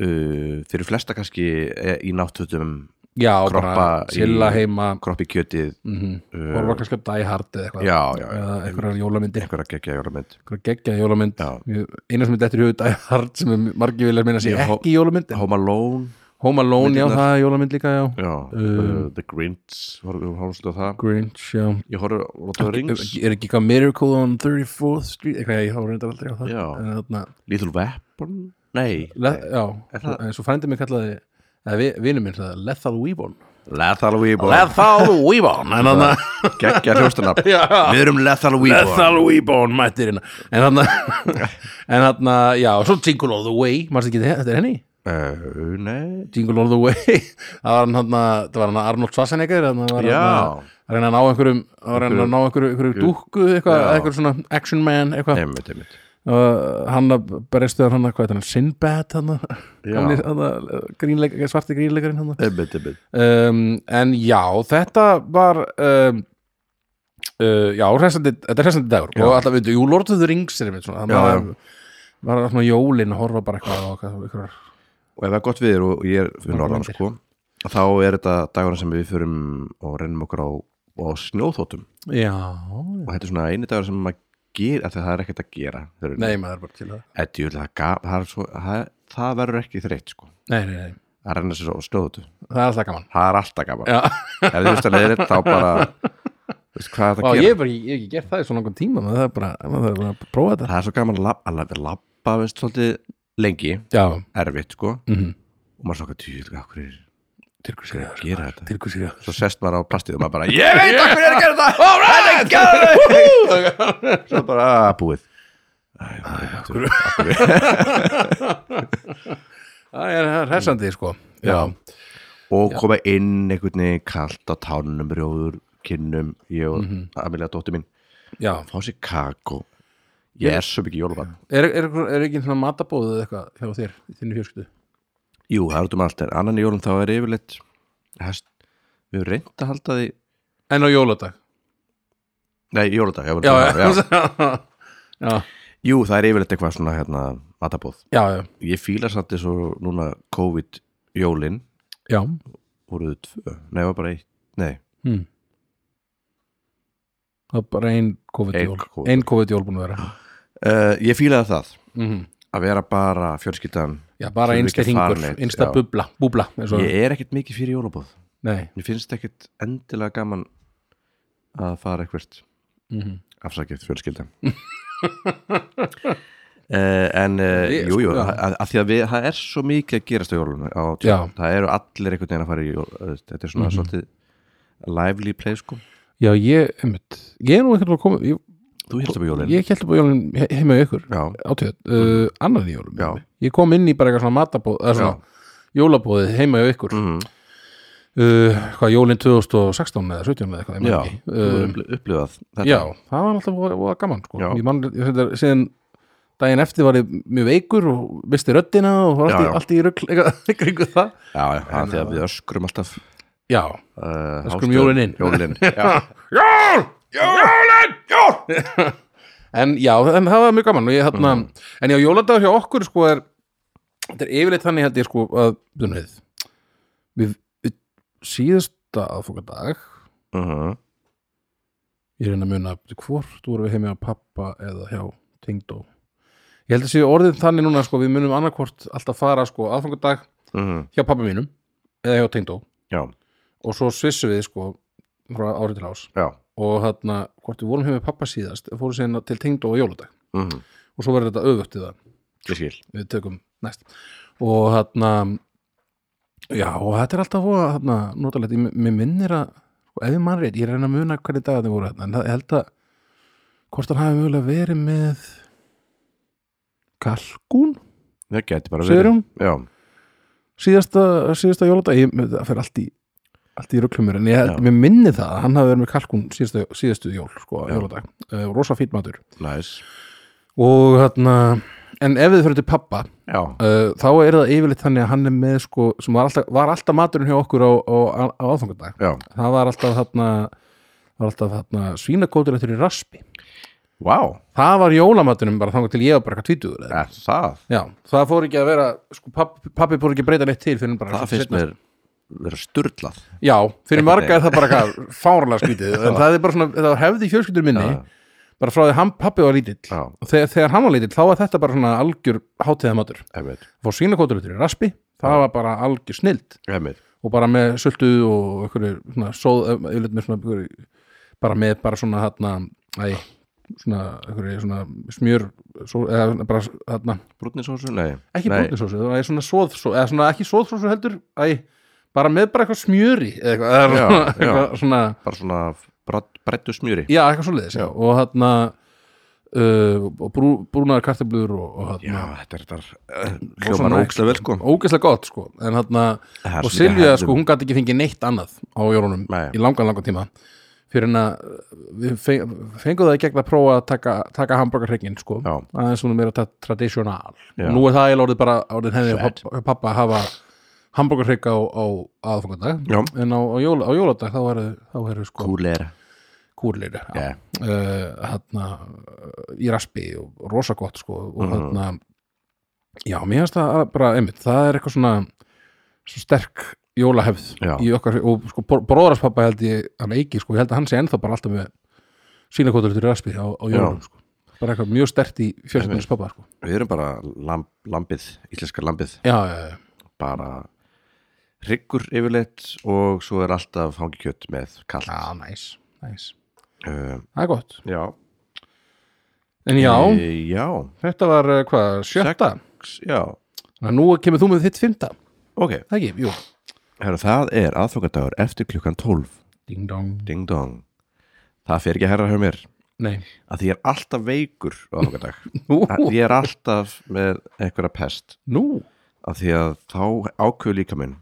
[SPEAKER 1] uh, fyrir flesta kannski eh, í náttutum
[SPEAKER 2] Já,
[SPEAKER 1] Kroppa
[SPEAKER 2] bara
[SPEAKER 1] í-
[SPEAKER 2] chilla heima,
[SPEAKER 1] kroppi kjötið
[SPEAKER 2] mm
[SPEAKER 1] uh,
[SPEAKER 2] horfa kannski að Die Hard eða eitthvað.
[SPEAKER 1] já, já, já,
[SPEAKER 2] Eða einhverjar jólamyndir,
[SPEAKER 1] einhverja geggja jólamynd
[SPEAKER 2] einhverjar geggja jólamynd.
[SPEAKER 1] Já.
[SPEAKER 2] Ég- Eina sem er dettur í höfuð Die Hard sem er margir vilja minna sé
[SPEAKER 1] Ég hó-
[SPEAKER 2] ekki jólamynd. en
[SPEAKER 1] Home Alone,
[SPEAKER 2] Home Alone, já,
[SPEAKER 1] Myndirnar.
[SPEAKER 2] það er jólamynd líka, já.
[SPEAKER 1] já, uh, The Grinch horfum við hálfstu á það
[SPEAKER 2] Grinch, já.
[SPEAKER 1] ég horfum á The Rings,
[SPEAKER 2] Er ekki eitthvað Miracle on 34th Street? Eitthvað, ég hafa reyndar aldrei á það.
[SPEAKER 1] Já.
[SPEAKER 2] En þarna,
[SPEAKER 1] Little Weapon nei,
[SPEAKER 2] Le já,
[SPEAKER 1] Er
[SPEAKER 2] svo-
[SPEAKER 1] það-
[SPEAKER 2] eins og frændi mig kallaði eða vi, vinur minn sagði Lethal Weapon
[SPEAKER 1] Lethal Weeborn
[SPEAKER 2] Lethal Weapon en þannig að
[SPEAKER 1] Gekkja hljóstanab
[SPEAKER 2] Já.
[SPEAKER 1] Við erum Lethal Weeborn
[SPEAKER 2] Lethal Weapon mættir hérna en þannig en þannig að já, svo Jingle All The Way maður ekki þetta, þetta er henni
[SPEAKER 1] uh, Nei
[SPEAKER 2] Jingle All The Way það var hann hann það var hann Arnold Schwarzenegger hann var
[SPEAKER 1] Já.
[SPEAKER 2] hann að reyna að ná einhverjum að reyna að ná einhverju, einhverju dúkku eitthvað
[SPEAKER 1] Já.
[SPEAKER 2] einhverju svona action man eitthvað
[SPEAKER 1] Einmitt, einmitt
[SPEAKER 2] uh, hann að berestuðar hann að hvað er hann Sinbad hann að
[SPEAKER 1] Já.
[SPEAKER 2] gamli- hann að grínleik- svarti grínleikarinn hann að
[SPEAKER 1] Einmitt, einmitt
[SPEAKER 2] um, en já, þetta var um, uh, já, hressandi, þetta er hressandi dagur og alltaf, veitu, jú, Lord of the Rings er einmitt svona,
[SPEAKER 1] Já,
[SPEAKER 2] það var, var svona jólin að horfa bara eitthvað á eitthvað, eitthvað
[SPEAKER 1] Og ef það er gott við og ég er fyrir norðan
[SPEAKER 2] myndir.
[SPEAKER 1] sko Þá er þetta dagurinn sem við förum og rennum okkur á, á snjóþótum
[SPEAKER 2] já,
[SPEAKER 1] Og þetta er svona eini dagur sem maður ger af því að Það er ekkert að gera Þeir eru-
[SPEAKER 2] nei, maður er bara til það
[SPEAKER 1] Þetta er það, gaf, það, er svo, það, það verður ekki þreytt sko
[SPEAKER 2] nei, nei, nei,
[SPEAKER 1] Að renna sér á snjóþótu
[SPEAKER 2] það er alltaf gaman
[SPEAKER 1] Það er alltaf gaman
[SPEAKER 2] já,
[SPEAKER 1] Ef þið veist að leiðir þá bara Veist hvað er
[SPEAKER 2] Vá,
[SPEAKER 1] það að gera
[SPEAKER 2] ég hef bara ekki- ég hef ekki gert það í svo langan tíma maður það er bara, maður er bara að prófa þetta
[SPEAKER 1] Það er svo gaman að labba, að labba- labba veist, svolítið lengi
[SPEAKER 2] já,
[SPEAKER 1] erfitt sko
[SPEAKER 2] mm -hmm.
[SPEAKER 1] og maður svo eitthvað hvað hverju er
[SPEAKER 2] til hvers er
[SPEAKER 1] að
[SPEAKER 2] það
[SPEAKER 1] gera þetta
[SPEAKER 2] til hvers er það
[SPEAKER 1] svo sest maður á plastið og maður bara ég veit hvað hverju er að gera þetta all right, þetta er gæður svo bara að "Ah, búið Æ,
[SPEAKER 2] það er hressandi sko
[SPEAKER 1] Já. og koma inn einhvern veginn kalt á tánum rjóður, kinnum, ég og
[SPEAKER 2] Mhm.
[SPEAKER 1] Amelia dóttir mín,
[SPEAKER 2] já.
[SPEAKER 1] fá sér kakó ég er svo mikið jólabann
[SPEAKER 2] Er, er, er ekki svona matabóð eða eitthvað hjá þér, í þinni fjörsktu
[SPEAKER 1] jú, það er út um allt, en annan í jólum þá er yfirleitt hest, við höfum reynd að halda því
[SPEAKER 2] en á jóladag
[SPEAKER 1] nei, jóladag, já,
[SPEAKER 2] já,
[SPEAKER 1] já, já.
[SPEAKER 2] já. já.
[SPEAKER 1] jú, það er yfirleitt eitthvað svona hérna, matabóð,
[SPEAKER 2] já, já,
[SPEAKER 1] ég fíla samt eins og núna COVID jólin
[SPEAKER 2] já.
[SPEAKER 1] voruðu tvö, nei, var bara eitt nei,
[SPEAKER 2] Hmm. það er bara ein COVID-jól
[SPEAKER 1] Ein COVID-jól.
[SPEAKER 2] ein COVID-jól búin að vera
[SPEAKER 1] uh, ég fílaði það
[SPEAKER 2] mm
[SPEAKER 1] að vera bara fjölskyldan
[SPEAKER 2] já, bara
[SPEAKER 1] Sem
[SPEAKER 2] einsta
[SPEAKER 1] ekki
[SPEAKER 2] hringur,
[SPEAKER 1] farin neitt,
[SPEAKER 2] einsta
[SPEAKER 1] já.
[SPEAKER 2] bubla búbla, eins og,
[SPEAKER 1] ég er ekkert mikið fyrir jólabóð
[SPEAKER 2] nei
[SPEAKER 1] Mér finnst ekkit endilega gaman að fara eitthvert
[SPEAKER 2] mm
[SPEAKER 1] afsakið fjölskyldan uh, En uh,
[SPEAKER 2] Við-
[SPEAKER 1] jú, jú,
[SPEAKER 2] sko, já.
[SPEAKER 1] að, að því að við, það er svo mikið að gerast á jólunum á tjó-
[SPEAKER 2] Já.
[SPEAKER 1] Það eru allir einhvern veginn að fara í jól eh, Þetta er
[SPEAKER 2] Mhm.
[SPEAKER 1] svona svolítið lively play sko
[SPEAKER 2] já, ég, einmitt ég er nú ekkert að koma, ég,
[SPEAKER 1] Þú hélst upp á jólun
[SPEAKER 2] ég held upp á jólun heima hjá ykkur
[SPEAKER 1] Já,
[SPEAKER 2] átöð, uh, annan í jólum
[SPEAKER 1] Já.
[SPEAKER 2] ég kom inn í bara eitthvað svona matabóð eða svona jólabóðið heima hjá ykkur
[SPEAKER 1] mm,
[SPEAKER 2] uh, hvað jólin 2016 eða 17 eða eitthvað, ég
[SPEAKER 1] já
[SPEAKER 2] man ekki.
[SPEAKER 1] þú
[SPEAKER 2] Uh,
[SPEAKER 1] hefur upplifað þetta
[SPEAKER 2] Já, það var alltaf voða, voða gaman sko.
[SPEAKER 1] Já.
[SPEAKER 2] ég man, ég, þetta, síðan daginn eftir var ég mjög veikur og misti röddina og var
[SPEAKER 1] Já,
[SPEAKER 2] allt,
[SPEAKER 1] já.
[SPEAKER 2] í, allt í rugl eitthvað kringu það
[SPEAKER 1] já, já það er því að við öskrum alltaf
[SPEAKER 2] Já,
[SPEAKER 1] uh,
[SPEAKER 2] uh, Öskrum jólin inn.
[SPEAKER 1] Jólin, já,
[SPEAKER 2] en já, en það var mjög gaman og ég hérna, en já, jóladagur hjá okkur sko er, þetta er yfirleitt þannig held ég sko að, þú veið við, við síðasta aðfokadag
[SPEAKER 1] uh -huh.
[SPEAKER 2] ég reyna að muna hvort voru við heimi á pappa eða hjá tengdó ég held að séu orðið þannig núna sko við munum annarkvort alltaf fara sko aðfangadag hjá pappa mínum eða hjá tengdó
[SPEAKER 1] mhm. já,
[SPEAKER 2] og svo svissum við sko frá árið til ás
[SPEAKER 1] já
[SPEAKER 2] og hérna hvort við vorum heim með pappa síðast fórum síðan til tengdó og jóladag
[SPEAKER 1] mm -hmm.
[SPEAKER 2] og svo verður þetta öfugt við það
[SPEAKER 1] Ég skil
[SPEAKER 2] við tökum næst og hérna já og þetta er alltaf voða hérna, notalegt, ég mér minnir að sko, ef ég mann rétt, ég reyna að muna hvernig dag þetta voru hérna, en það- ég held að hvort hann hafi mögulega verið með kalkún
[SPEAKER 1] Það geti bara verið
[SPEAKER 2] Sigurjón?
[SPEAKER 1] Já,
[SPEAKER 2] síðasta, síðasta jóladag ég, það fer allt í, allt í röklumur en ég held,
[SPEAKER 1] Já.
[SPEAKER 2] mér minni það að hann hafi verið með kalkun síðastu, síðastu jól, sko,
[SPEAKER 1] Já.
[SPEAKER 2] jóladag uh, rosa fýt matur
[SPEAKER 1] næs
[SPEAKER 2] og hérna, en ef við fyrir til pappa uh,
[SPEAKER 1] Já,
[SPEAKER 2] þá er það yfirleitt þannig að hann er með, sko, sem var alltaf, var alltaf maturinn hjá okkur á, á, á aðfangadag
[SPEAKER 1] já
[SPEAKER 2] það var alltaf þarna var alltaf þarna svínakótur eftir í raspi
[SPEAKER 1] Vá,
[SPEAKER 2] það var jólamaturinn bara þangar til ég var bara eitthvað tvítugur eða-
[SPEAKER 1] er það
[SPEAKER 2] Já, það fór ekki að vera, sko, pappi, pappi fór ekki að breyta neitt til fyrir en bara
[SPEAKER 1] Það
[SPEAKER 2] seinna,
[SPEAKER 1] finnst mér vera sturlað
[SPEAKER 2] Já, fyrir
[SPEAKER 1] Einhvern
[SPEAKER 2] marga
[SPEAKER 1] veginn.
[SPEAKER 2] er það bara eitthvað fárlega skrítið en það er bara svona, það var hefði í fjölskyldur minni
[SPEAKER 1] Já.
[SPEAKER 2] bara frá því hann pappi var lítill
[SPEAKER 1] Uh, Já,
[SPEAKER 2] og þegar, þegar hann var lítill þá var þetta bara svona algjör hátíðamatur,
[SPEAKER 1] einmitt,
[SPEAKER 2] fór svínakótur út í raspi, það var bara algjör snild
[SPEAKER 1] einmitt
[SPEAKER 2] og bara með sultu og einhverju svona sóð, eh, yfirleitt með svona einhverju, bara með bara svona hérna, æ, svona einhverju svona smjör svo, eða bara hérna,
[SPEAKER 1] Brúnisósu, nei
[SPEAKER 2] ekki
[SPEAKER 1] Nei.
[SPEAKER 2] brúnisósu, það er svona sóðsósu eða svona ekki sóðsósu heldur, æ bara með bara eitthvað smjöri eða eitthvað, eða
[SPEAKER 1] Já,
[SPEAKER 2] svona-
[SPEAKER 1] já.
[SPEAKER 2] eitthvað svona
[SPEAKER 1] Bara svona brad- breddu smjúri
[SPEAKER 2] Já, eitthvað svoleiðis, já, og þarna uh, og brú, brúnaðar kartablur og, og þarna,
[SPEAKER 1] þetta er eh, þetta
[SPEAKER 2] Og
[SPEAKER 1] Hljómar
[SPEAKER 2] svona-
[SPEAKER 1] ógstlega vel sko
[SPEAKER 2] ógeðslega gott, sko en þarna,
[SPEAKER 1] Það er svo
[SPEAKER 2] og
[SPEAKER 1] mikið
[SPEAKER 2] Silvia,
[SPEAKER 1] hefðum.
[SPEAKER 2] sko, hún gæti ekki fengið neitt annað á jólunum
[SPEAKER 1] Nei.
[SPEAKER 2] í langan, langan tíma fyrir en að við feng, fengum það í gegn að prófa að taka, taka hambúrgarhryggin, sko
[SPEAKER 1] Já.
[SPEAKER 2] aðeins svona meira tra- tradisjonal
[SPEAKER 1] Já.
[SPEAKER 2] nú er það eiginlega orðið bara orðið hefði
[SPEAKER 1] Fett.
[SPEAKER 2] pappa, pappa að hafa hambúrgarhrygg á, á aðfangandag
[SPEAKER 1] Já.
[SPEAKER 2] en á, á, jóla, á jóladag þá eru, þá eru sko
[SPEAKER 1] Kúleira
[SPEAKER 2] kúrleiri
[SPEAKER 1] Já.
[SPEAKER 2] uh, hérna, uh, í raspi og rosa gott sko og
[SPEAKER 1] Mhm.
[SPEAKER 2] hérna já, mér finnst það að- bara einmitt það er eitthvað svona svo sterk jólahefð
[SPEAKER 1] Já.
[SPEAKER 2] í okkar og sko bróðarspappa held ég hann eiki sko, ég held að hann sé ennþá bara alltaf með sínakotur til raspi á, á jólum
[SPEAKER 1] Já.
[SPEAKER 2] sko. bara eitthvað mjög stert í fjölskyldunins pappa sko.
[SPEAKER 1] Við erum bara lamb, lambið, íslenska lambið
[SPEAKER 2] já, já, já,
[SPEAKER 1] Bara hryggur yfirleitt og svo er alltaf hangikjöt með kall
[SPEAKER 2] já, næs næs,
[SPEAKER 1] uh,
[SPEAKER 2] það er gott
[SPEAKER 1] Já
[SPEAKER 2] en já,
[SPEAKER 1] e, Já,
[SPEAKER 2] þetta var eh, hvað, sjötta
[SPEAKER 1] Sex- já
[SPEAKER 2] Þannig að nú kemur þú með þitt fymta,
[SPEAKER 1] Ok,
[SPEAKER 2] það ekki, jú
[SPEAKER 1] Herra, það er aðfokadagur eftir klukkan 12
[SPEAKER 2] ding dong,
[SPEAKER 1] Ding dong Það fer ekki að herra hjá mér
[SPEAKER 2] Nei
[SPEAKER 1] að því ég er alltaf veikur á þokkadag
[SPEAKER 2] Nú,
[SPEAKER 1] ég er alltaf með einhverja pest
[SPEAKER 2] nú.
[SPEAKER 1] að því að þá ákveður líka minn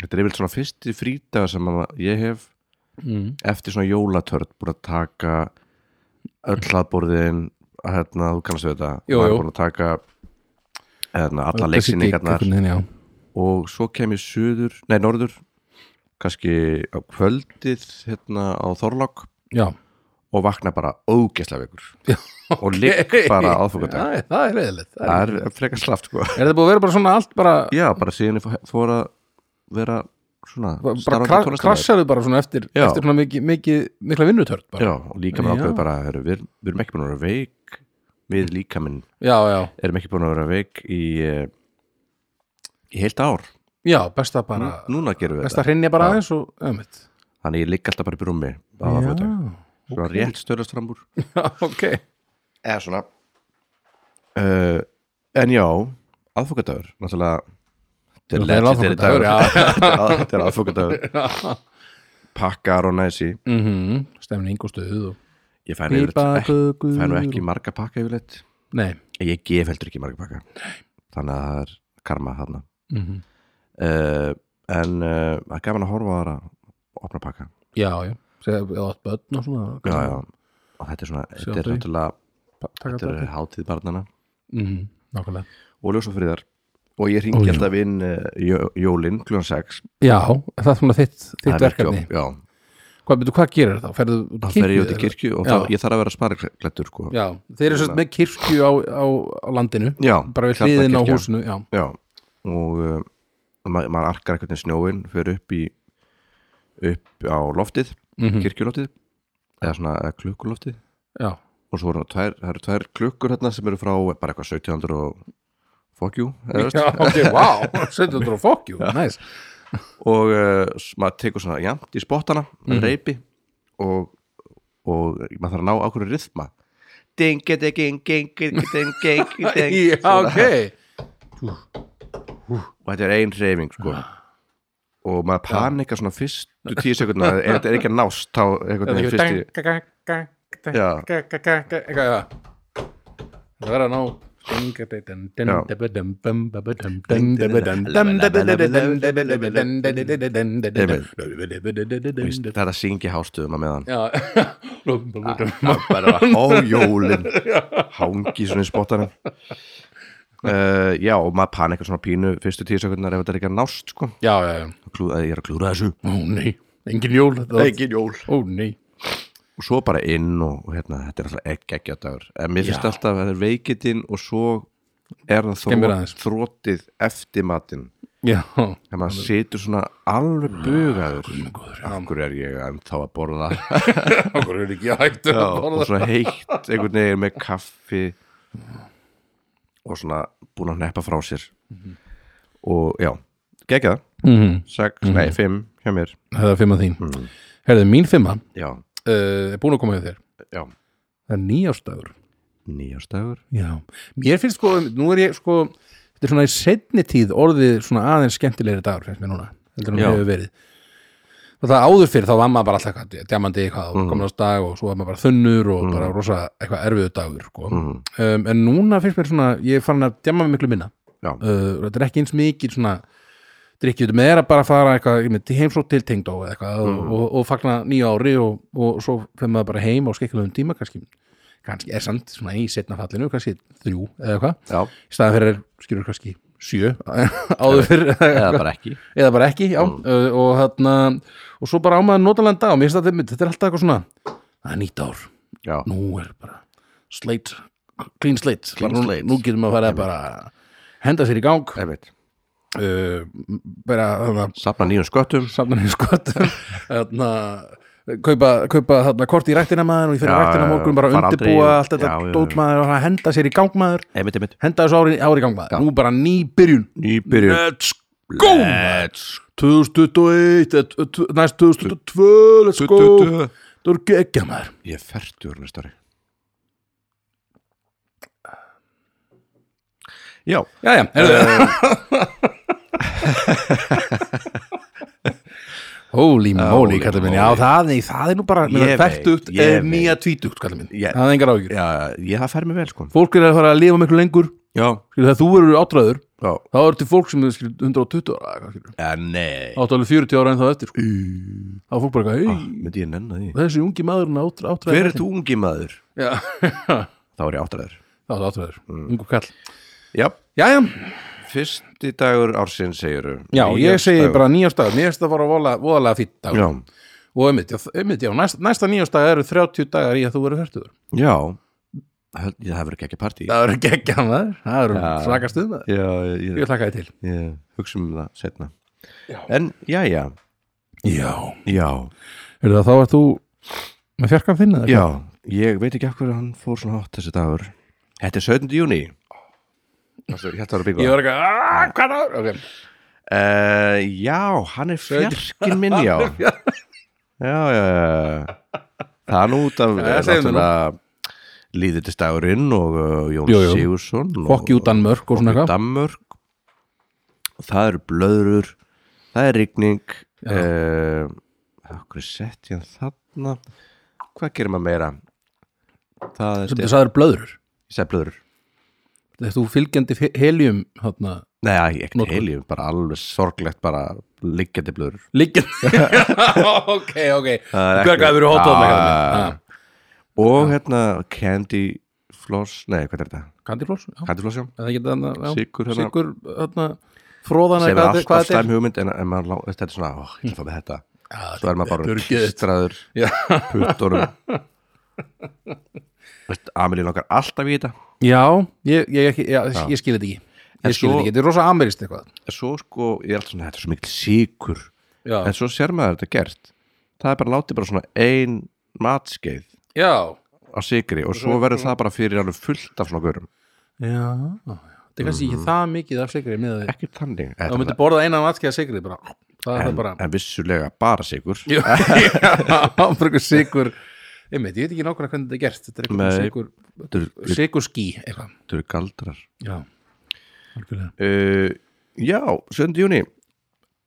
[SPEAKER 1] þetta er yfirlega svona fyrsti frídag sem að ég hef
[SPEAKER 2] Mm.
[SPEAKER 1] eftir svona jólatörn búin að taka öll hlaðborðin hérna, þú kannast við þetta
[SPEAKER 2] Jú,
[SPEAKER 1] maður er
[SPEAKER 2] jú.
[SPEAKER 1] búin að taka hérna, alla
[SPEAKER 2] Þessi gigg
[SPEAKER 1] leiksinningarnar
[SPEAKER 2] einhvern veginn, já.
[SPEAKER 1] og svo kem ég suður, nei norður kannski á kvöldið hérna á Þorlák
[SPEAKER 2] Já.
[SPEAKER 1] og vakna bara ógeðslega veikur og ligg bara á aðfokadag
[SPEAKER 2] Já, Það er reyðilegt Það er-
[SPEAKER 1] það er frekar slaft sko
[SPEAKER 2] Er þetta búið að vera bara svona allt bara,
[SPEAKER 1] já, bara síðan ég fó- fór að vera svona
[SPEAKER 2] bara
[SPEAKER 1] starfandi
[SPEAKER 2] kra
[SPEAKER 1] tónlistarmaður.
[SPEAKER 2] krassaðu bara svona eftir,
[SPEAKER 1] Já.
[SPEAKER 2] eftir svona mikið, mikið, mikla vinnutörn bara
[SPEAKER 1] já, og líka með
[SPEAKER 2] Já.
[SPEAKER 1] ákveð bara heru, við, við erum ekki búin að vera veik við líka minn
[SPEAKER 2] já, já,
[SPEAKER 1] erum ekki búin að vera veik í eh, í heilt ár
[SPEAKER 2] já, besta bara
[SPEAKER 1] núna gerum við
[SPEAKER 2] besta
[SPEAKER 1] þetta
[SPEAKER 2] hrinja bara aðeins og ömmit
[SPEAKER 1] þannig ég ligg alltaf bara upp í rúmi á aðfokadag svona rétt stöðlast fram úr
[SPEAKER 2] ok
[SPEAKER 1] eða svona uh, en já aðfokadagur, náttúrulega þetta er
[SPEAKER 2] Það er
[SPEAKER 1] legit, þetta er
[SPEAKER 2] aðfangadagur, já.
[SPEAKER 1] þetta er að- þetta er aðfokadagur pakkar og næsi
[SPEAKER 2] mm stemning og stuð og
[SPEAKER 1] ég fæ nú yfirleitt ekki,
[SPEAKER 2] pipakökur
[SPEAKER 1] fæ nú ekki marga pakka yfirleitt
[SPEAKER 2] nei
[SPEAKER 1] ég gef heldur ekki marga pakka þannig að það er karma þarna
[SPEAKER 2] mm
[SPEAKER 1] uh, en uh, það er gaman að horfa á aðra opna pakka
[SPEAKER 2] já, já, segja við átt börn og svona
[SPEAKER 1] já, já. og þetta er svona, þetta er
[SPEAKER 2] Sjá þau.
[SPEAKER 1] náttúrulega
[SPEAKER 2] Pa- taka
[SPEAKER 1] þetta
[SPEAKER 2] þetta
[SPEAKER 1] er hátíð barnana
[SPEAKER 2] mm nákvæmlega
[SPEAKER 1] og ljósafriðar og ég ringi
[SPEAKER 2] Ó, já.
[SPEAKER 1] alltaf inn uh, jó, jólin kljóðan 6
[SPEAKER 2] já, það er svona þitt,
[SPEAKER 1] Það
[SPEAKER 2] þitt
[SPEAKER 1] er mitt
[SPEAKER 2] verkefni
[SPEAKER 1] jobb, Já,
[SPEAKER 2] hvað, betur, hvað gerir þá, ferðu út í
[SPEAKER 1] þá fer ég út í
[SPEAKER 2] eða?
[SPEAKER 1] kirkju og
[SPEAKER 2] Já.
[SPEAKER 1] þá, ég þarf að vera spariklættur sko.
[SPEAKER 2] já, þeir eru sérst með kirkju á, á, á landinu
[SPEAKER 1] já,
[SPEAKER 2] bara við
[SPEAKER 1] Tjarnarkirkja.
[SPEAKER 2] hliðin á húsinu já,
[SPEAKER 1] Já, og uh, ma maður arkar einhvern veginn snjóin fer upp í upp á loftið,
[SPEAKER 2] Mhm.
[SPEAKER 1] kirkjuloftið eða svona eða klukkuloftið
[SPEAKER 2] já,
[SPEAKER 1] og svo eru tvær, það eru tvær klukkur hérna sem eru frá bara eitthvað 1700 og fuck you eða, veist.
[SPEAKER 2] já ok, wow, 700 og fokkjú næs,
[SPEAKER 1] og uh, s- maður tekur svona jæmt í spottana með
[SPEAKER 2] Mhm.
[SPEAKER 1] reipi og, og maður þarf að ná ákveður rithma dingi dingi dingi dingi dingi
[SPEAKER 2] já, ok
[SPEAKER 1] og þetta er ein reyfing sko.
[SPEAKER 2] Ah.
[SPEAKER 1] og maður panikar svona fyrstu tíu sekundna ef þetta er ekki að nást þá einhvern veginn fyrst í Já.
[SPEAKER 2] Það verður að ná
[SPEAKER 1] Já. Víst,
[SPEAKER 2] Já
[SPEAKER 1] það er að syngja hástöðum að meðan
[SPEAKER 2] Já
[SPEAKER 1] bara á jólin hangi svona í spottanum uh, já og maður panikar svona pínu fyrstu tíu sekundna ef þetta er ekki að nást sko.
[SPEAKER 2] Já, já, já
[SPEAKER 1] Klú, að ég er að klúra þessu
[SPEAKER 2] Ó nei, engin jól þetta var-
[SPEAKER 1] ekki jól
[SPEAKER 2] Ó nei
[SPEAKER 1] og svo bara inn og, og hérna, þetta er alltaf ekki ekki að dagur en mér finnst
[SPEAKER 2] Já.
[SPEAKER 1] alltaf að það er veikitinn og svo er það
[SPEAKER 2] Skemmir
[SPEAKER 1] þró,
[SPEAKER 2] aðeins.
[SPEAKER 1] þrótið eftir matinn
[SPEAKER 2] Já,
[SPEAKER 1] þegar maður situr svona alveg bugaður
[SPEAKER 2] góður,
[SPEAKER 1] af hverju er ég en þá að borða
[SPEAKER 2] okkur er ekki hægt að
[SPEAKER 1] og
[SPEAKER 2] borða
[SPEAKER 1] svo heitt einhvern veginn með kaffi Mm. og svona búin að neppa frá sér og já, gegja það
[SPEAKER 2] Mhm,
[SPEAKER 1] 6, nei 5 hjá mér
[SPEAKER 2] Það er fimm að þín Herðu, mín fimma
[SPEAKER 1] já,
[SPEAKER 2] uh, er búin að koma hjá þér
[SPEAKER 1] já,
[SPEAKER 2] Það er nýjástagur
[SPEAKER 1] nýjastagur
[SPEAKER 2] Já, mér finnst sko, nú er ég sko þetta er svona í setni tíð orðið svona aðeins skemmtilegri dagur finnst mér núna heldur hann
[SPEAKER 1] Já.
[SPEAKER 2] hefur verið og það áður fyrir þá var maður bara alltaf eitthvað djamandi eitthvað og komnast dag og svo var maður bara þunnur og bara rosa eitthvað erfiðu dagur sko. um, en núna finnst mér svona ég er farin að djama mig miklu minna
[SPEAKER 1] já,
[SPEAKER 2] uh, og þetta er ekki eins mikið svona drikkið, þetta er að bara fara eitthvað ég mynd, heimsótt til tengdó eða eitthvað
[SPEAKER 1] Mm.
[SPEAKER 2] og, og, og fagna nýja ári og, og svo fyrir maður bara heim á skekkulegum tíma kannski, kannski er samt svona í setna fallinu, kannski þrjú eða eitthvað
[SPEAKER 1] já,
[SPEAKER 2] í staðan fyrir skilur kannski sjö áður fyrir
[SPEAKER 1] eða bara ekki
[SPEAKER 2] eða bara ekki, já
[SPEAKER 1] Mm.
[SPEAKER 2] uh, og, þarna, og svo bara á maður notalega dag og mér finnst þetta, þetta er alltaf eitthvað svona það er nýtt ár,
[SPEAKER 1] já,
[SPEAKER 2] nú er bara slate, clean slate,
[SPEAKER 1] Clean
[SPEAKER 2] Bara nú,
[SPEAKER 1] slate.
[SPEAKER 2] nú getum við að fara að bara henda sér í gang
[SPEAKER 1] einmitt
[SPEAKER 2] uh, bara þarna,
[SPEAKER 1] safna nýjum sköttum
[SPEAKER 2] safna henni skott þarna, kaupa, kaupa þarna, kort í rættina maður og ég fyrir
[SPEAKER 1] Já,
[SPEAKER 2] rættina
[SPEAKER 1] já,
[SPEAKER 2] morgun
[SPEAKER 1] já,
[SPEAKER 2] bara
[SPEAKER 1] fara
[SPEAKER 2] undirbúa
[SPEAKER 1] aldrei-
[SPEAKER 2] allt þetta
[SPEAKER 1] já, já, já.
[SPEAKER 2] dót maður og henda sér í gang maður
[SPEAKER 1] einmitt, einmitt
[SPEAKER 2] henda þessu ári, ári í gang maður, nú bara ný byrjun
[SPEAKER 1] nýbyrjun
[SPEAKER 2] let's go let's. 2021 eh, tv- tv- næst 2022 let's go það voru geggja maður
[SPEAKER 1] ég er færtur næsta ári já,
[SPEAKER 2] já já, herðu Holy moly,
[SPEAKER 1] Ah, holy
[SPEAKER 2] kallið minn, já
[SPEAKER 1] moly.
[SPEAKER 2] það, nei, það er nú bara
[SPEAKER 1] Ég veit,
[SPEAKER 2] fættugt,
[SPEAKER 1] ég veit.
[SPEAKER 2] nýja tvítugt kallið minn,
[SPEAKER 1] Ég-
[SPEAKER 2] það er engar ágjur
[SPEAKER 1] Já, ég það fær mér vel sko
[SPEAKER 2] Fólk er að fara að lifa miklu lengur
[SPEAKER 1] Já,
[SPEAKER 2] skilur, þegar þú eru áttræður,
[SPEAKER 1] já
[SPEAKER 2] þá eru til fólk sem er skilur, 120 ára, eða eitthvað, skilur,
[SPEAKER 1] ja, Nei
[SPEAKER 2] áttu alveg 40 ára en það eftir, sko.
[SPEAKER 1] Í,
[SPEAKER 2] þá er fólk bara
[SPEAKER 1] ah,
[SPEAKER 2] eitthvað, "Ey,
[SPEAKER 1] Myndi ég nenna því
[SPEAKER 2] þessi ungi maðurinn áttræður
[SPEAKER 1] Hver er þú ungi maður?
[SPEAKER 2] Já,
[SPEAKER 1] Þá er ég áttræður
[SPEAKER 2] það er áttræður, ungu kall
[SPEAKER 1] Mm. Já,
[SPEAKER 2] Jæja,
[SPEAKER 1] fyrsti dagur ársinn segir
[SPEAKER 2] já, ég segi bara nýjástagur, nýjástagur var voðalega- voðalega fýtt dagur
[SPEAKER 1] Já,
[SPEAKER 2] og einmitt, já, einmitt, já, næsta, næsta nýjástagur eru 30 dagar í að þú verður færtugur
[SPEAKER 1] já Held- Ég það verður ekki ekki partí Já,
[SPEAKER 2] Það eru geggja maður, það eru
[SPEAKER 1] Já.
[SPEAKER 2] svaka stuð maður
[SPEAKER 1] ég,
[SPEAKER 2] Ég hlaka þið til
[SPEAKER 1] ég hugsa um það setna
[SPEAKER 2] Já.
[SPEAKER 1] En, já, já,
[SPEAKER 2] Já,
[SPEAKER 1] já
[SPEAKER 2] er það þá að þú með fjarkan finna það?
[SPEAKER 1] Já, ég veit ekki af hverju hann fór svona hátt þessi dagur Þetta er 17. júni Þetta var hérna að byggja
[SPEAKER 2] Ég var eitthvað, "Ah, hvað það? Okay.
[SPEAKER 1] uh, Já, hann er fjarkin minn, já Já, já, já Það er nú út af
[SPEAKER 2] Já, segðu mér nú.
[SPEAKER 1] Líðitisdagurinn og uh, Jón
[SPEAKER 2] Jú, jú.
[SPEAKER 1] Sigursson
[SPEAKER 2] Fokk jú Danmörk og svona eitthvað
[SPEAKER 1] Dammörk Það eru blöður Það er rigning uh, Hvað sett ég hann þarna Hvað gerir maður meira? Það er
[SPEAKER 2] Sem þess að það eru blöður
[SPEAKER 1] Ég segi blöður
[SPEAKER 2] Þegar þú fylgjandi fe- helium hérna,
[SPEAKER 1] Nei, æ, ekkert
[SPEAKER 2] Notkun.
[SPEAKER 1] heilíum, bara alveg sorglegt bara liggjandi blöður
[SPEAKER 2] Liggjandi Ok, ok
[SPEAKER 1] Það er Ah.
[SPEAKER 2] Hvað
[SPEAKER 1] ekki-
[SPEAKER 2] gæður þú hótt á
[SPEAKER 1] Já, já,
[SPEAKER 2] það?
[SPEAKER 1] Og hérna Candy Floss, nei, hvað er þetta?
[SPEAKER 2] Kandifloss? Já,
[SPEAKER 1] Candy Floss, já
[SPEAKER 2] það geta þarna
[SPEAKER 1] Sykur hérna.
[SPEAKER 2] Sigur hérna Fróðana
[SPEAKER 1] Sem er
[SPEAKER 2] hvað-
[SPEAKER 1] alltaf
[SPEAKER 2] hvað þetta
[SPEAKER 1] slæm hugmynd en, en maður, lá- þetta er svona, ó, ég ætla að fá með þetta
[SPEAKER 2] er?
[SPEAKER 1] Svo er maður bara
[SPEAKER 2] Burgið.
[SPEAKER 1] kistraður
[SPEAKER 2] Já.
[SPEAKER 1] puttunum Veist, Amelie langar alltaf í þetta
[SPEAKER 2] Já, ég, ég, ekki, já, ég skil þetta ekki
[SPEAKER 1] En
[SPEAKER 2] Ég skil
[SPEAKER 1] svo-
[SPEAKER 2] þetta ekki, þetta er rosa amerist eitthvað
[SPEAKER 1] En svo sko, ég er alltaf svona, þetta er svo mikil síkur
[SPEAKER 2] Já,
[SPEAKER 1] En svo sér maður þetta gert Það er bara látið bara svona ein matskeið
[SPEAKER 2] já
[SPEAKER 1] á sigri og svo verður það bara fyrir alveg fullt af svona görum
[SPEAKER 2] Já, já. þetta er kannski
[SPEAKER 1] Mm.
[SPEAKER 2] ekki það mikið af sigri með því.
[SPEAKER 1] ekki þannig
[SPEAKER 2] Þá
[SPEAKER 1] en,
[SPEAKER 2] myndi borða eina vatskið af sigri bara. Það er það bara.
[SPEAKER 1] en vissulega bara sigur
[SPEAKER 2] Já, það er eitthvað sigur. Ég veit, ég veit ekki nákvæmlega hvernig þetta er gert. Þetta er eitthvað
[SPEAKER 1] Nei.
[SPEAKER 2] sigur,
[SPEAKER 1] þetta eru- þetta
[SPEAKER 2] sigur skí eitthvað.
[SPEAKER 1] eru galdrar
[SPEAKER 2] Já, algjörlega.
[SPEAKER 1] uh, já, 7. júni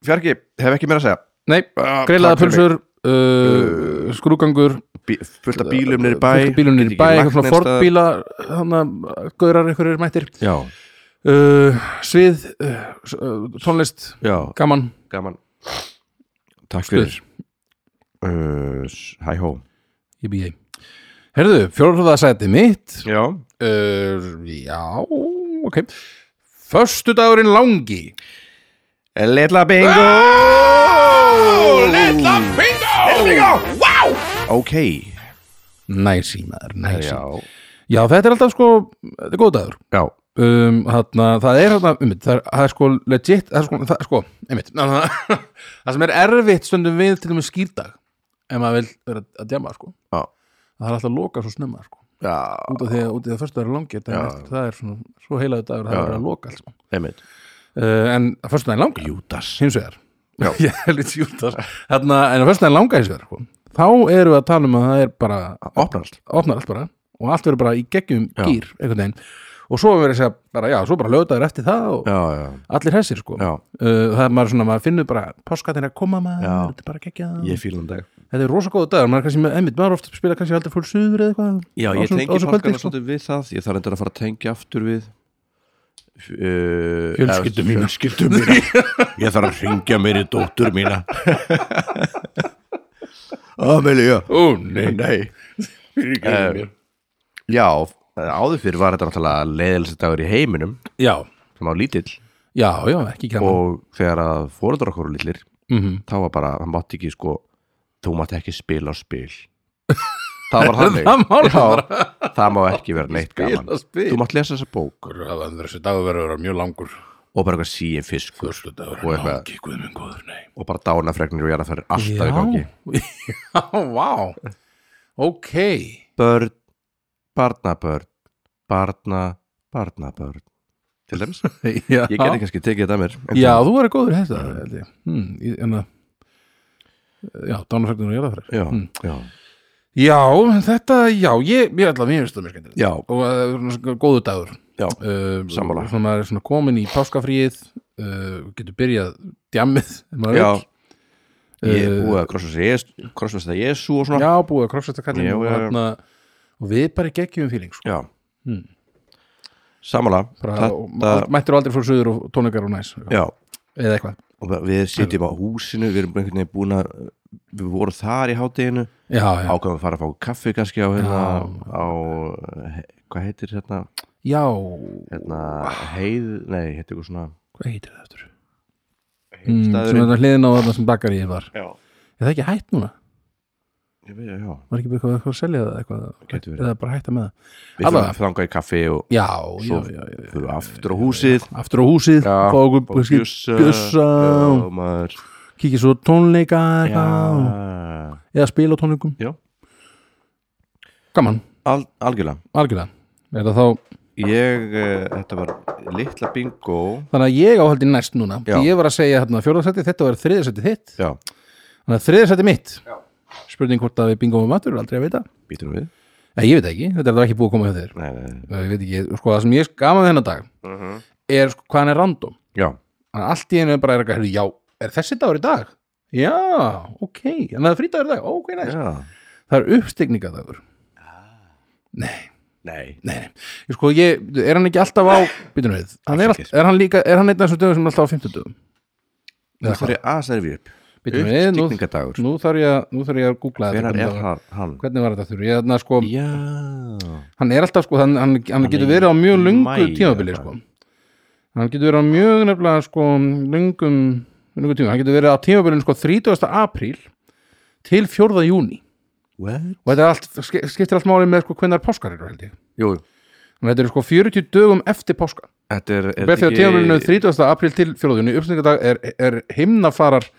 [SPEAKER 1] fjarki, hef ekki meira að segja
[SPEAKER 2] Nei,
[SPEAKER 1] Ah,
[SPEAKER 2] greilaða
[SPEAKER 1] takk fyrir
[SPEAKER 2] pulsur, uh, skrúgangur,
[SPEAKER 1] Bí, fullt af bílum niður í bæ
[SPEAKER 2] bílum
[SPEAKER 1] Get
[SPEAKER 2] nýri
[SPEAKER 1] ekki
[SPEAKER 2] bæ,
[SPEAKER 1] lagt
[SPEAKER 2] eitthvað svona
[SPEAKER 1] neins staðar.
[SPEAKER 2] fordbíla, þannig að gaurar einhverjir mættir.
[SPEAKER 1] já,
[SPEAKER 2] Uh, svið, uh, s- uh, tónlist,
[SPEAKER 1] já,
[SPEAKER 2] gaman,
[SPEAKER 1] gaman takk
[SPEAKER 2] Stuð.
[SPEAKER 1] fyrir uh, s- hæ hó
[SPEAKER 2] ég býði. Herðu, fjórðaðsæti mitt,
[SPEAKER 1] já,
[SPEAKER 2] Uh, já, ok Föstudagurinn langi
[SPEAKER 1] Eh, litla bingo
[SPEAKER 2] Ah! Litla bingo
[SPEAKER 1] ok,
[SPEAKER 2] Næsí maður, næsí
[SPEAKER 1] já
[SPEAKER 2] já. þetta er alltaf sko, þetta er góð dagur
[SPEAKER 1] já,
[SPEAKER 2] um, þarna, Það er þarna, einmitt, það er, það er sko legit Það er sko, það, sko einmitt ná, ná, ná, Það sem er erfitt stundum við til og með skýrdag ef maður vil vera að djama sko
[SPEAKER 1] já,
[SPEAKER 2] Það er alltaf að loka svo snemma sko
[SPEAKER 1] já.
[SPEAKER 2] Út af því að, út af því að föstudagur er langi þetta
[SPEAKER 1] Já.
[SPEAKER 2] er eftir, það er svona, svo heilaðu dagur það
[SPEAKER 1] Já.
[SPEAKER 2] er verið að loka alls sko.
[SPEAKER 1] einmitt
[SPEAKER 2] uh, En föstudaginn langi
[SPEAKER 1] Júdas
[SPEAKER 2] hins vegar
[SPEAKER 1] Já.
[SPEAKER 2] ég er lítið jútar Þarna, en á föstudaginn langa hins vegar sko. þá erum við að tala um að það er bara
[SPEAKER 1] opnast
[SPEAKER 2] opnar allt bara og allt verður bara í geggjum
[SPEAKER 1] Já.
[SPEAKER 2] gýr einhvern veginn og svo verður þess að bara, já, svo bara lögtaður eftir það og
[SPEAKER 1] já, já,
[SPEAKER 2] allir hessir sko
[SPEAKER 1] já,
[SPEAKER 2] Uh, það er maður svona, maður finnur bara páskatin er að koma maður,
[SPEAKER 1] Já.
[SPEAKER 2] þetta er bara geggja
[SPEAKER 1] ég
[SPEAKER 2] um
[SPEAKER 1] fílan dag
[SPEAKER 2] þetta er rosa góðu dagur, maður er kannski með einmitt, maður er ofta að spila kannski aldrei fólk suður eða eitthvað
[SPEAKER 1] Já,
[SPEAKER 2] á
[SPEAKER 1] ég
[SPEAKER 2] svona-
[SPEAKER 1] tengi
[SPEAKER 2] á svona kvöldi,
[SPEAKER 1] páskana
[SPEAKER 2] sko.
[SPEAKER 1] svolítið við það Ég þarf endur að fara að tengja aftur við uh,
[SPEAKER 2] Fjölskyldu
[SPEAKER 1] eh,
[SPEAKER 2] mína.
[SPEAKER 1] fjölskyldu mína. Ég þarf að ringja mér í dóttur mína Amelía
[SPEAKER 2] ó nei,
[SPEAKER 1] Nei
[SPEAKER 2] fyrirgefðu mér.
[SPEAKER 1] Já, áður fyrir var þetta náttúrulega leiðilsi dagur í heiminum
[SPEAKER 2] já,
[SPEAKER 1] sem á lítill
[SPEAKER 2] já, já, ekki gaman
[SPEAKER 1] og þegar að fóreldrar okkur voru litlir
[SPEAKER 2] mm
[SPEAKER 1] þá var bara, það mátti ekki sko þú mátti ekki spila á spil Það var þannig
[SPEAKER 2] það mál
[SPEAKER 1] Já, það má ekki vera neitt gaman
[SPEAKER 2] spila spil
[SPEAKER 1] Þú mátt lesa þessa bók
[SPEAKER 2] þessi dagur verður að vera mjög langur
[SPEAKER 1] og bara eitthvað síin fiskur
[SPEAKER 2] Föstudagur
[SPEAKER 1] Og eitthvað.
[SPEAKER 2] guð minn góður, nei
[SPEAKER 1] og bara dánafregnir og jarðarferðir alltaf í gangi
[SPEAKER 2] Já, vá Ok
[SPEAKER 1] Börn, barnabörn, barna, barnabörn Til dæmis,
[SPEAKER 2] Já,
[SPEAKER 1] ég geti kannski tekið þetta að mér
[SPEAKER 2] Já þú verður góður hesta
[SPEAKER 1] Mm.
[SPEAKER 2] hmm, í- En að Já, dánafræktinu og jarðafræk
[SPEAKER 1] já,
[SPEAKER 2] Mm.
[SPEAKER 1] já,
[SPEAKER 2] Já, þetta, já, ég, ég ætla að mér finnst það mér skemmtilegt
[SPEAKER 1] já,
[SPEAKER 2] og að það er svona svona góður dagur
[SPEAKER 1] Já,
[SPEAKER 2] uh,
[SPEAKER 1] sammála.
[SPEAKER 2] Svona maður er svona komin í páskafríið uh, getur byrjað eh, djammið ef maður
[SPEAKER 1] já,
[SPEAKER 2] vill. Eh.
[SPEAKER 1] Ég er búið að krossfesta Jésu og svona
[SPEAKER 2] já, búið að krossfesta kallin
[SPEAKER 1] Já,
[SPEAKER 2] og,
[SPEAKER 1] já, já.
[SPEAKER 2] þarna, og við bara í geggjum fíling sko.
[SPEAKER 1] Já Samala
[SPEAKER 2] bara, og, mættir aldrei frá suður og tónleikar og næs sko.
[SPEAKER 1] Já
[SPEAKER 2] eða eitthvað
[SPEAKER 1] Og við sitjum á húsinu Við erum einhvern veginn búin að Við vorum þar í hátteginu
[SPEAKER 2] já, já.
[SPEAKER 1] Ákvæðum að fara að fá kaffi kannski á hérna Á he- Hvað heitir hérna
[SPEAKER 2] já,
[SPEAKER 1] Hérna Heið Nei, heitir eitthvað svona
[SPEAKER 2] hvað heitir það eftir mm, svona
[SPEAKER 1] Heimstaðurinn
[SPEAKER 2] þetta hliðin á þarna sem bakar ég var
[SPEAKER 1] Já
[SPEAKER 2] er það ekki hætt núna?
[SPEAKER 1] Ég veit, já
[SPEAKER 2] var ekki bara eitthvað, eitthvað að selja það
[SPEAKER 1] Gæti
[SPEAKER 2] eitthvað
[SPEAKER 1] verið.
[SPEAKER 2] eða bara hætta með það
[SPEAKER 1] Við
[SPEAKER 2] Alla-
[SPEAKER 1] fyrir þangað í kaffi og
[SPEAKER 2] já, já,
[SPEAKER 1] Svo
[SPEAKER 2] já, já, já.
[SPEAKER 1] fyrir aftur á húsið
[SPEAKER 2] aftur á húsið,
[SPEAKER 1] Já,
[SPEAKER 2] fá okkur
[SPEAKER 1] fá
[SPEAKER 2] kannski
[SPEAKER 1] bjössa,
[SPEAKER 2] bjössa.
[SPEAKER 1] já, maður,
[SPEAKER 2] kíkja svo á tónleika eitthvað,
[SPEAKER 1] já,
[SPEAKER 2] eða spila á tónleikum
[SPEAKER 1] já,
[SPEAKER 2] gaman,
[SPEAKER 1] al, algjörlega
[SPEAKER 2] algjörlega er það þá
[SPEAKER 1] ég, eh, þetta var litla bingo
[SPEAKER 2] Þannig að ég áhaldi næst núna
[SPEAKER 1] Já.
[SPEAKER 2] Ég var að segja hérna fjórðarsætti, þetta var þriðarsætti þitt
[SPEAKER 1] já,
[SPEAKER 2] Þannig að þriðarsætti mitt Já. Spurning hvort að við bingum um matur, aldrei að veita
[SPEAKER 1] býtum við
[SPEAKER 2] Nei, ég veit það ekki, þetta er það ekki búið að koma hjá þér
[SPEAKER 1] nei, nei, nei.
[SPEAKER 2] Ég veit ekki, sko það sem ég gaman þennan dag
[SPEAKER 1] Mhm.
[SPEAKER 2] Er sko, hvað hann er random
[SPEAKER 1] já,
[SPEAKER 2] Þannig að allt í einu er bara er eitthvað, já, er þessi dagur í dag? Já, ok Þannig að það er frídagur í dag, ok, næst
[SPEAKER 1] já
[SPEAKER 2] Það er uppstigningadagur
[SPEAKER 1] nei,
[SPEAKER 2] Nei, nei, Ég sko, ég, er hann ekki alltaf á Býtum við, hann er, all,
[SPEAKER 1] Afsakið.
[SPEAKER 2] er hann líka Er hann einn af þessum dögum sem er alltaf á 50 dögum?
[SPEAKER 1] nú þarf ég að servi upp
[SPEAKER 2] Býtum við, nú,
[SPEAKER 1] uppstikningadagur,
[SPEAKER 2] nú þarf ég, að- nú þarf ég að googla þetta
[SPEAKER 1] hvernig
[SPEAKER 2] hvernig
[SPEAKER 1] er
[SPEAKER 2] það var-
[SPEAKER 1] hann, hann?
[SPEAKER 2] hvernig var þetta þurr ég, na, sko,
[SPEAKER 1] já,
[SPEAKER 2] hann er alltaf sko, hann, hann, hann
[SPEAKER 1] í
[SPEAKER 2] getur verið á mjög lungu
[SPEAKER 1] maí
[SPEAKER 2] tímabili
[SPEAKER 1] eða
[SPEAKER 2] sko. hann getur verið á mjög nefnilega sko, lungum lungu tíma, hann getur verið á tímabilinu sko, 30. apríl til 4. júni
[SPEAKER 1] what?
[SPEAKER 2] og þetta er allt, ske- skiptir allt máli með sko, hvernig páskar eru held ég
[SPEAKER 1] jú,
[SPEAKER 2] Þannig að þetta er sko 40 dögum eftir páska
[SPEAKER 1] þetta er, er
[SPEAKER 2] Berð því á tímabilinu 30. apríl til 4. júni uppsningadag er, er himnafarar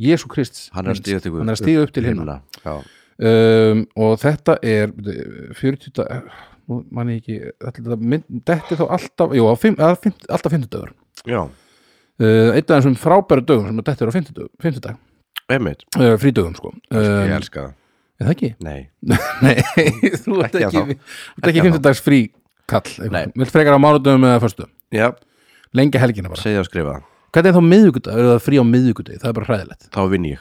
[SPEAKER 2] Jésu Krist
[SPEAKER 1] hann er að stíða til
[SPEAKER 2] hann er að stíga upp til himna
[SPEAKER 1] já,
[SPEAKER 2] um, og þetta er byrju, 40 dag- nú man ég ekki ætli þetta mynd, detti þá alltaf jú, á fimm, að, fimm, alltaf 50 dagur
[SPEAKER 1] já,
[SPEAKER 2] uh, einn af þessum frábæru dögum sem dettir á 50 dag, 50 dag
[SPEAKER 1] emmitt
[SPEAKER 2] uh, frídögum sko um,
[SPEAKER 1] ég elska það,
[SPEAKER 2] er það ekki?
[SPEAKER 1] nei
[SPEAKER 2] Nei, þú ert
[SPEAKER 1] Ekki
[SPEAKER 2] ekki,
[SPEAKER 1] ennþá.
[SPEAKER 2] þú ert ekki 50 dags frí kall
[SPEAKER 1] Nei.
[SPEAKER 2] vilt frekar á mánudögum eða föstu
[SPEAKER 1] já,
[SPEAKER 2] lengja helgina bara
[SPEAKER 1] segja og skrifa
[SPEAKER 2] hvernig er þá miðvíkudag, er það frí á miðvíkudag það er bara hræðilegt
[SPEAKER 1] þá vinn ég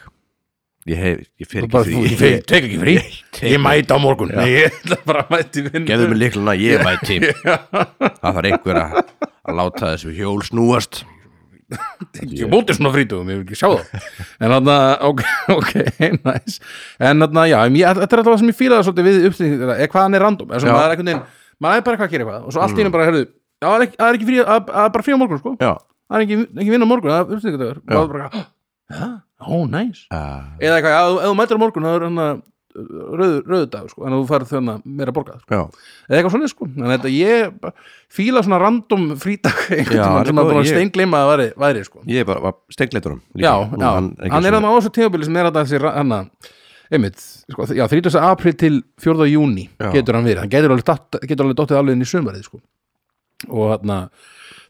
[SPEAKER 1] ég hef, ég fer
[SPEAKER 2] Bara,
[SPEAKER 1] ekki
[SPEAKER 2] þú-
[SPEAKER 1] því
[SPEAKER 2] ég fe- tek ekki frí,
[SPEAKER 1] tek-
[SPEAKER 2] ég mæta á morgun Nei, ég ætla bara að mæti vinn
[SPEAKER 1] gefðu mig líkluna, ég mæti það þarf einhver að, að láta þessu hjól snúast
[SPEAKER 2] ég er mótið svona frítugum, ég vil ekki sjá það en þarna, ok, ok, næs en þarna, já, em, ég, þetta er alltaf það sem ég fílaði svolítið við uppstilling, eða hvað hann er random eða
[SPEAKER 1] Já. Mm.
[SPEAKER 2] svo maður er einhvern veginn, maður er bara eitthvað að gera eitthvað og svo allt í einu bara, herðu, já, það er ekki, það er ekki frí að, að er bara frí á morgun, sko,
[SPEAKER 1] já,
[SPEAKER 2] það er ekki, ekki vinna á morgun það er uppstillingardagur, og það er bara, hæ, ó, næs
[SPEAKER 1] uh,
[SPEAKER 2] eða eitthvað, já, ef þú- ef þú mætir á morgun, það er uh, hann að rauðudag, sko, en þú farið þarna meira borgað, sko.
[SPEAKER 1] já,
[SPEAKER 2] eða eitthvað svona, sko en þetta, ég bara fíla svona random frídag einhvern
[SPEAKER 1] Já,
[SPEAKER 2] tímann sem
[SPEAKER 1] þetta
[SPEAKER 2] maður
[SPEAKER 1] var
[SPEAKER 2] búin að
[SPEAKER 1] ég.
[SPEAKER 2] steingleima að væri, væri, sko
[SPEAKER 1] ég er bara var steikleitunum
[SPEAKER 2] já, já, hann, er þannig á þessu tegubili sem er að þessi ra- hann að, einmitt, sko, já, 30. april til 4. júni
[SPEAKER 1] Já.
[SPEAKER 2] getur hann verið, hann getur alveg, datt, getur alveg dottið alveg inn í sömarið, sko og hann að,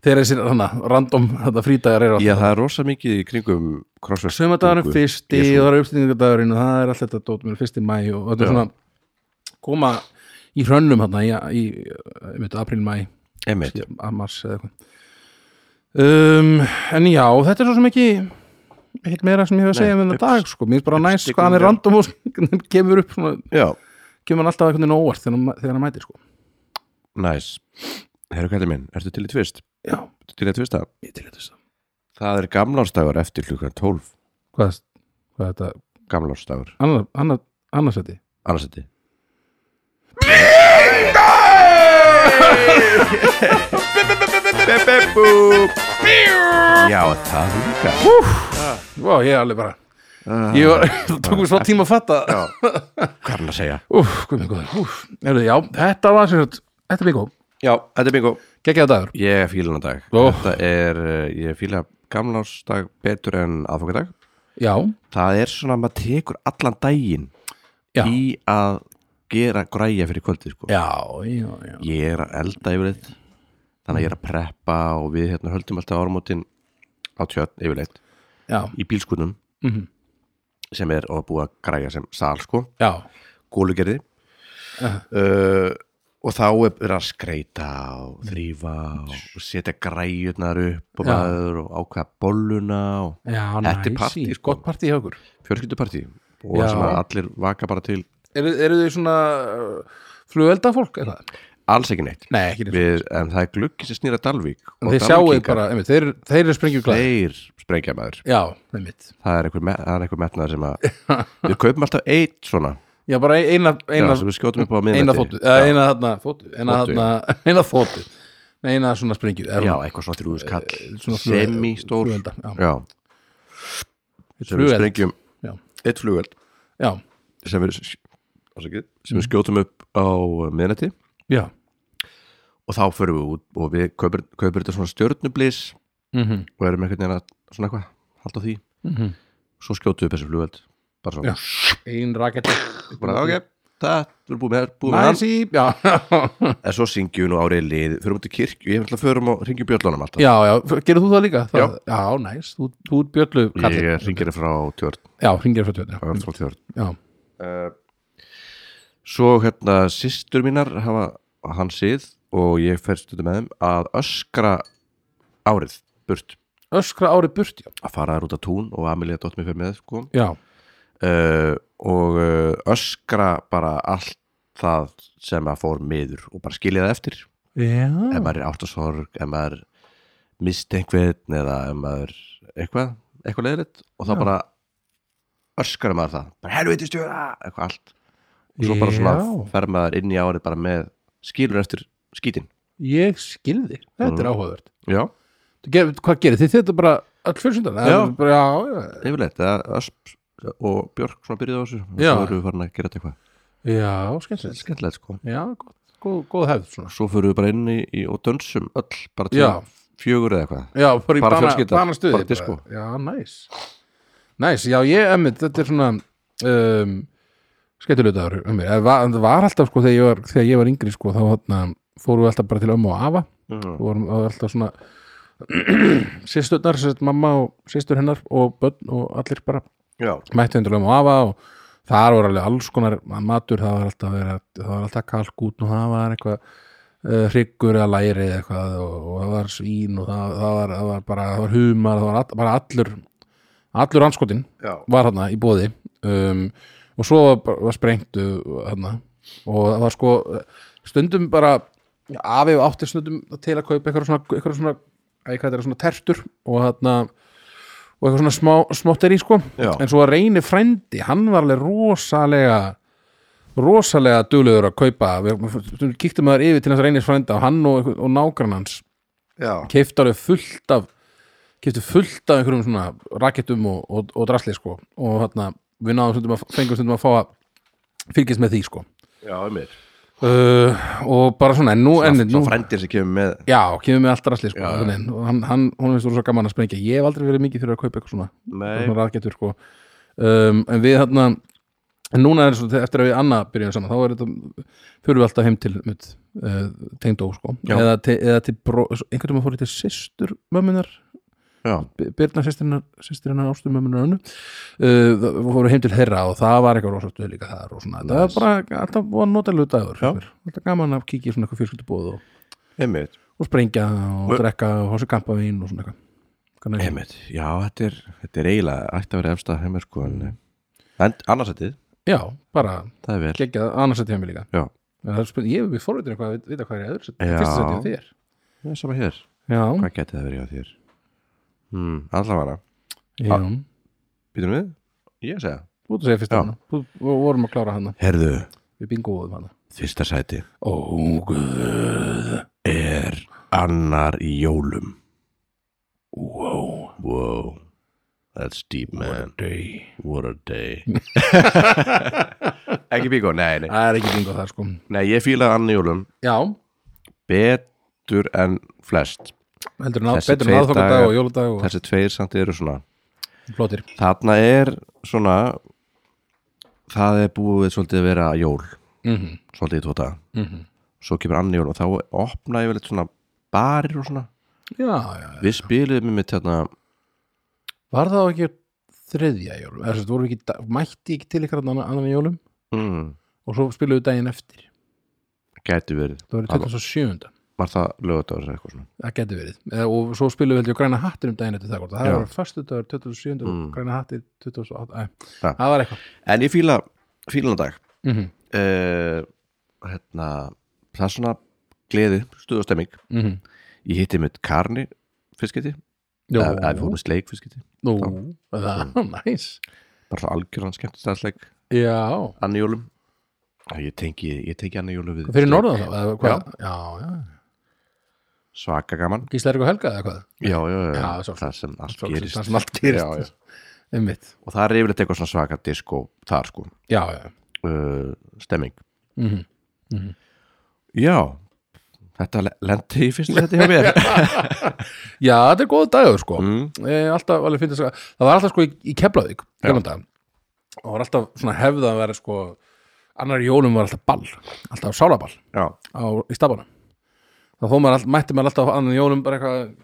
[SPEAKER 2] þegar þessi hann að random hann að frídagar er
[SPEAKER 1] já, það er rosa mikið í kringum crossfit
[SPEAKER 2] sömardagurinn fyrsti
[SPEAKER 1] Jesú.
[SPEAKER 2] og það er uppstýningadagurinn og það er allt þetta dótum fyrsti mæ og þetta er
[SPEAKER 1] Já.
[SPEAKER 2] svona koma í hrönnum hann í, í, einmitt, april, mæ
[SPEAKER 1] emmitt,
[SPEAKER 2] að mars eða eitthvað um, en já, þetta er svo sem ekki ekkert meira sem ég hef að segja
[SPEAKER 1] Nei,
[SPEAKER 2] um
[SPEAKER 1] um
[SPEAKER 2] þetta dag sko, mér finnst bara næst sko, hann
[SPEAKER 1] já.
[SPEAKER 2] er random og hann kemur upp svona,
[SPEAKER 1] já,
[SPEAKER 2] kemur hann alltaf einhvern veginn á óvart þegar hann, þegar hann mætir sko
[SPEAKER 1] næs herru kallið minn, ertu til í tvist?
[SPEAKER 2] já,
[SPEAKER 1] Ertu til í að tvista?
[SPEAKER 2] ég til þetta saman
[SPEAKER 1] það er gamlársdagur eftir klukkan 12
[SPEAKER 2] hvað, hvað er þetta,
[SPEAKER 1] gamlársdagur,
[SPEAKER 2] annar, annar, annarsætti
[SPEAKER 1] annarsætti já, það er líka
[SPEAKER 2] vá, ég er alveg bara
[SPEAKER 1] Ah,
[SPEAKER 2] ég var, það tók mér svo tíma að fatta
[SPEAKER 1] Já. Hvað er hann að segja?
[SPEAKER 2] úf, hvað mér góður, úf, erðu, já þetta var sem sagt, þetta er bingo,
[SPEAKER 1] Já, þetta er bingo
[SPEAKER 2] geggjaða dagur
[SPEAKER 1] Ég fíla hann dag
[SPEAKER 2] Ó.
[SPEAKER 1] Þetta er, eh, ég fíla gamlársdag betur en aðfokadag
[SPEAKER 2] já,
[SPEAKER 1] Það er svona að maður tekur allan daginn
[SPEAKER 2] Já.
[SPEAKER 1] í að gera græja fyrir kvöldið sko.
[SPEAKER 2] já, já, já
[SPEAKER 1] Ég er að elda yfirleitt Þannig að ég er að preppa og við hérna höldum alltaf ármótin á tjörn yfirleitt
[SPEAKER 2] já,
[SPEAKER 1] í bílskunum
[SPEAKER 2] Mhm.
[SPEAKER 1] -hmm. sem er og búið að græja sem sal sko
[SPEAKER 2] já,
[SPEAKER 1] gólugerði uh og þá er verið að skreita og þrýfa og setja græjurnar upp og
[SPEAKER 2] Mm. Já.
[SPEAKER 1] maður og ákveða bolluna og
[SPEAKER 2] Já,
[SPEAKER 1] Þetta er
[SPEAKER 2] næs,
[SPEAKER 1] partí,
[SPEAKER 2] í-
[SPEAKER 1] sko.
[SPEAKER 2] gott partí hjá okkur
[SPEAKER 1] fjörskyldupartí og
[SPEAKER 2] Já.
[SPEAKER 1] sem að allir vaka bara til
[SPEAKER 2] Eru, eru þau svona uh, flugelda fólk? Er það?
[SPEAKER 1] alls ekki neitt
[SPEAKER 2] Nei, ekki neitt
[SPEAKER 1] Við, en það er gluggi sem snýra Dalvík
[SPEAKER 2] En
[SPEAKER 1] og
[SPEAKER 2] Þeir sjáu
[SPEAKER 1] Dalvíkingar,
[SPEAKER 2] bara, einmitt, þeir, þeir eru springjuglæð
[SPEAKER 1] þeir sprengja maður
[SPEAKER 2] Já, einmitt
[SPEAKER 1] það er einhver, me það er einhver metnaður sem að við kaupum alltaf eitt svona
[SPEAKER 2] Já, bara ein- eina, eina,
[SPEAKER 1] já, sem við skjótum upp á miðnætti
[SPEAKER 2] eina þóttu eða
[SPEAKER 1] já,
[SPEAKER 2] Eina þarna þóttu Eina
[SPEAKER 1] Þotu,
[SPEAKER 2] þarna, eina þóttu Nei, eina svona sprengju eða
[SPEAKER 1] já,
[SPEAKER 2] svona-
[SPEAKER 1] eitthvað svona þrjúðus kall
[SPEAKER 2] Eh, svona flugel-
[SPEAKER 1] semistór
[SPEAKER 2] flugelda, já.
[SPEAKER 1] já, sem við
[SPEAKER 2] Flugeld,
[SPEAKER 1] sprengjum
[SPEAKER 2] Já.
[SPEAKER 1] eitt flugöld
[SPEAKER 2] Já,
[SPEAKER 1] sem við, ásakið, sem við
[SPEAKER 2] Mhm.
[SPEAKER 1] skjótum upp á eh, miðnætti
[SPEAKER 2] já
[SPEAKER 1] og þá förum við út og við kaupir, kaupir þetta svona stjörnublis
[SPEAKER 2] Mhm,
[SPEAKER 1] og erum einhvern veginn að svona eitthvað halda á því,
[SPEAKER 2] mhm.
[SPEAKER 1] svo skjótum við upp þessi flugöld bara
[SPEAKER 2] Já.
[SPEAKER 1] svona,
[SPEAKER 2] Ein rakett
[SPEAKER 1] bara ok það, við erum búið með, búið með hann
[SPEAKER 2] Næs í, já
[SPEAKER 1] en svo syngjum við nú árið lið, förum út í kirkju ég ætla að förum og ringjum bjöllunum alltaf
[SPEAKER 2] Já, já, gerir þú það líka? Það, já. næs, þú, þú er bjöllu kallinn.
[SPEAKER 1] ég ringir frá tjörn,
[SPEAKER 2] Já, hringir frá tjóðin,
[SPEAKER 1] frá frá tjörn.
[SPEAKER 2] já
[SPEAKER 1] Uh, svo hérna sýstur mínar hafa hann síð og ég fer stundum með þeim að öskra árið burt
[SPEAKER 2] Öskra árið burt, já
[SPEAKER 1] að fara þær út að tún og Amelia dótt mér fyrir með sko.
[SPEAKER 2] Já,
[SPEAKER 1] uh, og uh, öskra bara allt það sem að fór miður og bara skilja það eftir ef
[SPEAKER 2] já.
[SPEAKER 1] maður er áttasorg, ef maður misti einhvern eða ef maður eitthvað, eitthvað leiðilegt og þá
[SPEAKER 2] Já.
[SPEAKER 1] bara öskar maður það bara helviti stjóra, eitthvað allt og svo bara svona
[SPEAKER 2] Já.
[SPEAKER 1] fer maður inn í árið bara með skilur eftir skítin
[SPEAKER 2] Ég skilði, þetta
[SPEAKER 1] Mm.
[SPEAKER 2] er áhugavert
[SPEAKER 1] já,
[SPEAKER 2] Þú ger- Hvað gerir þið? Þetta er bara öll fjölsyndan
[SPEAKER 1] Já.
[SPEAKER 2] bara, já, já,
[SPEAKER 1] yfirleitt, það ösp og Björk svona byrjuði á þessu og
[SPEAKER 2] Já.
[SPEAKER 1] svo erum við farin að gera þetta eitthvað
[SPEAKER 2] já, skemmtilegt
[SPEAKER 1] skemmtilegt sko,
[SPEAKER 2] Já, gott, góð, góð hefð svona
[SPEAKER 1] svo fyrir við bara inn í, í og dönsum öll, bara til
[SPEAKER 2] Já.
[SPEAKER 1] fjögur eða eitthvað
[SPEAKER 2] Já, bara í
[SPEAKER 1] Bara
[SPEAKER 2] bana,
[SPEAKER 1] fjölskylda,
[SPEAKER 2] banastuði
[SPEAKER 1] bara disco.
[SPEAKER 2] Já, næs Næs, já, ég, emmitt, þetta er svona um, skemmtilegdagur um mér, það var alltaf sko þegar ég var, þegar ég var yngri sko, þá hátna, fórum við alltaf bara til ömmu og afa
[SPEAKER 1] mm.
[SPEAKER 2] og vorum það var alltaf svona sýsturnar, sérst mamma og sýstur hennar og börn og allir bara
[SPEAKER 1] já,
[SPEAKER 2] mættu undir lögum og afa og þar voru alveg alls konar matur það var alltaf, verið, að- það var alltaf kalkút og það var eitthvað uh, hryggur eða læri eða eitthvað og, og það var svín og það, það, var, það var bara það var humar, það var all, bara allur allur anskotin
[SPEAKER 1] já,
[SPEAKER 2] var hann í bóði um, og svo var, var sprengtu hann og það var sko stundum bara afi átti stundum til að kaupa eitthvað svona, eitthvað svona, eitthvað svona, svona tertur og hann og eitthvað svona smá, smátt er í sko
[SPEAKER 1] Já.
[SPEAKER 2] en svo að reyni frændi, hann var alveg rosalega rosalega duglegur að kaupa við stundum kíktum maður yfir til hans reynis frænda og hann og, og nágrann hans
[SPEAKER 1] já,
[SPEAKER 2] keifti alveg fullt af keifti fullt af einhverjum svona rakettum og, og, og drasli sko og þarna við náðum stundum að fengum stundum að fá að fylgjast með því sko
[SPEAKER 1] já, um mér
[SPEAKER 2] uh, og bara svona en nú, en, nú
[SPEAKER 1] svo frændir sem kemur með
[SPEAKER 2] já, kemur með allt drasli sko
[SPEAKER 1] Já.
[SPEAKER 2] já, og hann, hann, hún veist þú svo gaman að sprengja ég hef aldrei verið mikið fyrir að kaupa eitthvað svona
[SPEAKER 1] Nei,
[SPEAKER 2] svona rakettur sko um, en við þarna en núna er svo, eftir að við annað byrjum saman þá er þetta, fyrir við alltaf heim til mitt, uh, tengdó sko
[SPEAKER 1] Já.
[SPEAKER 2] eða til, eða til bró, einhvern veginn fór ég til systur mömmunar
[SPEAKER 1] já,
[SPEAKER 2] Birna sýstirinnar ástur mömmunar önnu uh, það- við fórum heim til þeirra og það var eitthvað rosa stuð líka þar og svona það var bara alltaf búin notalegu dagur
[SPEAKER 1] Já.
[SPEAKER 2] finnst mér. alltaf gaman að kíkja í svona eitthvað fjölskyldubóð og,
[SPEAKER 1] einmitt
[SPEAKER 2] og sprengja og
[SPEAKER 1] Og-
[SPEAKER 2] drekka og hósi kampavín og svona eitthvað Hvernig-
[SPEAKER 1] Einmitt, já, þetta er, þetta er eiginlega ætti að vera efsta heimur sko en, en annarsættið,
[SPEAKER 2] já, bara
[SPEAKER 1] það er vel
[SPEAKER 2] geggjað annarsætti hjá mér líka
[SPEAKER 1] Já,
[SPEAKER 2] En það er spurning, ég hef við forvitin eitthvað að vita hvað er í öðru sæti,
[SPEAKER 1] Já.
[SPEAKER 2] fyrsta sæti á þér.
[SPEAKER 1] það er sama hér,
[SPEAKER 2] Já,
[SPEAKER 1] hvað geti það verið á þér? Hmm, allavega,
[SPEAKER 2] já.
[SPEAKER 1] býtum við? Ég segja
[SPEAKER 2] Þú ert að segja fyrsta
[SPEAKER 1] Já.
[SPEAKER 2] hana. Þú við vorum að klára hana,
[SPEAKER 1] Herðu,
[SPEAKER 2] við bingoðum hana.
[SPEAKER 1] fyrsta sæti
[SPEAKER 2] Ó, guð.
[SPEAKER 1] er annar í jólum
[SPEAKER 2] Wow.
[SPEAKER 1] Wow, that's deep man
[SPEAKER 2] Day.
[SPEAKER 1] What a day Ekki bíkó, nei, nei
[SPEAKER 2] Það er ekki bingo þar, sko.
[SPEAKER 1] Nei, ég fílaði annar í jólum
[SPEAKER 2] Já,
[SPEAKER 1] betur en flest
[SPEAKER 2] heldur en að,
[SPEAKER 1] Þessi
[SPEAKER 2] betur en
[SPEAKER 1] tveir
[SPEAKER 2] aðfokadag
[SPEAKER 1] dagar-
[SPEAKER 2] og jóladag og
[SPEAKER 1] Þessi tveir samt eru svona
[SPEAKER 2] flottir.
[SPEAKER 1] Þarna er svona það er búið svolítið að vera jól,
[SPEAKER 2] Mm -hmm.
[SPEAKER 1] svolítið í tóta
[SPEAKER 2] Mm -hmm.
[SPEAKER 1] svo kemur annar jól og þá opna ég vel svona barir og svona
[SPEAKER 2] Já, já.
[SPEAKER 1] við spilum um hérna, með þetta
[SPEAKER 2] Var það ekki þriðja jólum? Eða, þessi, voru ekki, da- mætti ekki til ykkar annan, annan jólum
[SPEAKER 1] mm,
[SPEAKER 2] og svo spiluðu daginn eftir.
[SPEAKER 1] gæti verið
[SPEAKER 2] það verið
[SPEAKER 1] Halló.
[SPEAKER 2] 27.
[SPEAKER 1] var það lögadagur eða eitthvað svona
[SPEAKER 2] það geti verið Eða, og svo spilum við heldur græna hattir um daginn eftir það, hvort. það
[SPEAKER 1] Já.
[SPEAKER 2] var föstudagur 27. Mm.
[SPEAKER 1] Mm.
[SPEAKER 2] græna hattir 28. Æ,
[SPEAKER 1] Ja.
[SPEAKER 2] eh. það var eitthvað
[SPEAKER 1] en ég fíla fílan dag
[SPEAKER 2] mm -hmm.
[SPEAKER 1] uh, hérna það er svona gleði, stuð og stemming
[SPEAKER 2] Mm -hmm.
[SPEAKER 1] ég hitti mitt karni fiskiti
[SPEAKER 2] Jó,
[SPEAKER 1] eða eða við fórum í sleik fiskiti
[SPEAKER 2] Nú, það,
[SPEAKER 1] Mm.
[SPEAKER 2] næs
[SPEAKER 1] bara svona algjörðan skemmtistæðsleik
[SPEAKER 2] Já,
[SPEAKER 1] annar jólum ég tengi, ég tengi annar jólum við
[SPEAKER 2] fyrir
[SPEAKER 1] sleik.
[SPEAKER 2] norðan þá eða hvað? Já, já,
[SPEAKER 1] svaka gaman
[SPEAKER 2] Gísla og Helga eða hvað?
[SPEAKER 1] já, já, já,
[SPEAKER 2] Já, sjálfsagt.
[SPEAKER 1] það sem allt
[SPEAKER 2] Sjálfsagt,
[SPEAKER 1] gerist
[SPEAKER 2] það sem allt gerist.
[SPEAKER 1] já, já.
[SPEAKER 2] Einmitt,
[SPEAKER 1] og það er yfirleitt eitthvað svona svaka disco þar sko,
[SPEAKER 2] já, já
[SPEAKER 1] uh, stemming
[SPEAKER 2] mm -hmm.
[SPEAKER 1] já, þetta le- lendi í fyrst þetta hjá mér
[SPEAKER 2] Já, þetta er góð dagur sko
[SPEAKER 1] mm,
[SPEAKER 2] e, alltaf, alveg finnst þess að það var alltaf sko í, í Keflavík gamla daga. og það var alltaf svona hefð að vera sko annar í jólum var alltaf ball alltaf sálaball
[SPEAKER 1] já,
[SPEAKER 2] á, í stafana þá þó maður all, mætti maður alltaf annar í jólum bara eitthvað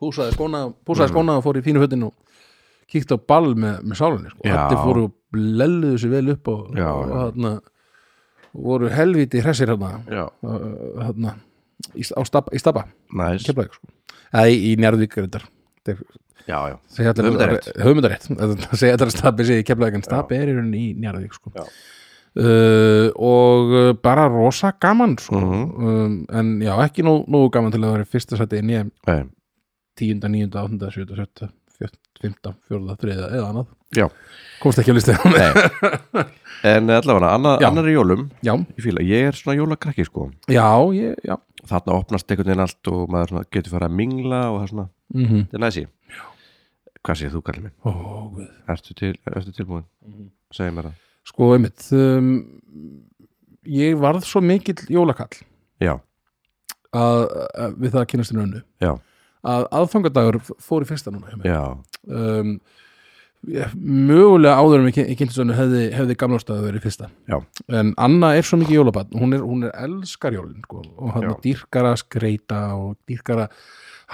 [SPEAKER 2] púsaði skóna,
[SPEAKER 1] Mm.
[SPEAKER 2] púsaði skóna og fór í fínu fötin og kíkti á ball með, með sálunni sko.
[SPEAKER 1] Já.
[SPEAKER 2] allir fóru og lelluðu sér vel upp og,
[SPEAKER 1] Já,
[SPEAKER 2] og
[SPEAKER 1] já.
[SPEAKER 2] þarna voru helviti hressir hérna,
[SPEAKER 1] já,
[SPEAKER 2] hérna í, á staba, í staba
[SPEAKER 1] næs
[SPEAKER 2] Keflavík sko. eða í, í Njarðvík reyndar. Þetta er-
[SPEAKER 1] já, já,
[SPEAKER 2] segja allir-
[SPEAKER 1] Höfundarétt.
[SPEAKER 2] höfundarétt það segja allir að stabi sé í Keflavík en stabi er í rauninni í Njarðvík sko.
[SPEAKER 1] Já.
[SPEAKER 2] uh, og uh, bara rosa gaman sko.
[SPEAKER 1] Mhm.
[SPEAKER 2] um, en já, ekki nóg, nóg gaman til að það vera fyrsta sæti inn í nýja
[SPEAKER 1] Nei,
[SPEAKER 2] 10, 9, 8, 7, 7, 15, 4, 3 eða annað
[SPEAKER 1] já.
[SPEAKER 2] komst ekki að listu
[SPEAKER 1] en allavega anna,
[SPEAKER 2] Já.
[SPEAKER 1] annar í jólum
[SPEAKER 2] já,
[SPEAKER 1] ég, fíla, ég er svona jólakrakki sko
[SPEAKER 2] já, ég, já
[SPEAKER 1] þarna opnast einhvern veginn allt og maður svona, getur fara að mingla og það er svona,
[SPEAKER 2] mm -hmm.
[SPEAKER 1] þetta er næsi hvað séð þú kallið minn?
[SPEAKER 2] Ó, guð
[SPEAKER 1] Ertu, til, ertu tilbúin?
[SPEAKER 2] Mhm.
[SPEAKER 1] Segðu mér það
[SPEAKER 2] sko, einmitt um, ég varð svo mikill jólakall
[SPEAKER 1] já,
[SPEAKER 2] að, að við það að kynast henni önnu
[SPEAKER 1] já,
[SPEAKER 2] að aðfangadagur f- fór í fyrsta núna hjá mér.
[SPEAKER 1] já,
[SPEAKER 2] um, ég- mögulega áður en við kynntisönu hefði, hefði gamlástaðu verið fyrsta
[SPEAKER 1] já,
[SPEAKER 2] en Anna er svo mikið jólabann hún er, hún er elskar jólin sko, og hann
[SPEAKER 1] Já.
[SPEAKER 2] er dýrkar að skreita og dýrkar að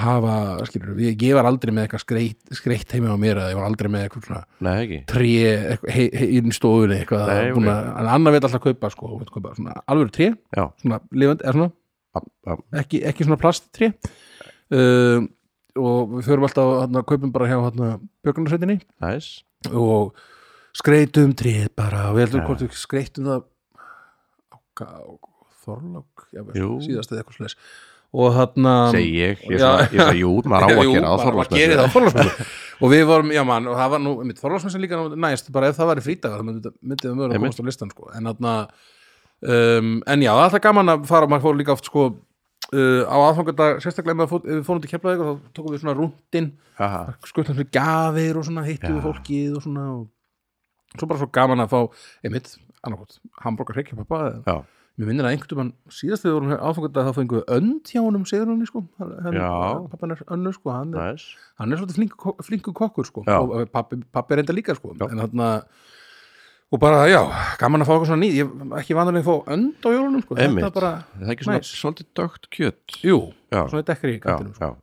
[SPEAKER 2] hafa skilur, ég, ég var aldrei með eitthvað skreit, skreitt heima á mér eða ég var aldrei með eitthvað svona
[SPEAKER 1] nei ekki
[SPEAKER 2] tré eitthvað, he, he, inn í stofunni eitthvað
[SPEAKER 1] Nei,
[SPEAKER 2] búna, en Anna veit alltaf kaupa, sko, hún vill kaupa svona, alveg tré,
[SPEAKER 1] já,
[SPEAKER 2] svona lifandi eða svona
[SPEAKER 1] ab, ab,
[SPEAKER 2] ekki, ekki svona plasttré um, og við förum alltaf hérna, kaupum bara hjá hérna, björgunarsveitinni
[SPEAKER 1] næs
[SPEAKER 2] og skreitum tréð bara og við heldur
[SPEAKER 1] Ja.
[SPEAKER 2] hvort við skreitum það á, á Þorlók já, við-
[SPEAKER 1] Jú.
[SPEAKER 2] síðast eða eitthvað slags og þarna
[SPEAKER 1] segi ég, ég
[SPEAKER 2] Um, já.
[SPEAKER 1] sagði, ég sagði, jú, maður á að
[SPEAKER 2] Jú,
[SPEAKER 1] gera á
[SPEAKER 2] bara maður
[SPEAKER 1] Þorláksmessu.
[SPEAKER 2] gerir það á Þorláksmessu og við vorum, já mann, og það var nú Þorlóksmessin líka næst, bara ef það væri frítagar þá myndi þetta- myndi það mögulega
[SPEAKER 1] Einmitt.
[SPEAKER 2] komast á listan sko. en þarna um, en já, það er alltaf gaman að fara maður fór líka oft sko Uh, á aðfangardag, sérstaklega ef maður fór- ef við fórum til Keflavík og þá tókum við svona rúndin
[SPEAKER 1] Aha,
[SPEAKER 2] skuttum fyrir gafir og svona hittum
[SPEAKER 1] Já.
[SPEAKER 2] við fólkið og svona og svo bara svo gaman að fá einmitt, annarkot, hambúrgar hreikja pappa
[SPEAKER 1] já,
[SPEAKER 2] mér minnir að einhvern veginn síðast þegar við vorum áfangat að þá fengum við önd hjá honum Sigurunni sko, hann, hann-
[SPEAKER 1] Já.
[SPEAKER 2] pappan er önnu sko hann er,
[SPEAKER 1] næs
[SPEAKER 2] hann er svolítið flinku, flinku kokkur sko
[SPEAKER 1] Já.
[SPEAKER 2] og pappi, pappi er enda líka sko
[SPEAKER 1] Já.
[SPEAKER 2] en þarna og bara já, gaman að fá eitthvað svona nýð ég ekki vanlega að fá önd á jólunum sko
[SPEAKER 1] Einmitt.
[SPEAKER 2] þetta bara,
[SPEAKER 1] Er það ekki svona,
[SPEAKER 2] Næs.
[SPEAKER 1] svolítið dögt kjöt
[SPEAKER 2] jú,
[SPEAKER 1] Já.
[SPEAKER 2] svona
[SPEAKER 1] já,
[SPEAKER 2] dekkri í kantinum sko.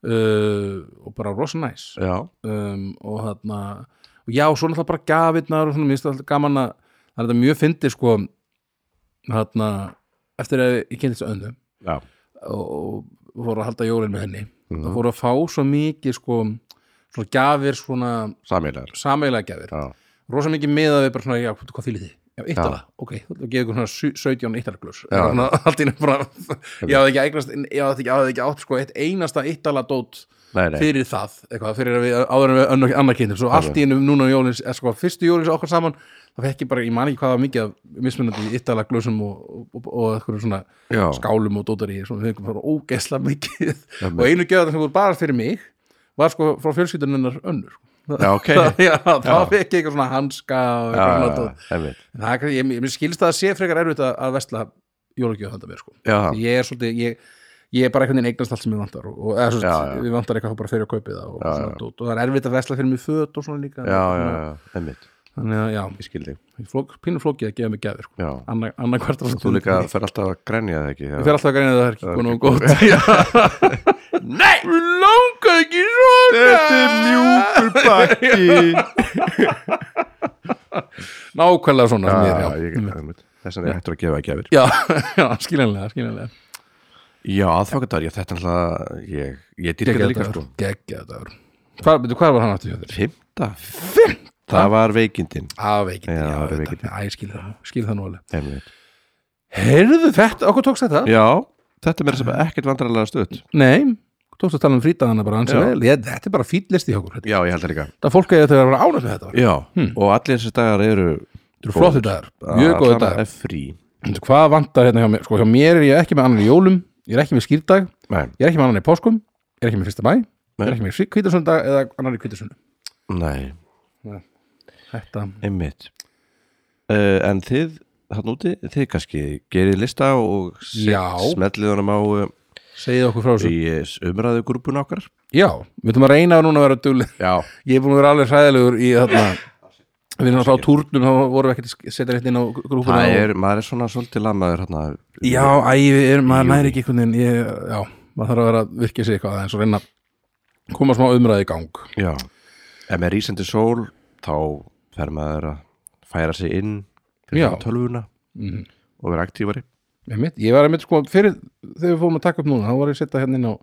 [SPEAKER 1] já,
[SPEAKER 2] uh, og bara rosa næs
[SPEAKER 1] já,
[SPEAKER 2] um, og þarna og já, svo náttúrulega bara gafirnar og svona, mér finnst alltaf gaman að það er þetta mjög fyndi sko þarna, eftir að ég kynntist öndu
[SPEAKER 1] já,
[SPEAKER 2] og, og fór að halda jólin með henni
[SPEAKER 1] Mhm.
[SPEAKER 2] það fór að fá svo mikið sko svona gjafir, svona
[SPEAKER 1] sameilar
[SPEAKER 2] sameilega gjafir
[SPEAKER 1] já,
[SPEAKER 2] rosa mikið með að við bara svona, já, hvað fylgir þið? Já, Ítala,
[SPEAKER 1] Já.
[SPEAKER 2] ok, þú ætla að gefa ykkur svona sjö- 17 íttalaglös
[SPEAKER 1] Já.
[SPEAKER 2] allt í nefnum bara, ég hafði ekki eignast ég hafði ekki, ég hafði ekki átt sko eitt einasta íttala dót
[SPEAKER 1] nei, nei,
[SPEAKER 2] fyrir það, eitthvað, fyrir að við áður en við önnur annar kynntum, svo allt í ennum núna um jólins, eða sko, fyrstu jólins okkar saman það fekk ég bara, ég man ekki hvað var mikið af mismunandi yttala glösum og, og, og, og eitthvað svona
[SPEAKER 1] já,
[SPEAKER 2] skálum og dótari svona, við fengum bara ógeðsla mikið
[SPEAKER 1] Einmitt.
[SPEAKER 2] og einu gjöðar sem voru bara fyrir mig var sko frá fjölskylduninnar önnur sko.
[SPEAKER 1] já, ok
[SPEAKER 2] það, já, það fekk ég eitthvað svona hanska
[SPEAKER 1] já,
[SPEAKER 2] og eitthvað
[SPEAKER 1] já,
[SPEAKER 2] svona dót.
[SPEAKER 1] já, einmitt.
[SPEAKER 2] En það er kannski- ég, ég skilst það að sé frekar erfitt að, að vesla jólagjöð handa mér sko
[SPEAKER 1] já,
[SPEAKER 2] ég er svolítið, ég, ég er bara einhvern veginn eignast allt sem ég vantar og, og eða, svolítið,
[SPEAKER 1] Já, já.
[SPEAKER 2] ég vantar eitthvað þá bara fyrir að kaupið það og,
[SPEAKER 1] Já,
[SPEAKER 2] svona,
[SPEAKER 1] já.
[SPEAKER 2] dót. og það er erfitt að vesla fyrir mig föt og svona líka
[SPEAKER 1] já, já, já, einmitt
[SPEAKER 2] þannig að já,
[SPEAKER 1] ég skil þig,
[SPEAKER 2] ég flók, pínu flókið að gefa mig gefir sko.
[SPEAKER 1] já
[SPEAKER 2] Anna- annað hvert
[SPEAKER 1] Og þú líka fer alltaf að grenja það ekki já.
[SPEAKER 2] ég fer alltaf að greina að það er ekki
[SPEAKER 1] Það er
[SPEAKER 2] konum
[SPEAKER 1] ekki
[SPEAKER 2] góð nei, mér langar ekki svona
[SPEAKER 1] bakki
[SPEAKER 2] nákvæmlega svona sem ég er,
[SPEAKER 1] já,
[SPEAKER 2] já.
[SPEAKER 1] ég, einmitt. þess að hættur að gefa ekki
[SPEAKER 2] já, já, skiljanlega, skiljanlega
[SPEAKER 1] Já, aðfangandagur, ég þetta er alltaf ég, ég dýrkja
[SPEAKER 2] Geggjaður
[SPEAKER 1] líka
[SPEAKER 2] dagur,
[SPEAKER 1] sko
[SPEAKER 2] geggjaður dagur Hvað, veitu, hvað var hann aftur hjá þér?
[SPEAKER 1] Fymta? Það var veikindin
[SPEAKER 2] Að veikindi,
[SPEAKER 1] Já,
[SPEAKER 2] já,
[SPEAKER 1] það er
[SPEAKER 2] auðvitað.
[SPEAKER 1] veikindi.
[SPEAKER 2] Æ, ég skil það, nú, skil það nú alveg
[SPEAKER 1] Einmitt.
[SPEAKER 2] Heyrðu þetta, okkur tókst þetta?
[SPEAKER 1] Já, þetta er mér sem ekkert vandrarlega stöðt
[SPEAKER 2] Nei, tókst að tala um frítaðana bara ansi
[SPEAKER 1] Já.
[SPEAKER 2] vel ég, Þetta er bara fýt listi hjá okkur
[SPEAKER 1] Já, ég held það líka Hmm.
[SPEAKER 2] Þetta er fólk að þetta er að vera ánægt með þetta
[SPEAKER 1] Já, og allir þessi dagar eru
[SPEAKER 2] Þetta eru flottir dagar, mjög góði dagar
[SPEAKER 1] er frí
[SPEAKER 2] Hvað vantar hérna hjá mér? Sko, hjá mér er ég ekki með annar í jólum Ég er ekki með skýrdag,
[SPEAKER 1] Nei,
[SPEAKER 2] ég er ekki með annar í páskum Ég er ekki með fyrsta mæ, ég
[SPEAKER 1] Nei.
[SPEAKER 2] er ekki með kvítarsundag eða annar í kvítarsundu
[SPEAKER 1] nei,
[SPEAKER 2] Þetta,
[SPEAKER 1] einmitt uh, En þið, hann úti, þið kannski gerið lista og set-
[SPEAKER 2] Já.
[SPEAKER 1] smellið honum á uh,
[SPEAKER 2] segið okkur frá þessu
[SPEAKER 1] í umræðu grúpun okkar
[SPEAKER 2] Já, við ætlum að reyna núna að vera dugleg
[SPEAKER 1] Já,
[SPEAKER 2] ég er búin að vera alveg hræðilegur í þarna við erum alltaf á túrnum þá vorum við ekkert að sk- setja rétt inn á grúpuna
[SPEAKER 1] það
[SPEAKER 2] og-
[SPEAKER 1] er, maður er svona svolítið lamaður hérna
[SPEAKER 2] já, æ, við erum, maður næri ekki einhvern veginn ég, já, maður þarf að vera að virkja sig eitthvað eins og reyna að koma smá umræði í gang
[SPEAKER 1] Já, ef með rísandi sól þá fer maður að færa sig inn fyrir
[SPEAKER 2] Já.
[SPEAKER 1] utan tölvuna Mhm. og vera aktífari
[SPEAKER 2] einmitt, ég var einmitt sko fyrir þegar við fórum að taka upp núna, þá var ég að setja hérna inn á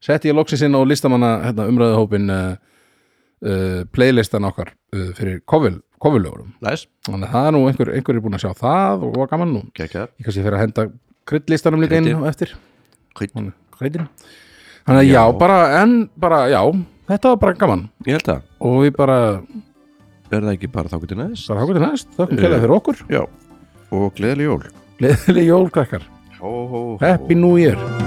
[SPEAKER 2] setti ég loksins inn á listamanna hérna, umræðihópin uh, uh, playlistan okkar uh, fyrir kofil, kofilögurum,
[SPEAKER 1] Næs,
[SPEAKER 2] þannig að það er nú einhver, einhver er búin að sjá það og var gaman nú
[SPEAKER 1] gekkjað
[SPEAKER 2] ég kannski fyrir að henda kryddlistanum líka inn
[SPEAKER 1] Kryddið.
[SPEAKER 2] á eftir
[SPEAKER 1] Krydd.
[SPEAKER 2] Hún- kryddin þannig að já.
[SPEAKER 1] Já.
[SPEAKER 2] bara en bara já, þetta var bara gaman
[SPEAKER 1] Ég held að,
[SPEAKER 2] og við bara,
[SPEAKER 1] er það ekki bara þá getur næst?
[SPEAKER 2] bara hákvæmt næst, þökkum kælega fyrir okkur
[SPEAKER 1] Já, og gleðileg jól
[SPEAKER 2] gleðileg jólkrakkar,
[SPEAKER 1] Hó, hó, hó
[SPEAKER 2] happy new year